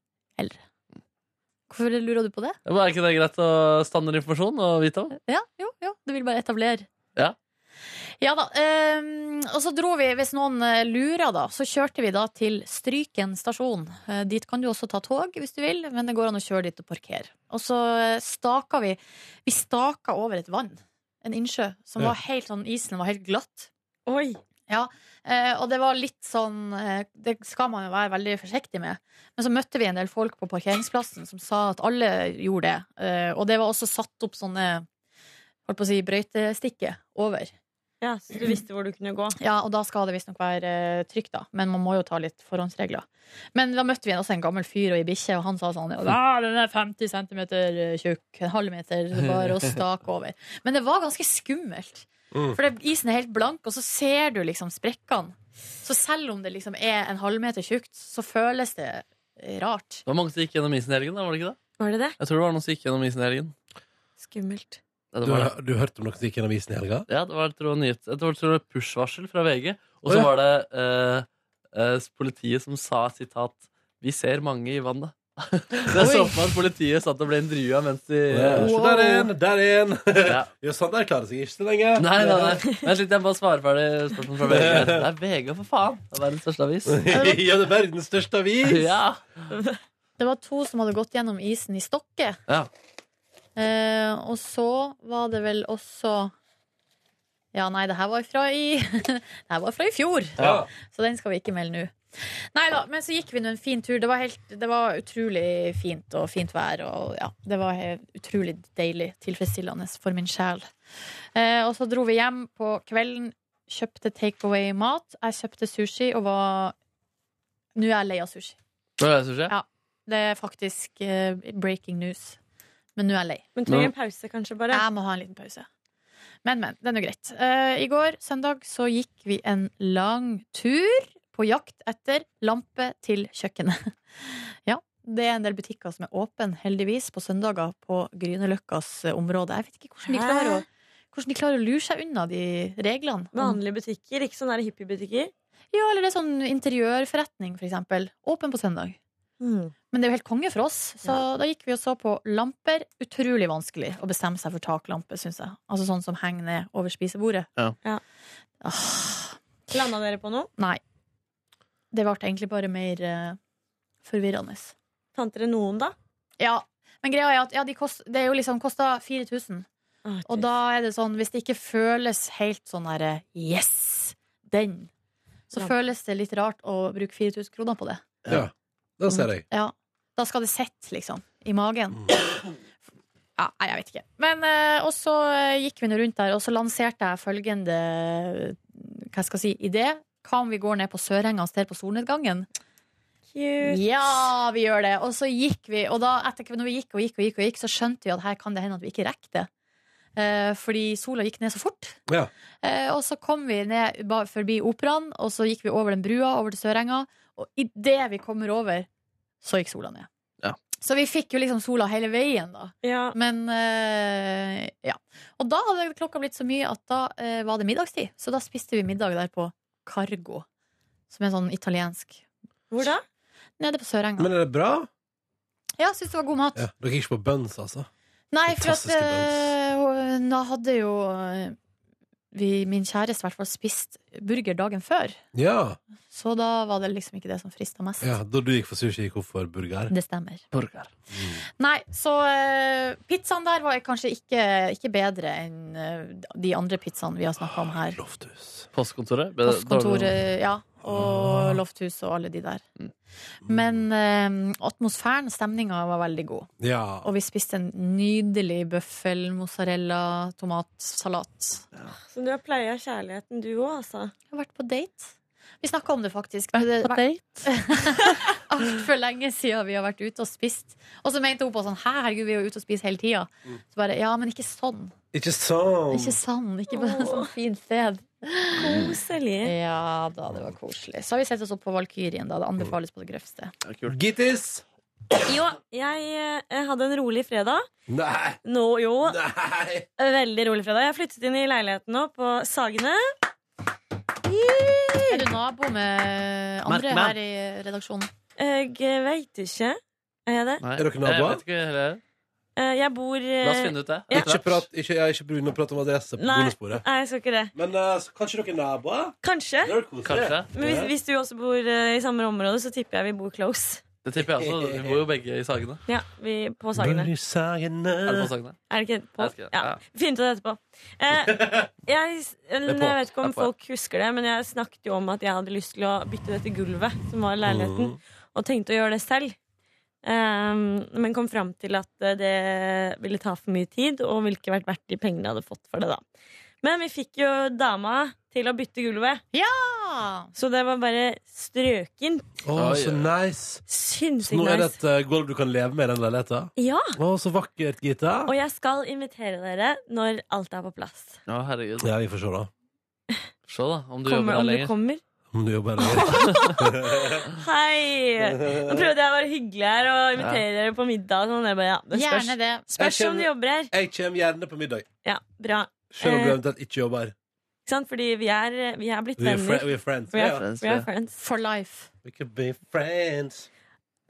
C: Hvorfor lurer du på det?
D: Men Er ikke det greit å standard informasjon å vite om?
C: Ja, jo, jo. Du vil bare etablere.
D: Ja.
C: Ja da. ehm, og så dro vi, hvis noen eh, lurer, da, så kjørte vi da til Stryken stasjon. Eh, dit kan du også ta tog hvis du vil, men det går an å kjøre dit og parkere. Og så eh, staka vi Vi staka over et vann. En innsjø som
B: Ja.
C: var helt sånn Isen var helt glatt.
J: Oi!
C: Eh, og det var litt sånn eh, Det skal man jo være veldig forsiktig med. Men så møtte vi en del folk på parkeringsplassen som sa at alle gjorde det. Eh, og det var også satt opp sånne holdt på å si, brøytestikker over.
J: Ja, så du visste hvor du kunne gå.
C: Ja, Og da skal det visstnok være eh, trygt, da. Men man må jo ta litt forhåndsregler. Men da møtte vi også en gammel fyr og ei bikkje, og han sa sånn Ja, den er 50 cm eh, tjukk. En halv meter. det er Bare å stake over. Men det var ganske skummelt.
B: Mm.
C: For det, isen er helt blank, og så ser du liksom sprekkene. Så selv om det liksom er en halvmeter tjukt, så føles det eh, rart.
D: Det var mange som gikk gjennom isen i helgen, da, var det ikke det?
J: Var det det?
D: Jeg tror det var noen som gikk gjennom isen i helgen.
J: Skummelt.
D: Ja, det
B: Du,
D: var det.
B: har- du hørte om noen som gikk gjennom isen i helga?
D: Ja, det var jeg tror, nyhet. Jeg tror, jeg tror det var push-varsel fra VG. Og
B: Å,
D: så
B: ja.
D: var det eh, eh, politiet som sa sitat 'Vi ser mange i vannet'. det så
C: Oi.
D: på at politiet satt og ble intervjua mens de
B: Ja,
C: Wow.
B: se Der er en, der er en.
D: ja.
B: Ja, sånn der klarer seg ikke så lenge.
D: Nei, nei, nei. Vent litt, jeg må svare ferdig spørsmålet fra VG. her. Det er VG, for faen! Det er verdens største avis.
B: ja, det er verdens største avis.
D: Ja.
C: Det var to som hadde gått gjennom isen i Stokke.
D: Ja.
C: Eh, og så var det vel også Ja, nei, det her var fra i Det her var fra i fjor,
B: Ja.
C: så den skal vi ikke melde nå. Nei da, men så gikk vi nå en fin tur. Det var, helt, det var utrolig fint og fint vær. Og ja, det var he- utrolig deilig, tilfredsstillende for min sjel. Eh, og så dro vi hjem på kvelden, kjøpte takeaway-mat. Jeg kjøpte sushi og var Nå er jeg lei av sushi.
D: Hva er det som skjer?
C: Ja. Det er faktisk eh, breaking news. Men nå er jeg lei.
J: Men trenger en pause, kanskje, bare.
C: Jeg må ha en liten pause. Men, men. Det er nå greit. Eh, I går, søndag, så gikk vi en lang tur på jakt etter lampe til kjøkkenet. ja, det er en del butikker som er åpne, heldigvis, på søndager på Grünerløkkas eh, område. Jeg vet ikke hvordan de
J: Hæ?
C: klarer å hvordan de klarer å lure seg unna de reglene. Om-
J: Vanlige butikker, ikke sånne der hippiebutikker.
C: Ja, Eller det er sånn interiørforretning, for eksempel. Åpen på søndag.
J: Mm.
C: Men det er jo helt konge for oss. Så da gikk vi og så på lamper. Utrolig vanskelig å bestemme seg for taklampe, syns jeg. Altså sånn som henger ned over spisebordet.
D: Ja.
J: Ja.
C: Ah,
J: Landa dere på noe?
C: nei. Det ble egentlig bare mer eh, forvirrende.
J: Fant dere noen, da?
C: Ja. Men greia er at ja, de kost, det er jo liksom kosta 4000. Og da er det sånn, hvis det ikke føles helt sånn derre yes, den, så
J: Ja.
C: føles det litt rart å bruke 4000 kroner på det.
B: Ja, den ser jeg.
C: Ja, da skal det sett liksom I magen
B: Mm.
C: ja, Nei, jeg vet ikke Men eh, og så eh, gikk vi nå rundt der Og så lanserte jeg følgende eh, Hva skal jeg si, idé Hva om vi går ned på Sørenga og ser på solnedgangen
J: Cute.
C: Ja, vi gjør det Og så gikk vi Og da etter når vi gikk og gikk og gikk, og gikk Så skjønte vi at her kan det hende at vi ikke rekte det Eh, fordi sola gikk ned så fort
B: Ja.
C: Eh, Og så kom vi ned ba- forbi operan Og så gikk vi over den brua Over til Sørenga Og i det vi kommer over så gikk sola ned.
D: Ja.
C: Så vi fikk jo liksom sola hele veien, da.
J: Ja.
C: Men eh, ja. Og da hadde klokka blitt så mye at da eh, var det middagstid. Så da spiste vi middag der på Cargo, som er sånn italiensk.
J: Hvor da?
C: Nede på Sørenga.
B: Men er det bra?
C: Ja, syns det var god mat.
B: Ja. Dere gikk ikke på buns, altså?
C: Nei, for at
B: Fantastiske
C: eh, hun- da hadde jo eh, vi, min kjæreste i hvert fall spist burger dagen før.
B: Ja.
C: Så da var det liksom ikke det som frista mest.
B: ja. Da du gikk for sushi, gikk hun for burger.
C: Det stemmer.
D: Burger.
C: Nei, så eh, pizzaen der var kanskje ikke, ikke bedre enn eh, de andre pizzaene vi har snakka om her.
B: Loftus.
D: Postkontoret. Ble det dårlig?
C: Postkontoret, ja. Og Lofthus og alle de der. Men eh, atmosfæren, stemninga, var veldig god.
B: Ja.
C: Og vi spiste en nydelig bøffel, mozzarella, tomatsalat.
J: Så du har pleia kjærligheten, du òg, altså?
C: Jeg har vært på date. Vi snakka om det faktisk. men det- altfor lenge siden vi har vært ute og spist. Og så mente hun på sånn Hæ, herregud, vi er jo ute og spiser hele tida. Så bare Ja, men ikke sånn.
B: Ikke sånn.
C: Ikke sånn. Ikke på et
J: Åh.
C: sånt fint sted. Eh.
J: Koselig.
C: Ja da, det var koselig. Så har vi sett oss opp på Valkyrien, da. Det anbefales på det grøvste.
D: Ja, kult.
B: Gittis!
J: Jo, jeg eh, hadde en rolig fredag.
B: Nei!
J: Nå, jo.
B: Nei!
J: Veldig rolig fredag. Jeg har flyttet inn i leiligheten nå på Sagene.
C: Er du nabo med andre
D: Merk meg.
C: her i redaksjonen?
J: Jeg veit ikke. Er jeg det?
D: Nei,
B: Er dere naboer?
D: Jeg vet ikke hva det er.
J: Eh, Jeg bor eh,
D: La oss finne ut det.
J: Ja.
B: Ikke prat, ikke, jeg er ikke brun og prate om adresse på
J: Nei.
B: bonusbordet.
J: Nei, jeg skal ikke det.
B: Men eh, så kanskje dere er naboer?
J: Kanskje.
B: Det er jo koselig.
D: Kanskje.
J: Men hvis, hvis du også bor eh, i samme område, så tipper jeg vi bor close.
D: Det tipper jeg også. Vi bor jo begge i Sagene.
J: Ja, vi på Sagene.
B: Bør i Sagene.
D: Er det sånn? på Sagene?
J: Er det ikke på?
D: Jeg husker det,
J: Ja.
D: ja.
J: Finn ut av det etterpå. Eh, jeg, jeg
D: på.
J: vet ikke
D: Det
J: om
D: er på, ja.
J: folk husker det, men jeg snakket jo om at jeg hadde lyst til å bytte dette gulvet som var i
D: Mm.
J: leiligheten, og tenkte å gjøre det selv. Ehm, men kom fram til at eh, det ville ta for mye tid, og ville ikke vært verdt de pengene jeg hadde fått for det. da Men vi fikk jo dama til å bytte gulvet,
C: Ah,
J: så det var bare strøkent.
B: Å, så nice. Så
J: Sinnssykt
B: nå er det
J: nice. Ah.
B: et eh, gulv du kan leve med i den leiligheten.
J: Ja,
B: Å, så vakkert, Gita.
J: og jeg skal invitere dere når alt er på plass.
D: Å, herregud.
B: Ja, vi får se, da.
D: Se, da, om du
J: Kommer,
D: jobber der
J: om du
D: lenger.
J: kommer.
B: Om du jobber eller
J: Hei! Nå prøvde jeg å være hyggelig her og invitere dere på middag. og Sånn. Jeg bare, ja, det spørs.
C: gjerne det.
J: spørs om du jobber her.
B: Jeg kommer gjerne på middag,
J: Ja, bra.
B: selv om du
J: Eh.
B: eventuelt ikke jobber.
J: Ikke sant? Fordi vi er, vi er blitt
B: We are, fri
J: venner.
B: we are friends.
J: We
B: Ja,
J: are,
B: ja.
J: friends, we are friends.
C: For life.
B: We could be friends.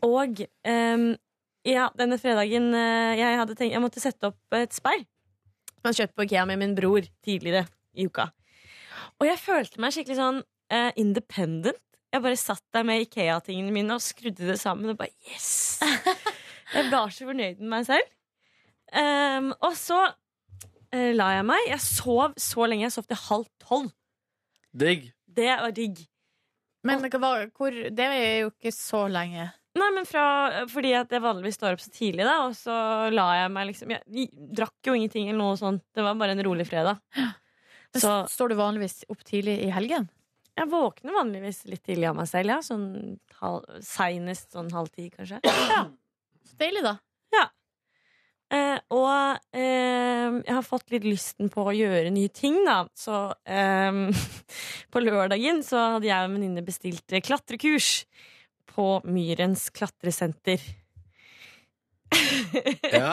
J: Og ehm, ja, denne fredagen eh, jeg, hadde tenkt, jeg måtte sette opp et speil. Jeg hadde kjøpt på Ikea med min bror tidligere i uka. Og jeg følte meg skikkelig sånn eh, independent. Jeg bare satt der med Ikea-tingene mine og skrudde det sammen og bare yes! Jeg var så fornøyd med meg selv. Ehm, og så eh, la jeg meg. Jeg sov så lenge. Jeg sov til halv tolv.
D: Digg.
J: Det var digg.
C: Men hva, hvor, det er jo ikke så lenge.
J: Nei, men fra, eh, fordi at jeg vanligvis står opp så tidlig, da, og så la jeg meg liksom Jeg i- drakk jo ingenting eller noe sånt. Det var bare en rolig fredag.
C: Men
J: Så-
C: s- står du vanligvis opp tidlig i helgen?
J: Jeg våkner vanligvis litt tidlig av meg selv, ja. Sånn halv, seinest sånn halv ti, kanskje.
C: Så deilig, da.
J: Eh, og eh, jeg har fått litt lysten på å gjøre nye ting, da. Så eh, på lørdagen så hadde jeg og en venninne bestilt eh, klatrekurs på Myrens klatresenter.
B: Ja.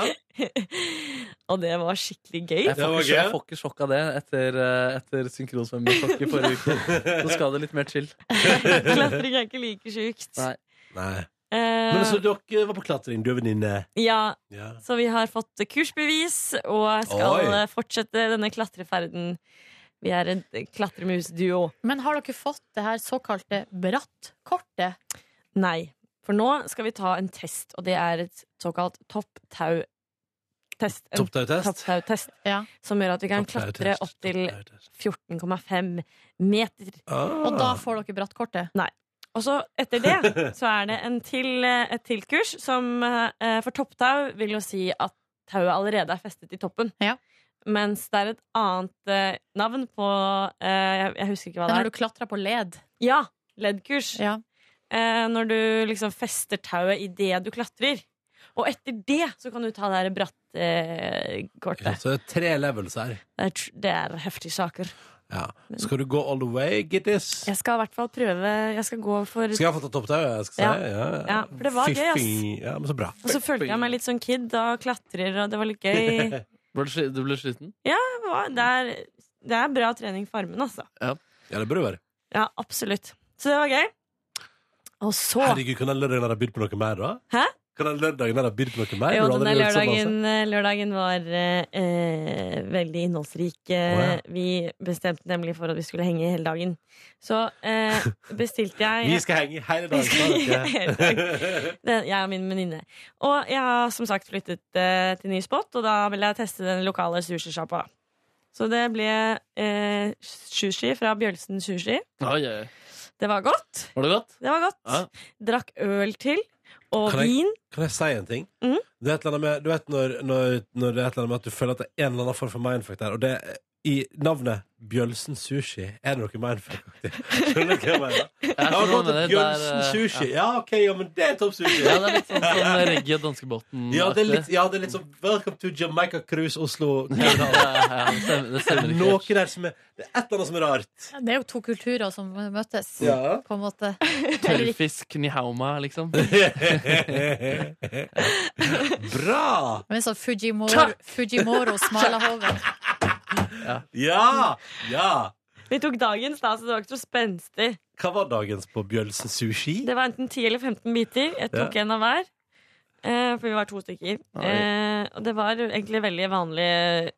J: og det var skikkelig gøy.
D: Jeg får,
B: var
D: ikke, sjokk- jeg
B: gøy.
D: får ikke sjokk av det etter, eh, etter synkronsvømmesjokk i forrige uke. Så skal det litt mer chill.
J: Klatring er ikke like sjukt.
D: Nei.
B: Nei.
J: Eh,
B: Men så dere var på klatring, du og venninne?
J: ja,
B: Ja.
J: så vi har fått kursbevis og skal
B: Oi.
J: eh, fortsette denne klatreferden. Vi er en klatremusduo.
C: Men har dere fått det her såkalte brattkortet?
J: Nei, for nå skal vi ta en test, og det er et såkalt topptau-test. En
B: Topptautest?
J: topptau-test
C: Ja.
J: som gjør at vi kan klatre opp til 14,5 meter.
B: Ah.
C: Og da får dere brattkortet?
J: Og så etter det så er det en til, eh, et til kurs som eh, for topptau vil jo si at tauet allerede er festet i toppen.
C: Ja.
J: Mens det er et annet eh, navn på eh, jeg, jeg husker ikke hva
C: Det
J: det
C: er når
J: er.
C: du klatrer på led.
J: Ja, leddkurs.
C: Ja.
J: Eh, når du liksom fester tauet idet du klatrer. Og etter det så kan du ta det her bratt-kortet.
B: Ja, så det er tre levels her.
J: det, er tr- det er heftige saker.
B: Ja. Skal du gå all the way, Gittis?
J: Jeg skal i hvert fall prøve Jeg skal gå for
B: Skal jeg få ta topptauet? Jeg skal
J: Ja.
B: si? Ja, ja.
J: Ja, for det var
B: Fy,
J: gøy, ass.
B: fy. Ja, men så bra.
J: Og så følte jeg meg litt sånn kid og klatrer, og det var litt gøy.
D: Ble du sli- Du ble sliten?
J: Ja, det er, det er bra trening for armen, altså.
B: Ja, det burde være.
J: Ja, absolutt. Så det var gøy. Og så
B: Herregud, kan den lørdagen her ha bydd på noe mer, da?
J: Hæ?
B: Kan den lørdagen her ha bydd på noe mer?
J: Jo,
B: Du har
J: denne
B: allerede gjort så
J: lørdagen,
B: masse.
J: lørdagen var eh, eh, veldig innholdsrik. Eh, Vi bestemte nemlig for at vi skulle henge hele dagen. Så eh, bestilte jeg
B: Vi skal henge hele
J: Vi
B: dagen.
J: skal
B: sa dere.
J: hele dagen. Det- Jeg og min venninne. Og jeg har som sagt flyttet eh, til ny spot, og da vil jeg teste den lokale sushisjappa. Så det ble eh, sushi fra Bjølsen Sushi.
D: Oi, oi. oi.
J: Det var godt.
D: Var det godt?
J: Det var godt.
D: Ja.
J: Drakk øl til. Og
B: Kan jeg-
J: vin.
B: Kan jeg si en ting?
J: Mhm.
B: Det er et eller annet med, du vet når, når, når det er et eller annet med at du føler at det er en eller annen form for mindfuck der, og det er i navnet Bjølsen Sushi er det noe mindfuck. Skjønner du hva jeg mener?
D: Jeg
B: Jeg har
D: skjønner hva
B: gått
D: du mener.
B: til
D: Det
B: Bjølsen
D: er, eh,
B: Sushi. Ja, ok, ja, men det er topp sushi.
D: Ja, det er litt sånn som Reggie og danskebåten.
B: Ja, det er litt, ja, det er litt sånn Welcome to Jamaica Cruise Oslo.
D: ja,
B: København.
D: ja, det stemmer, det
B: Det er
D: stemmer ikke.
B: noe der som er Det er et eller annet som er rart.
C: Det er jo to kulturer som møtes,
B: Ja.
C: på en måte. Eller ikke.
D: Tørrfisk, nihauma, liksom.
B: Bra!
C: Men sånn Fujimoro, Fujimoro smalahove.
B: Ja! Ja!
J: Vi tok dagens, da, så det var ikke så spenstig.
B: Hva var dagens på Bjølsen Sushi?
J: Det var enten 10 eller 15 biter. Jeg tok en av hver. Eh, for vi var to stykker.
K: Oi.
J: Eh, og det var egentlig veldig vanlig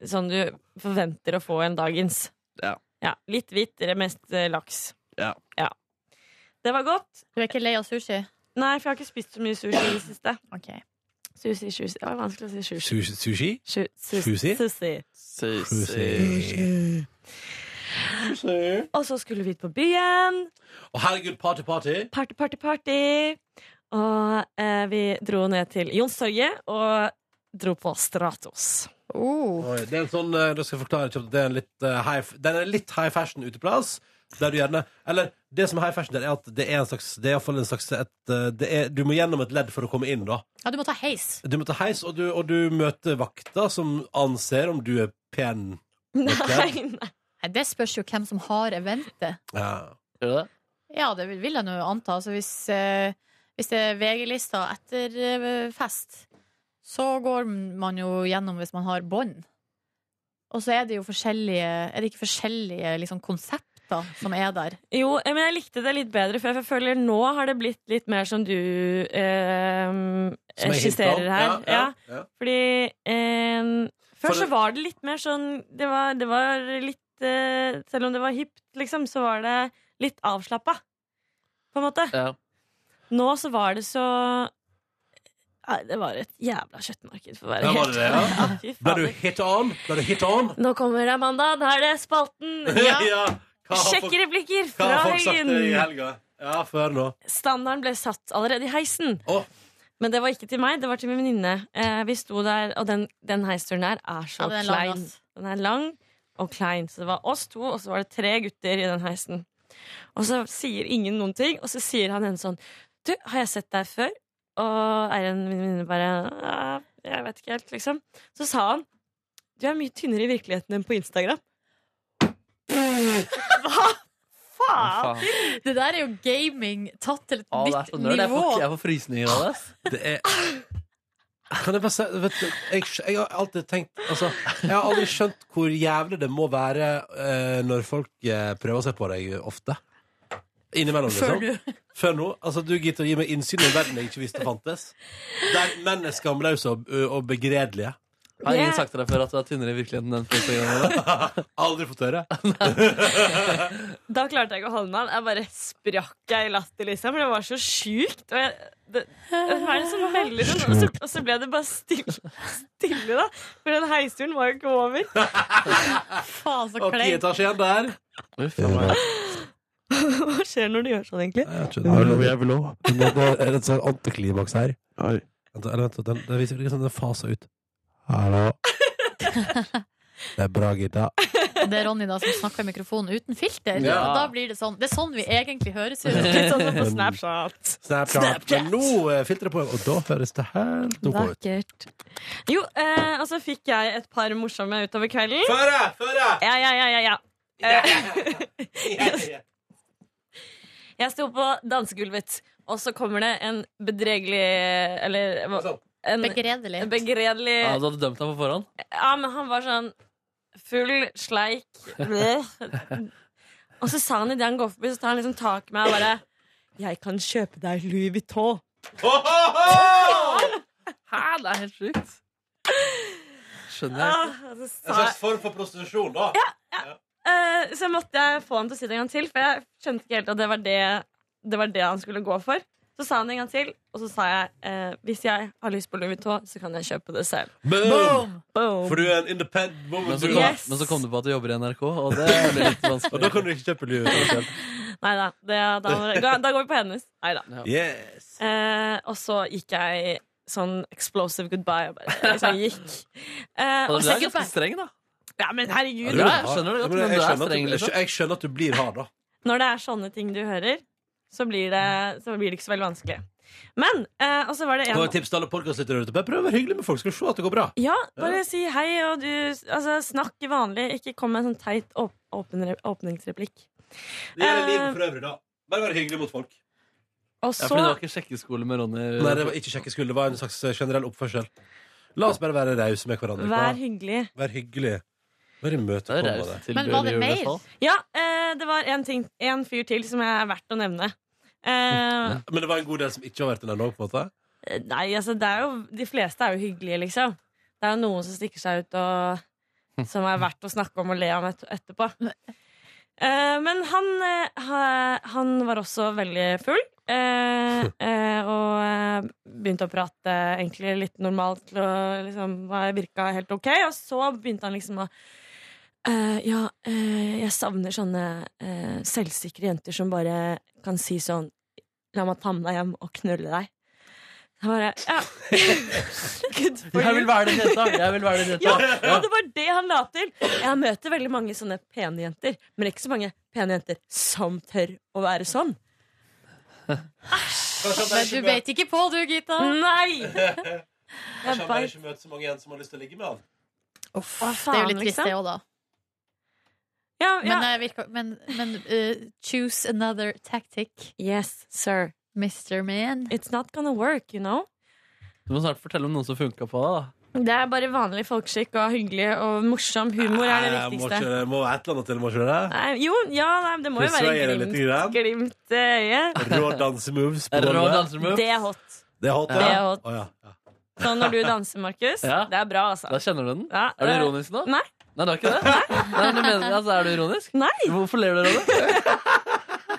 J: sånn du forventer å få en dagens.
D: Ja.
J: Ja, litt hvitt, eller mest eh, laks.
D: Ja.
J: Det var godt.
C: Du er ikke lei av sushi?
J: Nei, for jeg har ikke spist så mye sushi i det siste.
C: Okay.
J: Sushi, sushi. Det var vanskelig å si sushi.
B: Sushi? Sushi?
J: Su- sus-
B: Sushi?
J: Sushi.
B: Sushi.
J: Og så skulle vi ut på byen.
B: Å, herregud, party, party!
J: Party, party, party. Og eh, vi dro ned til Youngstorget og dro på Stratos.
B: Oi, det er en sånn, eh, da skal jeg forklare kjapt, det er en litt, eh, high, den er litt high fashion uteplass. Der du gjerne, eller det som er high fashion der, er at det er en slags, det er i hvert fall en slags et, eh, det er, Du må gjennom et ledd for å komme inn, da.
C: Ja, du må ta heis.
B: Du må ta heis, og du, og du møter vakter som anser om du er pen. Nei,
C: Nei, Det spørs jo hvem som har eventet.
B: Ja.
D: Gjør du det?
C: Ja, det vil- vil jeg nå anta. Altså, hvis, eh, hvis det er VG-lista etter eh, fest, så går man jo gjennom hvis man har bånd. Og så er det jo forskjellige Er det ikke forskjellige liksom, konsepter som er der?
J: Jo, eh, men jeg likte det litt bedre, for jeg føler nå har det blitt litt mer som du eh,
K: Som jeg hintet om,
J: skisserer her.
K: ja, ja, ja.
J: Fordi eh,
K: For
J: før så
K: det-
J: var det litt mer sånn Det var, det var litt eh, Selv om det var hipt, liksom, så var det litt avslappa, på en måte.
D: Ja.
J: Nå så var det så Nei, det var et jævla kjøttmarked, for å være
B: Ja, var
J: helt
B: det det,
J: Fy
B: ja? Ble du hit on? Ble du hit on?
J: Nå kommer Amanda, da er det spalten!
B: Ja, hva har folk-
J: Sjekk replikker
B: Hva
J: fra
B: har folk sagt
J: helgen!
B: til deg i helga? Ja, før nå.
J: Standarden ble satt allerede i heisen.
B: Å.
J: Men det var ikke til meg, det var til min venninne. Eh, vi sto der, og den, den heisturen der er så
C: Ja, den er lang,
J: klein.
C: ass.
J: den er lang og klein. Så det var oss to, og så var det tre gutter i den heisen. Og så sier ingen noen ting, og så sier han ene sånn Du, har jeg sett deg før? Og Eiren, min venninne, bare «Ja, Jeg vet ikke helt, liksom. Så sa han Du er mye tynnere i virkeligheten enn på Instagram.
C: Hva
J: faen?
C: Det der er jo gaming tatt til et
D: Å, Ah, det er
C: nytt
D: så nerd. Jeg
C: nivå.
D: får, jeg får frysninger av det. ass.
B: Det er Kan jeg bare si vet du, jeg, jeg har alltid tenkt altså, Jeg har aldri skjønt hvor jævlig det må være eh, når folk eh, prøver seg på deg ofte. Innimellom,
K: Før
B: liksom. Før nå. Altså, du, Gitte, gir meg innsyn i en verden jeg ikke visste fantes. Der menn er skamløse og, og begredelige.
D: Har ingen sagt til deg før at du er tynnere i virkeligheten enn på Instagram?
B: Aldri fått høre.
J: Da klarte jeg ikke å holde meg. Jeg bare sprakk jeg i latter, liksom. For det var så sjukt. Og jeg, det, hva er det som melder om? Og så, og så ble det bare stille, stille da. For den heisturen var jo ikke over.
C: Faen, så
B: Og ti
J: kleint.
B: etasjer igjen der.
J: Hva skjer når du gjør sånn, egentlig?
B: Jeg vil òg. Det er et sånt antiklimaks her. Vent, eller vent, den, den, viser- liksom, den faser ut. Hallo. Det er bra, Gitta.
C: Det er Ronny da som snakker i mikrofonen uten filter.
B: Ja.
C: Og da blir det sånn. Det er sånn vi egentlig høres ut.
B: Litt sånn som på
J: Snapchat.
B: Snapchat. Men nå eh, filtrer jeg på, og da høres det helt OK ut.
J: Vakkert. Jo, eh, og så fikk jeg et par morsomme utover kvelden.
B: Føre! Føre!
J: Ja, ja, ja, ja, ja. Eh, Jeg sto på dansegulvet, og så kommer det en bedregelig Eller hva- en,
C: Begredelig.
J: begredelig
D: Ja, du hadde dømt deg på forhånd?
J: Ja, men han var sånn full, sleik bleh. Og så sa han idet han går forbi, så tar han liksom tak i meg og bare Jeg kan kjøpe deg Louis Vuitton.
D: Hæ, det er helt sjukt. Skjønner jeg
J: Ah,
D: ikke.
J: og så sa jeg,
B: form for prostitusjon, da.
J: eh, så måtte jeg få han til å si det en gang til, for jeg skjønte ikke helt at det var det, det var det han skulle gå for. Så sa han det en gang til, og så sa jeg eh, hvis jeg har lyst på Louis Vuitton, så kan jeg kjøpe det selv.
B: Boom!
J: Boom.
B: For du er en independent woman.
D: Men så,
B: du.
D: kom,
J: Yes.
D: men så kom du på at du jobber i NRK, og det ble litt vanskelig.
B: Og da kan du ikke kjøpe lue. selv.
J: Nei da, det, da, da, da går vi på hennes. Nei da.
B: Yes.
J: Eh, og så gikk jeg sånn explosive goodbye og bare liksom gikk. Eh,
D: Og
J: og
D: du
J: så-
D: er ganske streng, da.
J: Ja, men herregud.
B: Ja,
J: da.
B: du- Ja, men jeg skjønner at du- Jeg skjønner at du blir hard, da.
J: Når det er sånne ting du hører, så blir det, så blir det ikke så veldig vanskelig. Men, eh, og så var det
B: Og et
J: en
B: tips til alle podkastlyttere ute. Bare prøv å være hyggelig med folk, skal du se at det går bra.
J: Ja, bare si hei, og du Altså, snakk vanlig. Ikke kom med en sånn teit åp åpen åpningsreplikk.
B: Det gjelder livet for øvrig, da. Bare vær hyggelig mot folk.
J: Og
D: Ja, for det
J: så
D: var ikke sjekkeskole med Ronny.
B: Nei, det var ikke sjekkeskuld. Det var en slags eh, generell oppførsel. La oss bare være rause med hverandre.
J: vær hyggelig.
B: Vær hyggelig. Vær imøtekommende.
J: Men var det mer? Ja, eh, det var en, ting, en fyr til som er verdt å nevne. Eh,
B: Men det var en god del som ikke har vært i den òg, på en måte?
J: Eh, Nei, altså det er jo De fleste er jo hyggelige, liksom. Det er jo noen som stikker seg ut og som er verdt å snakke om og le om et, etterpå. Eh, men han, eh, ha- han var også veldig full. eh, eh, og eh, begynte å prate egentlig litt normalt. til å liksom, var- virka helt ok. Og så begynte han liksom å eh, Ja, eh, jeg savner sånne eh, selvsikre jenter som bare kan si sånn La meg ta med deg hjem og knulle deg. Jeg bare, ja. Good for
D: Jeg
J: you.
D: vil være den jenta! Jeg vil være den
J: Ja,
D: jenta.
J: ja, det var det han la til. Jeg møter veldig mange sånne pene jenter, men ikke så mange pene jenter som tør å være sånn.
C: Men du beit ikke på, du, Gita.
J: Mm, Nei!
B: Kanskje
J: Jeg
B: han bare
J: bare,
B: ikke møter så mange igjen som har lyst til å ligge med han.
J: hva
C: Det er jo
J: faen,
C: litt trist,
J: liksom?
C: det òg, da.
J: Ja, ja.
C: Men, eh, virker, men, men eh, choose another tactic,
J: Yes, sir.
C: Mr. Man.
J: It's not gonna work, you know.
D: Du må snart fortelle om noen som funka på deg. da
J: Det er bare vanlig folkeskikk og hyggelig og morsom humor er det
B: Nei, må
J: viktigste.
B: ikke- Må et eller annet til, må ikke det?
J: Nei, jo, ja, nei, det må jo
B: Pusser jeg
J: være
B: det litt
J: glimt, glimt i øyet.
B: Rå dansemoves. på
D: Rå
B: gulvet.
D: dansemove.
J: Det er hot.
B: Det er hot, ja.
J: Det er hot.
B: Å, ja. ja.
J: Så når du danser, Markus,
D: Ja.
J: det er bra, altså.
D: Da kjenner du den.
J: Ja,
D: Er du
J: det-
D: ironisk nå?
J: Nei.
D: Nei, du er ikke det? Nei, men jeg mener, altså, er du ironisk?
J: Nei!
D: Hvorfor ler dere av det?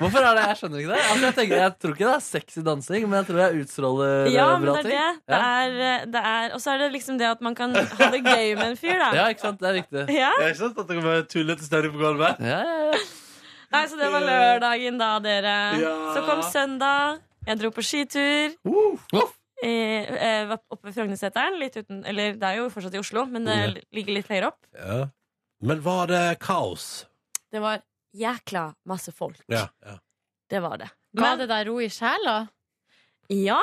D: Hvorfor er det? Jeg skjønner ikke det. Altså, jeg, tenker, jeg tror ikke det er sexy dansing, men jeg tror jeg utstråler eh,
J: Ja, men
D: bra
J: det er
D: ting.
J: det. det,
D: Ja.
J: er, eh, det er, og så er det liksom det at man kan ha det gøy med en fyr, da.
D: ja, ikke sant? Det er riktig.
J: Ja.
B: Det er ikke sant at det kan være tullete stemning på gulvet?
D: Ja, ja, ja.
J: Nei, så det var lørdagen da, dere.
B: Ja.
J: Så kom søndag. Jeg dro på skitur.
D: Uff.
J: Jeg, jeg var oppe ved Frognerseteren. Litt uten Eller det er jo fortsatt i Oslo, men det ligger litt høyere opp.
B: Ja. Men var det kaos?
J: Det var jækla masse folk.
B: Ja. ja.
J: Det var det.
C: Ga
J: Men-
C: det deg ro i sjela?
J: Ja,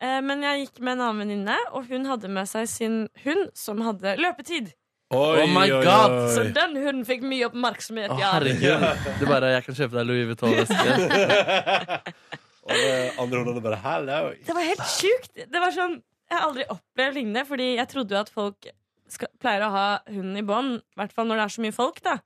J: eh, men jeg gikk med en annen venninne, og hun hadde med seg sin hund, som hadde løpetid.
B: Oi,
D: Oh my God.
J: Så den hunden fikk mye oppmerksomhet.
D: Å,
J: Ja.
D: herregud. Du bare 'Jeg kan kjøpe deg Louis Vuitton-veske'.
B: Og det andre hundene bare hello.
J: Det var helt sjukt. Det var sånn, jeg har aldri opplevd lignende, fordi jeg trodde jo at folk skal, pleier å ha hunden i bånd, i hvert fall når det er så mye folk, da.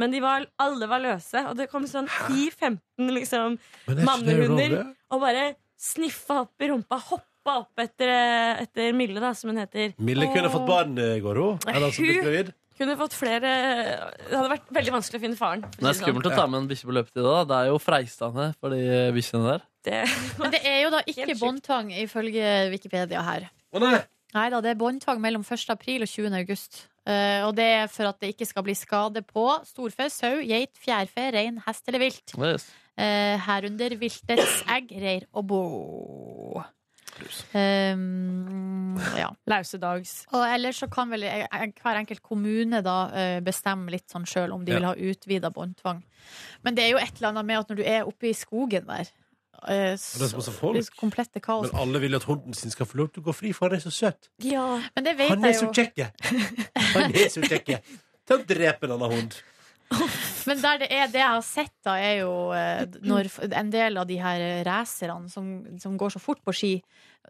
J: Men de var, alle var løse, og det kom sånn 10-15 liksom,
B: Men er ikke det
J: Mannehunder.
B: ulovlig?
J: og bare sniffa opp i rumpa, hoppa opp etter, eh, etter Mille, da, som hun heter.
B: Mille kunne fått barn eh, i går, hun. Eller altså blitt
J: Hun-
B: gravid.
J: Kunne fått flere Det hadde vært veldig vanskelig å finne faren. for å
D: Men det er
J: si det sånn.
D: skummelt å ta med en bikkje på løpetid. da Det er jo freistende for de bikkjene der.
C: Men det er jo da ikke
J: Helt sjukt.
C: båndtvang, ifølge Wikipedia her.
B: Å nei!
C: Nei da, det er båndtvang mellom 1. april og 20. august. Eh, og det er for at det ikke skal bli skade på storfe, sau, geit, fjærfe, rein, hest eller vilt.
D: Yes.
C: Eh, herunder viltets egg, reir og bo. Um, ja.
J: Lausedags.
C: Og ellers så kan vel eh, hver enkelt kommune da eh, bestemme litt sånn sjøl om de
B: Ja.
C: vil ha utvida båndtvang. Men det er jo et eller annet med at når du er oppe i skogen der
B: Og det
C: eh,
B: er så masse folk.
C: blir det komplette kaos.
B: Men alle vil at hunden sin skal få lov til å gå fri, for han er så søt.
J: Ja.
C: Men det vet
B: Han er
C: jeg
B: så
C: jo.
B: kjekk! Han er så kjekk. Til å drepe en annen hund.
C: Men der det er det jeg har sett, da, er jo eh, når f- en del av de her eh, racerne som, som går så fort på ski,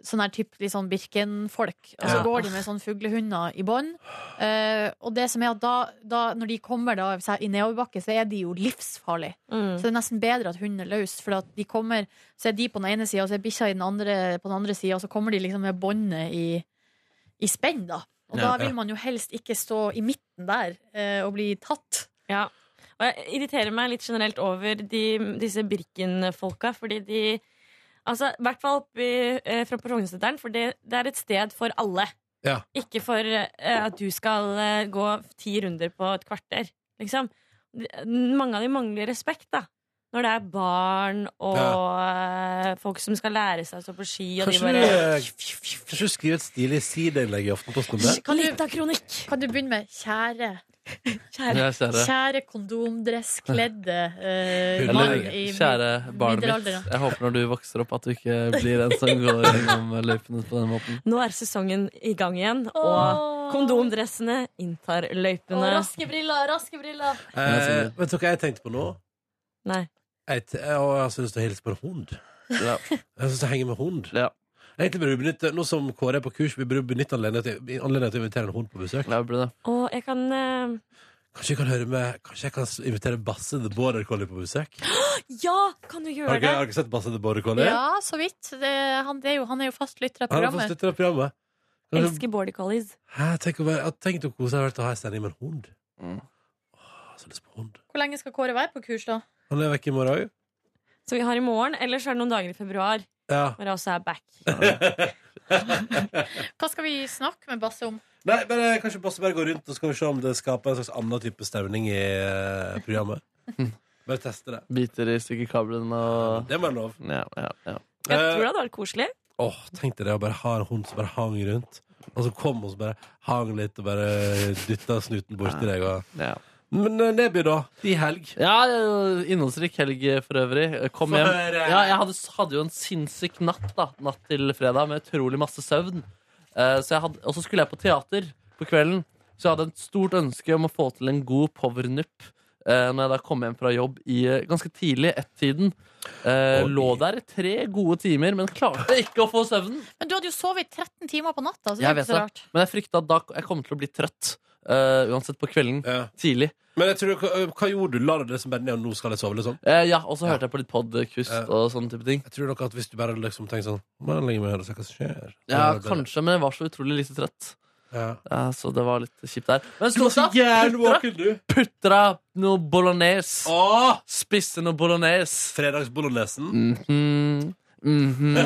C: sånn her typ litt sånn Birken-folk, og så
B: Ja.
C: går de med sånn fuglehunder i bånd. Eh, og det som er at da, da når de kommer da, så her i nedoverbakke, så er de jo livsfarlige.
J: Mm.
C: Så det er nesten bedre at hunden er løs, for at de kommer, så er de på den ene sida, og så er bikkja i den andre, på den andre sida, og så kommer de liksom med båndet i, i spenn, da. Og
B: Ja,
C: da
B: ja.
C: vil man jo helst ikke stå i midten der eh, og bli tatt.
J: Ja. Og jeg irriterer meg litt generelt over de, disse Birken-folka, fordi de Altså, i hvert fall oppi, eh, fra Porognseteren, for det, det er et sted for alle.
B: Ja.
J: Ikke for eh, at du skal eh, gå ti runder på et kvarter, liksom. De- Mange av de mangler respekt, da. Når det er barn og eh, folk som skal lære seg å stå på ski, og
B: Kanskje eh,
J: de bare
B: du, kanskje du skriver et stilig sideinnlegg i Aftenposten om det?
J: Kan litt av kronikk!
C: Kan du begynne med kjære
J: Kjære.
D: Jeg ser det.
C: Kjære kondomdresskledde eh,
B: Eller
C: mann
D: Eller
C: i mi-
D: kjære barnet mitt,
C: middelalderen.
D: jeg håper når du vokser opp at du ikke blir en som går gjennom løypene på den måten.
J: Nå er sesongen i gang igjen, og
C: Åh.
J: kondomdressene inntar
C: Åh,
J: løypene.
C: raske briller, raske briller.
B: Eh, vet du hva jeg tenkte på nå?
J: Nei.
B: Jeg, t jeg har altså lyst til å hilse på en hund.
D: Ja.
B: Jeg synes jeg henger med hund.
D: Ja.
B: Egentlig burde vi benytte, Nå som Kåre er på kurs, vi burde benytte anledningen til, anledningen til å invitere en hund på besøk.
D: Jeg blir det.
J: Og jeg kan eh,
B: Kanskje jeg kan høre med Kanskje jeg kan s- invitere Basse the Border Collie på besøk?
J: Ja, kan du
B: Har
J: gjøre
B: dere, har
J: det?
B: dere sett Basse the Border Collie?
C: Ja, så vidt. Det, han, det er jo, han er jo fastlytter av
B: Han har fått
C: programmet.
B: støtte av programmet. Kanskje-
J: Elsker border collies.
B: Hæ, tenk, å være- at- tenk å kose seg å ha en sending med en hund.
D: Mm.
B: Åh, så lyst på hund.
C: Hvor lenge skal Kåre være på kurs, da?
B: Han er vekke i morgen òg.
J: Så vi har i morgen, ellers er det noen dager i februar
B: Ja.
J: hvor jeg også er back.
C: Hva skal vi snakke med Basse om?
B: Nei, men eh, kanskje Basse bare går rundt, og så kan vi se om det skaper en slags annen type stemning i eh, programmet. Bare teste det.
D: Biter i stykker kabelen og
B: Det må jeg lov.
D: ja, ja, ja.
J: Jeg
B: Eh,
J: tror det hadde vært koselig.
B: Åh, tenk deg det å bare ha en hund som bare hang rundt. Og så kom hun som bare hang litt og bare dytta snuten borti deg. Og...
D: ja.
B: Men eh, Neby, da? I helg?
D: Ja, innholdsrik helg for øvrig. Kom hjem.
B: For, eh,
D: Ja, jeg hadde, hadde jo en sinnssyk natt da Natt til fredag med utrolig masse søvn. Eh, så jeg hadde, og så skulle jeg på teater på kvelden, så jeg hadde et stort ønske om å få til en god powernup. Uh, når jeg da kom hjem fra jobb i eh, ganske tidlig, ett-tiden. Eh,
B: Oi.
D: lå der i tre gode timer, men klarte ikke å få søvnen.
C: Men du hadde jo sovet i 13 timer på natta, så det
D: Jeg
C: er ikke
D: vet
C: så
D: det.
C: rart.
D: Men jeg frykta at da jeg kom til å bli trøtt. eh, uansett på kvelden.
B: Ja.
D: Tidlig.
B: Men jeg tror, hva, hva gjorde du? La du det som bare ned, og nå skal jeg sove? liksom?
D: Eh, ja, Og så
B: Ja.
D: hørte jeg på litt podkust
B: Eh.
D: og sånne type ting.
B: Jeg tror nok at Hvis du bare liksom tenker sånn Må jeg legge meg her og se hva som skjer? Så
D: Ja,
B: er det bedre.
D: kanskje, men jeg var så utrolig lite trett.
B: Ja.
D: Ja, så det var litt kjipt der. Men
B: Du var så jævlig
D: putra,
B: våken, du!
D: putra noe bolognese.
B: Åh!
D: Spisse noe bolognese.
B: Fredagsbolognesen.
D: Mhm, mhm.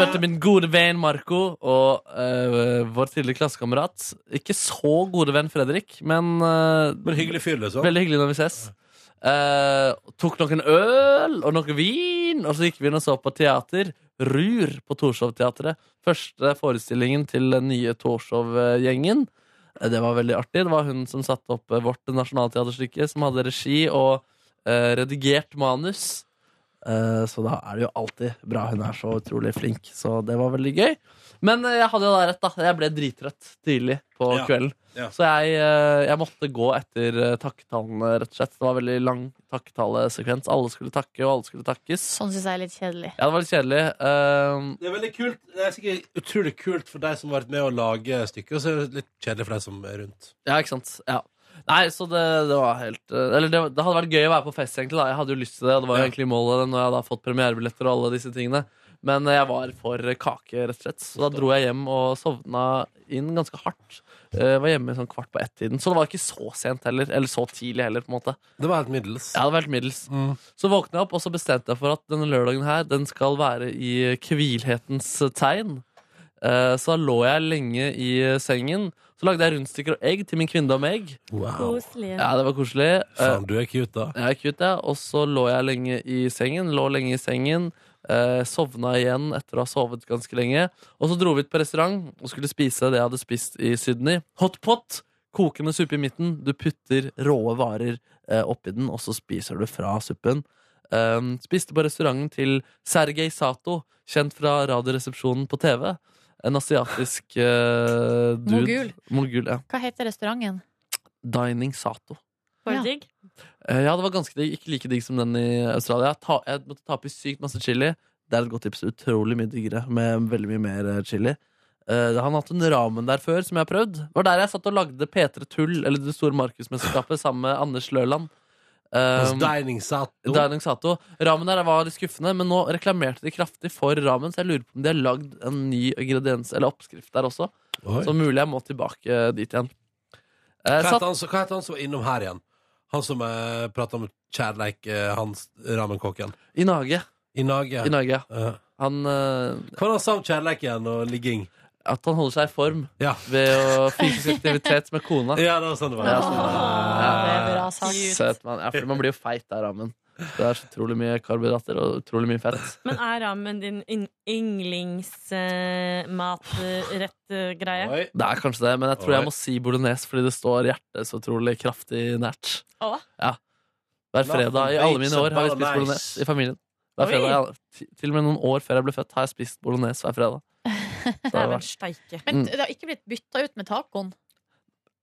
D: Møtte min gode venn Marco og eh, vår tidligere klassekamerat. Ikke så gode venn Fredrik, men, eh,
B: Men hyggelig fyr, liksom.
D: veldig hyggelig når vi ses. Eh, tok noen øl og noe vin, og så gikk vi inn og så på teater. Rur på Torshov-teatret. Første forestillingen til den nye Torshov-gjengen. Eh, Det var veldig artig. Det var hun som satte opp eh, vårt nasjonalteaterstykke, som hadde regi og eh, redigert manus. Eh, så da er det jo alltid bra. Hun er så utrolig flink, så det var veldig gøy. Men eh, jeg hadde jo da rett, da. Jeg ble drittrøtt tidlig på
B: Ja.
D: kvelden.
B: Ja.
D: Så jeg, eh, jeg måtte gå etter eh, takketalene, rett og slett. Det var veldig lang takketalesekvens. Alle skulle takke, og alle skulle takkes.
C: Sånn syns jeg er litt kjedelig.
D: Ja, det var litt kjedelig. Eh,
B: Det er veldig kult. Det er sikkert utrolig kult for deg som har vært med å lage stykket, og så er det litt kjedelig for deg som er rundt.
D: Ja, ikke sant. Ja. Nei, så det, det var helt eh, Eller det, det hadde vært gøy å være på fest, egentlig. da Jeg hadde jo lyst til det, og det var jo
B: Ja.
D: egentlig målet når jeg hadde fått premierebilletter og alle disse tingene. Men eh, jeg var for eh, kake, rett og slett. Så da dro jeg hjem og sovna inn ganske hardt. Eh, var hjemme sånn kvart på ett-tiden, så det var ikke så sent heller. Eller så tidlig heller, på en måte.
B: Det var helt middels.
D: Jeg hadde vært middels.
B: Mm.
D: Så våkna jeg opp, og så bestemte jeg for at denne lørdagen her Den skal være i kvilhetens tegn. Eh, Så da lå jeg lenge i sengen. Så lagde jeg rundstykker og egg til min kvinne og meg.
B: Wow.
J: Koselig.
D: Ja, det var koselig. Eh,
B: Faen, du er cute, da.
D: Jeg er cute, jeg. Og så lå jeg lenge i sengen. Lå lenge i sengen. Eh, sovna igjen etter å ha sovet ganske lenge. Og så dro vi ut på restaurant og skulle spise det jeg hadde spist i Sydney. Hot pot! Kokende suppe i midten. Du putter råe varer eh, oppi den, og så spiser du fra suppen. Eh, spiste på restauranten til Sergej Sato, kjent fra Radioresepsjonen på TV. En asiatisk eh, dude.
C: Mogul.
D: Mogul, ja.
C: Hva heter restauranten?
D: Dining Sato.
J: Var det
C: Ja.
J: digg?
D: Eh, Ja, det var ganske digg. Ikke like digg som den i Australia. Ta, jeg måtte ta oppi sykt masse chili. Det er et godt tips. Utrolig mye diggere med veldig mye mer eh, chili. Eh, han har hatt en ramen der før, som jeg har prøvd. Det var der jeg satt og lagde P3 Tull, eller Det store Markusmesterskapet, sammen med Anders Løland.
B: Mens
D: Um,
B: Deining satt nå.
D: Dining Sato. Ramen der var litt skuffende, men nå reklamerte de kraftig for ramen, så jeg lurer på om de har lagd en ny ingrediens eller oppskrift der også.
B: Oi.
D: Så mulig jeg må tilbake dit igjen. Eh,
B: Hva
D: satt-
B: heter han, som- hva heter han som var innom her igjen? Han som eh, prata om kjærleik, eh, hans ramenkokken.
D: I Nage.
B: I Nage.
D: I Nage. ja.
B: Eh,
D: Han eh,
B: hva var det han sa om kjærleik igjen, og ligging?
D: At han holder seg i form
B: Ja.
D: ved å fysisk aktivitet med kona.
B: Ja, det var sånn det var.
D: Ja,
B: sånn.
C: det er bra sagt.
D: Søt mann. Ja, for man blir jo feit av rammen. Det er så utrolig mye karbohydrater og utrolig mye fett.
J: Men er ramen din yndlingsmatrett-greie?
B: Oi.
D: Det er kanskje det, men jeg tror
B: Oi.
D: jeg må si bolognese fordi det står hjertet så utrolig kraftig nært.
J: Å?
D: Ja. Hver fredag i alle mine år har vi spist bolognese i familien. Hver
J: Oi.
D: fredag, ja, ti- Til og med noen år før jeg ble født, har jeg spist bolognese hver fredag. Så det
J: Dæven
D: var
J: steike.
C: Men
D: Mm.
C: det har ikke blitt bytta ut med tacoen.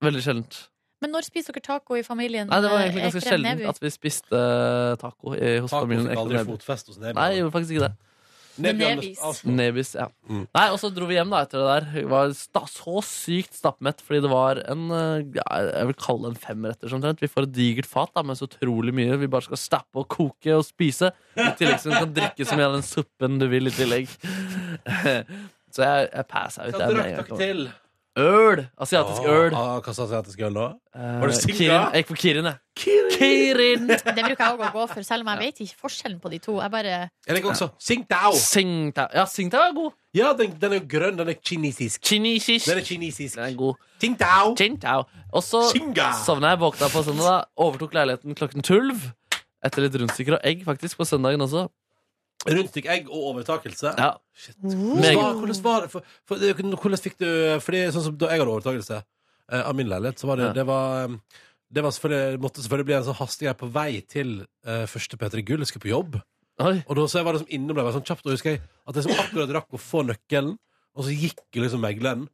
D: veldig sjeldent.
C: Men når spiser dere taco i familien?
D: Nei, det var
C: eh,
D: egentlig ganske
C: Ekrem
D: sjelden
C: Neby?
D: at vi spiste eh, taco i, hos
B: Taco
D: familien.
B: fikk aldri
D: Ekeberg.
B: fotfest hos Neby.
D: Nei, jeg gjorde faktisk ikke det.
B: Neby
C: Men
B: Anders-
C: Nevis.
B: Aslo.
D: Nebis, ja.
B: Mm.
D: Nei, og så dro vi hjem da etter det der. Vi var sta så sykt stappmett fordi det var en eh, ja, Jeg vil kalle det en femretters omtrent. Vi får et digert fat da med så utrolig mye. Vi bare skal stappe og koke og spise. I tillegg så du kan drikke så mye av den suppen du vil i tillegg. så jeg, jeg passa ut.
B: Så
D: der med en
B: drakk
D: gang jeg kom.
B: dere til.
D: Øl! Asiatisk
B: Ah,
D: øl.
B: ah, Hva sa asiatisk øl da?
D: Eh,
B: Var det singa?
D: Kirin. Jeg gikk for Kirin, jeg. Kirin!
C: Det bruker jeg òg å gå for, selv om jeg vet ikke forskjellen på de to. Jeg bare
B: Jeg liker også Tsingtao.
D: Singtao. Ja, Singtao er god.
B: Ja, den, den er jo grønn. Den er kinesisk.
D: Kinesisk.
B: Den er kinesisk.
D: Den er god.
B: Tsingtao.
D: Tsingtao. Og så
B: Tsinga!
D: sovna jeg, våkna på søndag, overtok leiligheten klokken tolv. Etter litt rundstykker og egg, faktisk, på søndagen også.
B: Rundstykk egg og overtakelse.
D: Ja,
B: Hvordan
D: Meget.
B: var- hvordan var det? For, for, det- hvordan fikk du Fordi sånn som Da jeg hadde overtakelse eh, av min leilighet, så var det
D: Ja.
B: Det var, um, det var selvfølgelig, måtte selvfølgelig bli en sånn hastig greie på vei til eh, første P3 Gull. Jeg skulle på jobb.
D: Oi.
B: Og da så jeg var liksom innom der, var sånn kjapt, og husker jeg at jeg liksom akkurat rakk å få nøkkelen, og så gikk liksom megleren.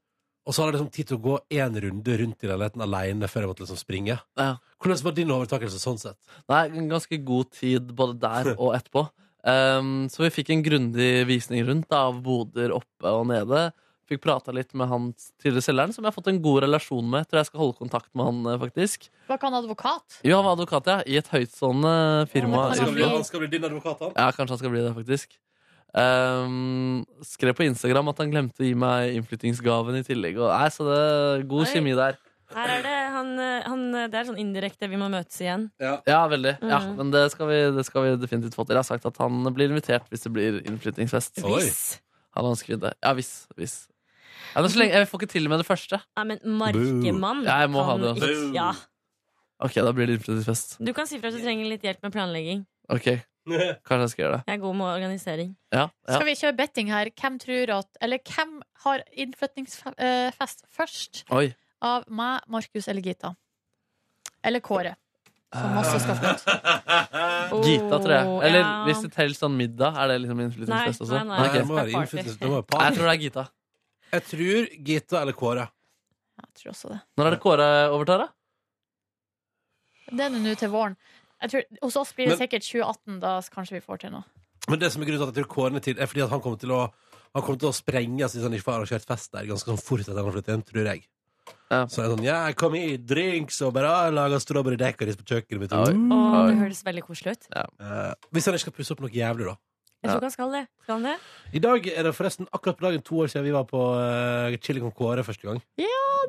B: Og så hadde jeg liksom tid til å gå én runde rundt i leiligheten alene før jeg måtte liksom springe.
D: Ja.
B: Hvordan var din overtakelse sånn sett?
D: Nei, en ganske god tid både der og etterpå. Ehm, så vi fikk en grundig visning rundt da, av boder oppe og nede. Fikk prata litt med han tidligere selgeren, som jeg har fått en god relasjon med. Tror jeg skal holde kontakt med han, eh, faktisk.
C: Var ikke han advokat?
D: Jo, han var advokat, ja. I et høytstående firma.
C: Han
D: i
C: skal
D: Oslo.
C: bli- han
B: din advokat, han?
D: Ja, kanskje han skal bli det, faktisk. Ehm, skrev på Instagram at han glemte å gi meg innflyttingsgaven i tillegg. Og, nei, så det er god
J: Oi.
D: kjemi der.
J: Her er det, han, eh, han, eh, det er sånn indirekte vi må møtes igjen.
D: Ja, veldig. Ja,
J: Mhm.
D: men det skal, vi, det skal vi definitivt få til. Jeg har sagt at han blir invitert hvis det blir innflyttingsfest.
B: Oi.
D: Han ønsker det. Ja, hvis. hvis. Ja, men så lenge, jeg får ikke til med det første.
J: Nei, men markemann
D: Ja, jeg må ha
J: kan
D: det.
J: ikke- Ja.
D: Ok, da blir det innflyttingsfest.
J: Du kan si fra hvis du trenger litt hjelp med planlegging.
D: Ok, kanskje jeg skal gjøre det.
J: Jeg er god med organisering.
D: Ja, ja.
C: Skal vi kjøre betting her? Hvem tror at Eller hvem har innflyttingsfest først?
D: Oi.
C: Av meg, Markus eller Gita? Eller Kåre, som også skal flytte.
D: Gita, tror jeg.
J: Oh,
D: Eller
J: ja.
D: hvis det teller sånn middag, er det liksom
J: Nei,
D: innflyttingsfest også?
J: nei, nei.
B: Nei,
D: Ok.
B: det må være
J: Party.
B: innflytelse. Det må være
D: Nei,
B: par.
D: Jeg tror det er Gita.
B: Jeg tror Gita eller Kåre.
C: Jeg tror også det.
D: Når er det Kåre overtar, da?
C: Det er nå til våren. Jeg tror, hos oss blir det
B: Men-
C: sikkert 2018, da kanskje vi får til noe.
B: Men det som er grunnen til at jeg tror Kåren er til, er fordi at han kommer til å han kommer til å sprenge hvis han ikke får arrangert fest der ganske sånn fort etter han har flyttet hjem, tror jeg.
D: Ja.
B: Så er det sånn, ja, kom hit, drinks og bare ah, laga strawberry decoris på kjøkkenet mitt.
D: Oi.
J: Å, det
D: Oi.
J: høres veldig koselig ut.
B: Eh, hvis han ikke skal pusse opp noe jævlig, da.
J: Jeg
D: Ja.
J: tror ikke han skal det. Skal han det?
B: I dag er det forresten akkurat på dagen to år siden vi var på uh, Chili con Kåre første gang.
C: Det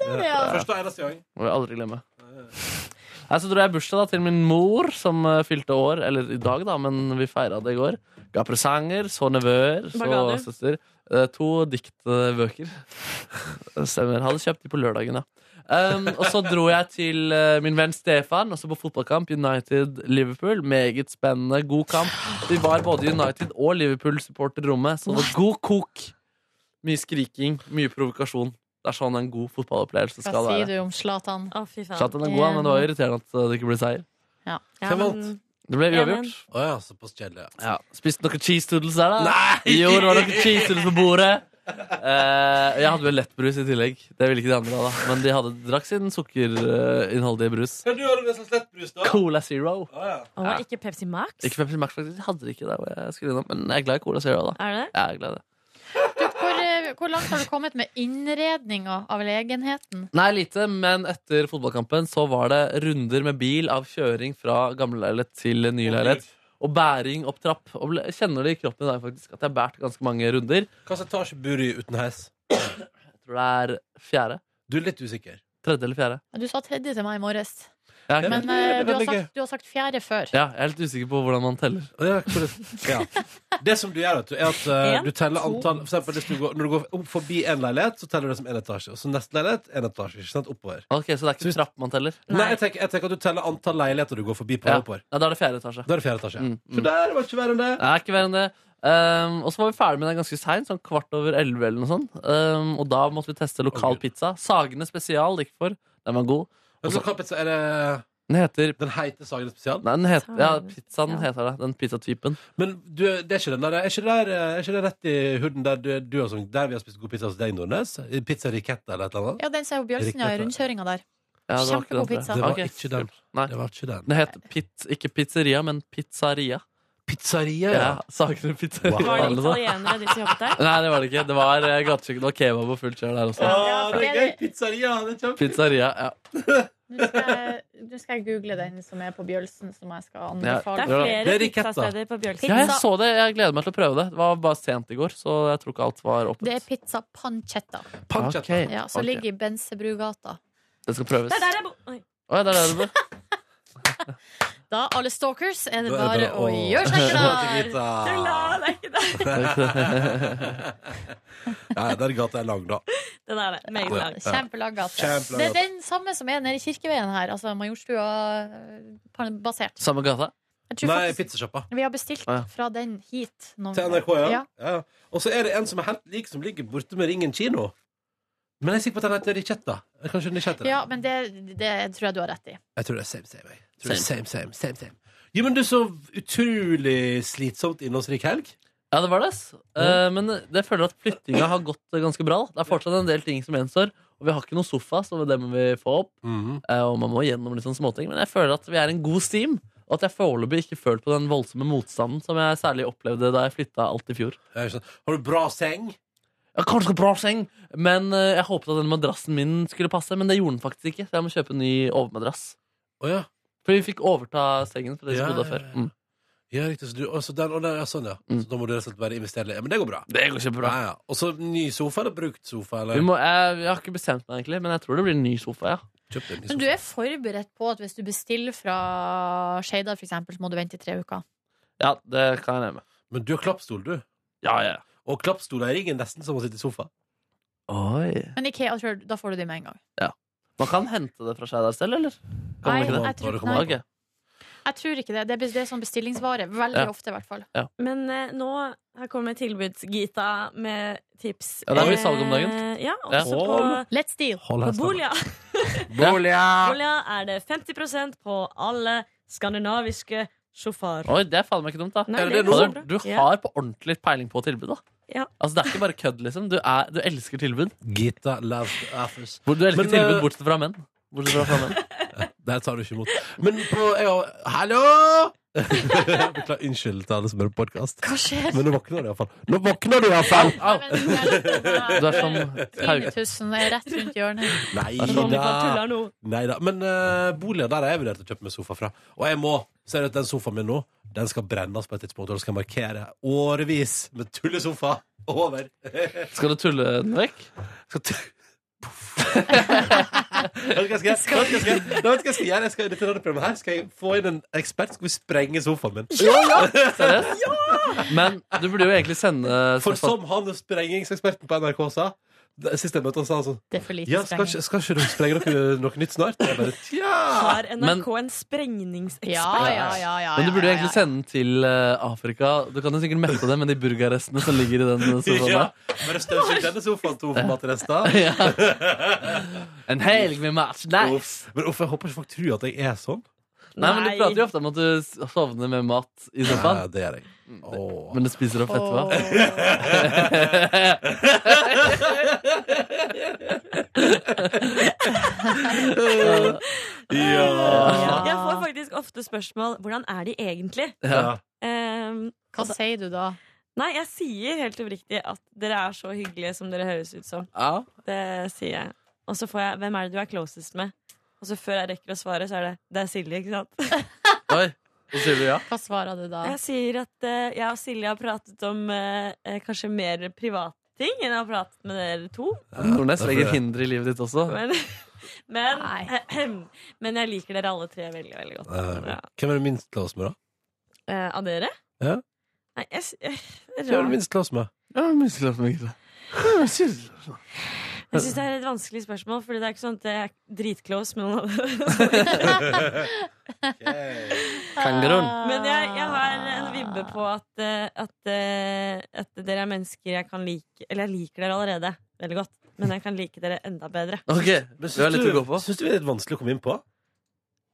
C: er det, ja.
B: Eh, Første og eneste gang.
D: Må jeg aldri glemme. Nei, så dro jeg i bursdag da, til min mor, som eh, fylte år. Eller i dag, da, men vi feira det i går. Ga presanger. Så nevøer,
J: Hva ga
D: så
J: du?
D: søster. Eh, To diktbøker. Stemmer. Hadde kjøpt de på lørdagen, ja. Um, og så dro jeg til eh, min venn Stefan, også på fotballkamp. United-Liverpool. Meget spennende. God kamp. Vi var både United- og Liverpool-supporterrommet, så det var god kok. Mye skriking, mye provokasjon. Det er sånn en god fotballopplevelse
C: Hva
D: skal være.
C: sier du om Zlatan?
J: Å, fy faen.
D: Chatten er god, men
J: Eh,
D: det var irriterende at det ikke ble seier.
J: Ja,
B: Hvem
J: men-
D: Det ble
J: Ja, men-
D: uavgjort.
B: Å ja, såpass kjedelig. ja.
D: Ja. Spiste noen cheese toodles der, da? Nei! Jo, det var noen cheese toodles på bordet. Eh, jeg hadde vel lettbrus i tillegg. Det ville ikke de andre ha, da. Men de hadde drakk sin sukkerinnholdige brus.
B: Kan du ha det med slags lettbrus, da?
D: Cola Zero.
B: Å ja.
J: Å,
D: Ja.
J: Ikke Pepsi Max?
D: Ikke Pepsi Max, faktisk. Jeg hadde ikke det, hvor jeg skulle innom, men jeg er glad i Cola Zero, da.
J: Er det det?
D: Jeg er glad i det.
C: Hvor, eh, hvor langt har du kommet med innredninga av legenheten?
D: Nei, lite, men etter fotballkampen så var det runder med bil av kjøring fra gamle leilighet til ny leilighet. Og bæring opp trapp. Og ble- kjenner det i kroppen i dag faktisk at jeg har båret ganske mange runder.
B: Hva slags etasje bor du i uten heis?
D: tror det er fjerde.
B: Du er litt usikker.
D: Tredje eller fjerde.
C: Du sa tredje til meg i morges.
D: Ja, ok.
C: Men
B: det er
C: eh, du, har
B: veldig
C: sagt, du har sagt fjerde før.
D: ja, jeg er litt usikker på hvordan man teller.
B: Å Ja, hvordan- ja. Det som du gjør, vet du, er at eh,
J: En,
B: du teller
J: to.
B: antall for eksempel, hvis du går, Når du går opp forbi en leilighet, så teller du det som en etasje. Og så neste leilighet, en etasje. Ikke sant? Oppover.
D: Ok, Så det er
B: Så-
D: ikke trapp man teller?
B: Nei, jeg, tenker, jeg tenker at du teller antall leiligheter du går forbi på
D: Ja.
B: oppover.
D: Ja, Da er det fjerde etasje.
B: Da er det fjerde etasje.
D: Mm,
B: For
D: mm.
B: der var det ikke verre enn det.
D: Det er ikke verre enn det. Um, og så var vi ferdig med den ganske seint, sånn kvart over elleve. eller noe sånt. Um, og da måtte vi teste lokal
B: Å, Gud.
D: pizza. Sagene spesial gikk for. Den var god.
B: Vet du hva pizza er det
D: Den heter
B: Den heite Sagen spesial?
D: Nei, den heter, ja,
J: Sagene,
D: pizzaen
J: ja.
D: heter det. Den pizzatypen.
B: Men du, det er ikke den der Er ikke det, der, er ikke det rett i huden der, du, du har sånn, der vi har spist god pizza hos deg, Nordnes? Pizza Ricetta eller et eller annet?
C: Ja, den sa jo Bjølsen ja, i
B: Riktig.
C: rundkjøringa der.
D: Ja, det var ikke
C: Kjempegod
D: den, tror jeg.
C: pizza.
B: Det var
D: Ok,
B: ikke den.
D: kult. Nei.
B: Det var ikke den.
D: Den heter pit, ikke pizzeria, men pizzaria.
B: Pizzeria,
D: ja. Sagene pizzeria. sånn.
J: Var det
D: eller noe sånt.
J: italienere, de som jobbet der?
D: Nei, det var det ikke. Det var eh, gatekjøkken og kebab og fullt kjør der også.
B: det er gøy! Pizzeria! Det er kjempe...
D: Pizzeria. ja.
C: Nå skal, jeg, nå skal jeg google den som er på Bjølsen, som jeg skal
J: Det
C: anbefale.
J: er
D: Ja.
J: flere
B: Det er riketta.
J: pizzasteder på Bjølsen.
D: ja, jeg så det. Jeg gleder meg til å prøve det. Det var bare sent i går, så jeg tror ikke alt var åpent.
C: Det er pizza pancetta,
B: Pancetta.
D: Ok,
C: ja, som
D: ok.
C: ligger i Bensebrugata.
D: Det skal prøves.
J: Det er der jeg bor.
D: Å, ja, det er der det bor.
C: Da, alle stalkers, er det
B: Da er
C: bare
B: det bare
C: å
B: å-
C: gjøre seg klar!
D: Ah.
B: Pizzeria.
J: det er ikke der.
B: Ja, den gata er lang, da.
J: Den er det. Meget
B: Ja.
J: lang.
C: Kjempelang gate.
B: Kjempelang
C: Det er
B: gate.
C: den samme som er nede i Kirkeveien her, altså Majorstua-basert.
D: Samme gata.
C: Jeg tror
B: Nei,
C: faktisk
B: pizzasjappa.
C: vi har bestilt
D: Å, ja.
C: fra den hit. noen
B: Til NRK,
C: gang.
B: ja. ja. Og så er det en som er helt lik, som ligger borte med Ringen kino. Men jeg er sikker på at den heter Richetta. Kanskje den er Richetta?
C: Ja, men det, det tror jeg du har rett i.
B: Jeg tror det er same, same. Jeg. Jeg tror same. Det er same, same, same, same. Jo, men du, så utrolig slitsomt innholdsrik helg.
D: Ja, det var det. ass. Eh, men det føler at flyttinga har gått eh, ganske bra. da. Det er fortsatt en del ting som gjenstår. Og vi har ikke noen sofa, så det må vi få opp. Eh, Og man må gjennom litt sånn småting. Men jeg føler at vi er en god steam. Og at jeg foreløpig ikke følte på den voldsomme motstanden som jeg særlig opplevde da jeg flytta alt i fjor.
B: Jeg er sånn, Har du bra seng?
D: Jeg har kanskje bra seng, men eh, jeg håpet at den madrassen min skulle passe. Men det gjorde den faktisk ikke, så jeg må kjøpe en ny overmadrass.
B: Å ja.
D: For vi fikk overta sengen fra de som
B: Ja, ja,
D: bodde der før.
B: ja.
D: Mm.
B: ja riktig. Så du, å, så den, å, den, ja, sånn, ja.
D: Mm.
B: Så da må du rett og slett bare investere litt. Ja, Men det går bra.
D: Det går kjempebra.
B: Ja, ja. Og så ny sofa eller brukt sofa? Eller?
D: Vi må, jeg, jeg har ikke bestemt meg, egentlig, men jeg tror det blir en ny sofa. ja
B: Kjøpt en ny
C: Men du
B: sofa.
C: er forberedt på at hvis du bestiller fra Skeidar, for eksempel, så må du vente i tre uker.
D: Ja, det kan jeg leve med.
B: Men du har klappstol, du.
D: Ja, ja.
B: Og klappstol er ingen nesten som å sitte i sofa.
D: Oi.
C: Men IKEA, tror jeg- da får du de med en gang.
D: Man kan hente det fra seg der selv, eller? Kan
C: Nei,
D: man ikke det?
C: jeg tror,
B: Bare kom
C: nei,
B: an.
D: Ok.
C: jeg tror ikke det. Det er, bes- det er sånn bestillingsvare. Veldig
D: Ja.
C: ofte, i hvert fall.
J: Men eh, nå her kommer tilbuds-Gita med tips.
D: Ja, det er mye salg om dagen.
J: Eh, ja, også
B: Ja.
J: på,
C: Let's deal.
B: Hold
J: på
B: hesten.
J: Bolia.
D: Ja.
J: Bolia er det 50 på alle skandinaviske sjåfører.
D: Oi, det er faen meg ikke dumt, da. Altså,
J: Nei,
B: Er
J: det
B: det noe?
J: går bra.
D: Du
J: Ja.
D: har på ordentlig peiling på tilbud, da.
J: Ja.
D: Altså, det er ikke bare kødd, liksom. Du, er, du elsker tilbud.
B: Gita loves athers.
D: Hvor du elsker
B: Men,
D: tilbud
B: eh,
D: bortsett fra menn. Bortsett fra, fra menn.
B: Der tar du ikke imot. Men på jeg, har- Hallo! Beklager, unnskyld til alle som hører podkast.
C: Hva skjer?
B: Men nå våkner du iallfall. Nå våkner du iallfall!
D: Au!
C: eh,
D: Du
C: Du
D: er sånn, som Hauge.
C: Tinetusen er eh, rett rundt hjørnet.
B: Nei
J: Sånn, vi bare
B: da.
J: tuller nå.
B: Nei da. Men eh, boliger der har jeg vurdert å kjøpe meg sofa fra. Og jeg må Ser du at den sofaen min nå Den skal brennes på et tidspunkt, og den skal markere årevis med tullesofa over.
D: Skal du tulle den vekk?
B: skal tu... Vet du hva jeg skal gjøre? Vet du hva jeg skal gjøre? Vet du hva jeg skal gjøre? Jeg skal, i dette radioprogrammet her skal jeg få inn en ekspert. Skal vi sprenge sofaen min?
D: Seriøst? Men du burde jo egentlig sende
B: For som han sprengingseksperten på NRK sa det- Sist jeg møtte han, sa han sånn
C: Det er for lite
B: Ja, skal ikke,
C: streng.
B: skal ikke dere sprenge noe, noe nytt snart? Jeg bare, Tja!
J: Har NRK en sprengningsekspert?
C: Ja, ja, ja, ja,
D: Men du burde jo
C: ja,
D: egentlig
C: ja.
D: sende den til eh, Afrika. Du kan jo sikkert mette det med de burgerrestene som ligger i den sofaen.
B: sånn, Ja,
D: der.
B: bare støvsugg denne sofaen to for matrester.
D: En helg med match. Nice!
B: Uff. Men uff, jeg håper ikke folk tror at jeg er sånn.
D: Nei, men Du prater jo ofte om at du s- sovner med mat i sofaen,
B: Ja, det er jeg. Åh.
D: men du spiser opp etterpå.
J: Ja.
B: Ja.
J: Jeg får faktisk ofte spørsmål hvordan er de egentlig.
B: Ja.
J: Ehm,
C: Hva sier du da?
J: nei, jeg sier helt oppriktig at dere er så hyggelige som dere høres ut som.
D: Ja.
J: Det sier jeg. Og så får jeg 'Hvem er det du er closest med?' Og så før jeg rekker å svare, så er det 'Det er Silje', ikke sant?
D: Oi, så sier du ja?
C: Hva svarer du da?
J: Jeg sier at eh, jeg og Silje har pratet om eh, eh, kanskje mer privatting enn jeg har pratet med dere to.
D: Nordnes
B: derfor
D: legger
B: det.
D: hinder i livet ditt også.
J: Men, men,
C: Nei.
J: men jeg liker dere alle tre veldig, veldig godt.
B: Eh,
J: Ja.
B: Hvem er du minst close med, da?
J: Eh, av dere?
B: Ja.
J: Nei, jeg, s- eh,
B: Hvem er du
J: rart.
B: minst close med?
J: Jeg syns det er et vanskelig spørsmål, Fordi det er ikke sånn at jeg er dritclose med noen av dere.
D: Kangaroon.
J: Men jeg, jeg har en vibbe på at, eh, at, eh, at dere er mennesker jeg kan like Eller jeg liker dere allerede veldig godt, men jeg kan like dere enda bedre.
D: Ok,
B: Men
D: vi har litt å gå på.
B: Syns du det er litt vanskelig å komme inn på?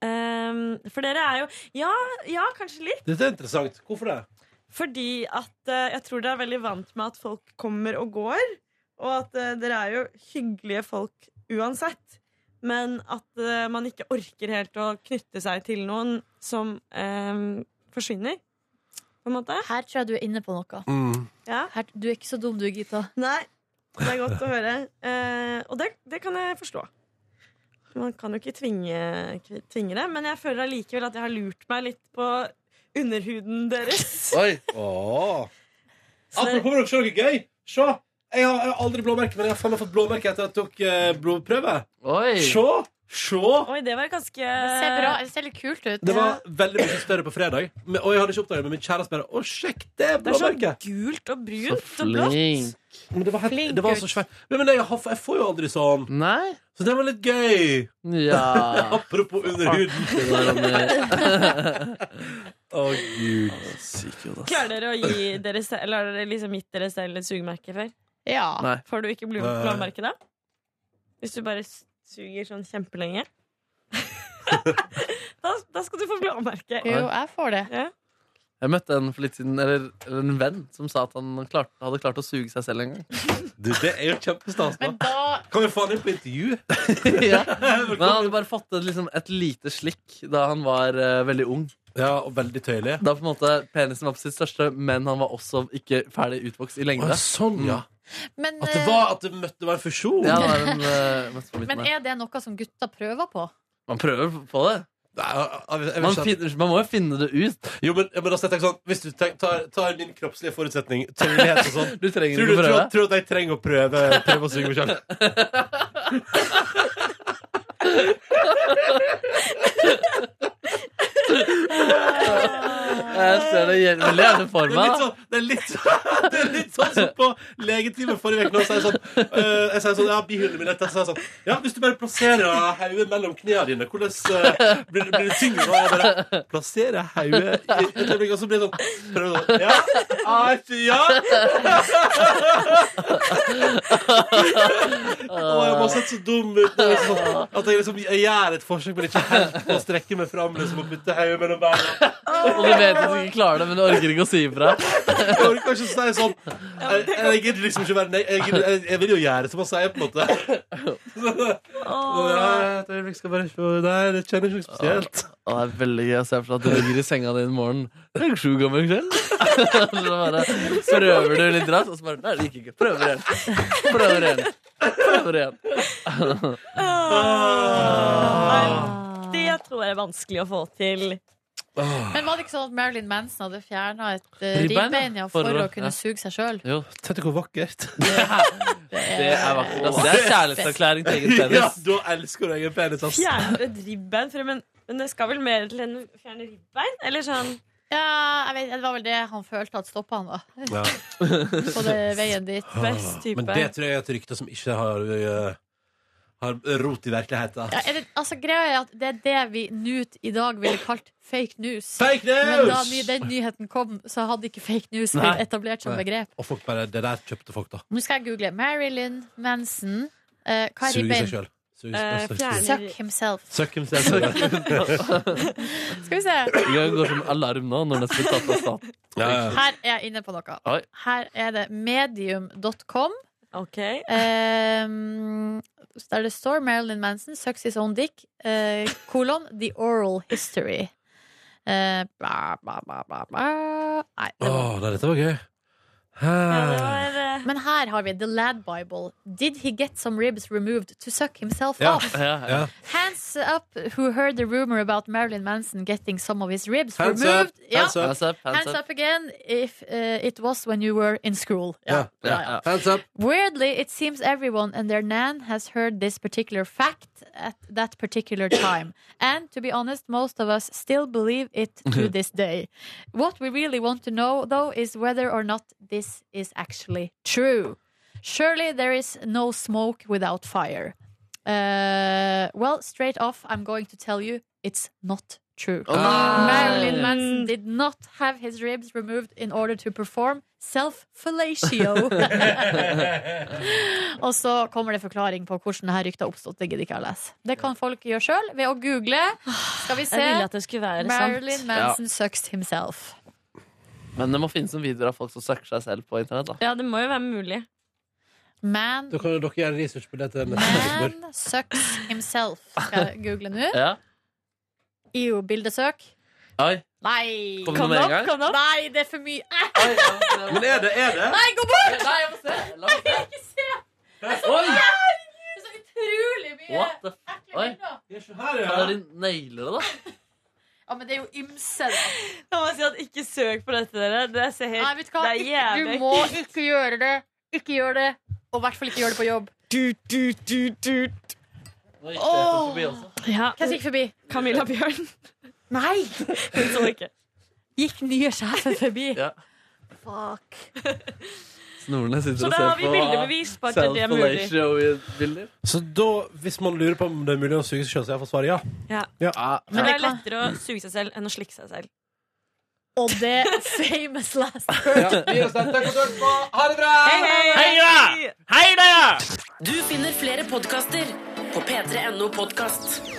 J: Ehm, for dere er jo Ja, ja kanskje litt.
B: Dette er interessant. Hvorfor det?
J: Fordi at eh, jeg tror dere er veldig vant med at folk kommer og går. Og at eh, dere er jo hyggelige folk uansett. Men at eh, man ikke orker helt å knytte seg til noen som eh, forsvinner, på på en måte.
C: Her tror jeg du er inne på noe.
B: Mm.
C: Her, du er ikke så dum du, Gita.
J: Nei, det er godt å høre. Eh, og det, det kan jeg forstå. Man kan jo ikke tvinge, tvinge det, men jeg føler allikevel at jeg har lurt meg litt på underhuden deres.
B: Oi! Åh. Apropos dere, se noe gøy! Se! Jeg har, jeg har aldri blåmerke, men jeg har faen meg fått blåmerke etter at jeg tok eh, blodprøve.
D: Oi.
B: Se! Se!
J: Oi, det var ganske
C: Det ser, bra, det ser litt kult ut.
B: Det var veldig mye større på fredag, men, og jeg hadde ikke oppdaget det, men min kjæreste bare Å, sjekk det
J: Det er sånn så
B: blåmerket!
J: gult og
D: Så
J: brunt og blått.
D: flink.
B: Men det var, helt,
J: Flink
B: det var så
J: gutt.
B: svært. Men, men jeg, har, jeg får jo aldri sånn.
D: Nei?
B: Så det var litt gøy.
D: Ja.
B: Apropos underhuden.
D: Det eh, der, Ronny.
B: Å, gud.
J: Klarer dere å gi dere selv, eller har dere liksom gitt dere selv et sugemerke før?
C: Ja.
D: Nei.
J: Får du ikke blod-
B: Nei.
J: blåmerke da? Hvis du bare suger sånn kjempelenge? da, da skal du få blåmerke.
C: Jo, jeg får det.
J: Ja.
D: Jeg møtte en for litt siden, eller, eller en venn som sa at han klarte, hadde klart å suge seg selv en gang.
B: Du, det er jo kjempestas. da.
C: Men da
B: Kan vi få han inn på intervju?
D: ja. Men han hadde bare fått et, liksom, et lite slikk da han var eh, veldig ung.
B: Ja, og veldig tøyelig.
D: Da på en måte penisen var på sitt største, men han var også ikke ferdig utvokst i lengde.
B: sånn, ja.
C: Men,
B: At det
C: eh,
B: var, at det møtte, det var en fusjon?
D: Ja, det var en, eh, møte på midten
C: men
D: her.
C: er det noe som gutta prøver på?
D: man prøver på det.
B: Nei, jeg- jeg- jeg vil
D: Man,
B: ikke at-
D: finner, man må jo finne det ut.
B: Jo, men, men altså, jeg tenker sånn Hvis du tenk, tar, tar din kroppslige forutsetning, tøyelighet og sånn
D: Du trenger
B: Tror du
D: ikke å
B: tror,
D: prøve.
B: tror at jeg trenger å prøve, prøve å synge meg sjøl?
D: Jeg ser det gjel- veldig gjerne for
B: Det er
D: meg.
B: litt
D: da.
B: sånn, det er litt, sånn- det er litt sånn som på legetimen forrige uke. Nå sier jeg sånn, eh, jeg sier sånn Ja, bihulen min er tett. Så sier jeg sånn Ja, hvis du bare plasserer hodet mellom knærne dine, hvordan eh, blir, det- blir det tyngre? Og jeg bare plasserer hodet i et øyeblikk, og så blir det sånn Prøver sånn Ja! ah, Ja! Og jeg må ha sett så dum ut når jeg sånn, at jeg liksom jeg gjør et forsøk, men ikke helt på å strekke meg fram liksom, og putte hodet mellom beina.
D: Og du vet at du ikke klarer det, men du orker ikke å si ifra.
B: Jeg orker ikke å si sånn. Jeg, jeg gidder liksom ikke være nei, jeg, gidder- jeg, jeg vil jo gjøre som han sier, på en måte. Så, ja, et øyeblikk skal bare se Nei, det kjennes ikke spesielt.
D: Og det er veldig gøy å se for seg at du ligger i senga di en morgen Du er ikke sju gammel selv Så bare prøver du litt raskt Og så bare, nei, det gikk ikke, prøver igjen Prøver igjen Prøver igjen
B: Ah.
J: Nei, Det tror jeg er vanskelig å få til.
C: Men var det ikke sånn at Marilyn Manson hadde fjerna et eh,
D: Ribbein, ja.
C: ribbein ja, for,
D: For å-
C: å kunne
D: ja.
C: suge seg sjøl?
D: Jo,
B: Tenk hvor vakkert.
D: det er vakkert ass. Det er kjærlighetserklæring til egen
B: Ja,
D: penis
B: da elsker du egen penis, ass.
J: Fjerner et ribbein fra men, men det skal vel mer til enn å fjerne ribbein? Eller sånn
C: Ja, jeg vet, det var vel det han følte at stoppa han, da.
B: Ja.
C: På det veien dit.
J: best type.
B: Ah, Men det tror jeg er et rykte som ikke har, eh, har rot i virkeligheten.
C: Ja, er det, altså, greia er at det er det vi nå t- i dag ville kalt fake news.
B: Fake
C: Men da ny,
B: news!
C: den nyheten kom, så hadde ikke fake news
D: Nei.
C: blitt etablert som
B: Nei.
C: begrep.
B: Og folk bare Det der kjøpte folk, da.
C: Nå skal jeg google Marilyn Manson. Eh,
B: Suger
C: hva er
B: seg
C: ribbein?
B: sjøl.
J: Eh, fjerne-
C: Suck himself.
B: Suck himself. selv.
C: Skal vi se.
D: Det går som alarm nå Når det skal tatt av staten
B: Ja, ja.
C: Her er jeg inne på noe.
D: Oi.
C: Her er det medium.com.
J: Ok.
C: Um, der det står Marilyn Manson sucks his own dick, eh, kolon The Oral History. Eh, bla, bla, bla, bla, bla. Nei, det var
B: Åh, nei, dette var gøy.
J: Ja, det var, eh,
C: Men her har vi The Lad Bible. Did he get some ribs removed to suck himself
B: Ja.
C: off?
D: ja, ja.
B: Ja.
C: Hands up who heard the rumor about Marilyn Manson getting some of his ribs
B: Hands up,
C: removed. Ja.
B: hands up.
D: Hands up,
C: Hands
D: hands up
C: up again if eh, it was when you were in school.
B: Ja.
D: ja, ja.
B: Hands up.
C: Weirdly, it seems everyone and their nan has heard this particular fact at that particular time. And to be honest, most of us still believe it to this day. What we really want to know, though, is whether or not this is actually true. Surely there is no smoke without fire. Uh, well, straight off, I'm going to tell you it's not true.
D: Å, nei.
C: Marilyn Manson did not have his ribs removed in order to perform self-fellatio. og så kommer det forklaring på hvordan dette ryktet har oppstått. Det gidder ikke jeg å lese. Det kan folk gjøre sjøl ved å google. Skal vi
J: Jeg
C: se.
J: ville at det skulle være
C: Marilyn
J: sant.
C: Manson sucks himself.
D: Men det må finnes en video av folk som søker seg selv på internett da
J: Ja, det må jo være mulig.
C: Man,
B: Da kan jo dere gjøre research på det til neste gang.
C: man sucks himself. Skal jeg google nå?
D: Ja
C: EU-bildesøk.
D: Oi
C: Nei!
D: Kom det noe med en gang?
C: Kom det opp? Nei, det er for mye. Æ,
B: Men er det, er det?
C: Nei, gå bort!
D: Nei, jeg må se. La meg se.
C: Ikke se!
D: Oi!
C: Det er så utrolig mye
D: What the f...
C: ekle
D: Oi.
C: bilder.
D: Ja, da er de nailer det, da.
C: Ja, men det er jo ymse, da.
J: Jeg må si at Ikke søk på dette, dere. Det ser
C: Nei,
J: helt
C: vet du hva?
J: Det er
C: Ikke-
J: jævlig
C: Du må ikke gjøre det. Ikke gjør det. Og i hvert fall ikke gjør det på jobb.
J: du, du, du, du.
D: Nå gikk det forbi også.
J: Ja,
C: Hvem som gikk forbi?
J: Camilla Bjørn.
C: Nei!
J: Hun så ikke.
C: Gikk nye sjefen forbi?
D: Ja.
C: Fuck.
D: Snorene sitter
J: Så
D: og
J: da
D: ser
J: har vi bildebevis på at det er mulig.
D: Self-Palacio-bilder.
B: Så da, hvis man lurer på om det er mulig å suge seg sjøl, så er iallfall svaret ja.
J: Men det er lettere å suge seg selv enn å slikke seg selv.
C: Og det famous last
J: Hei, hei,
A: Du finner flere podkaster på p3.no podkast.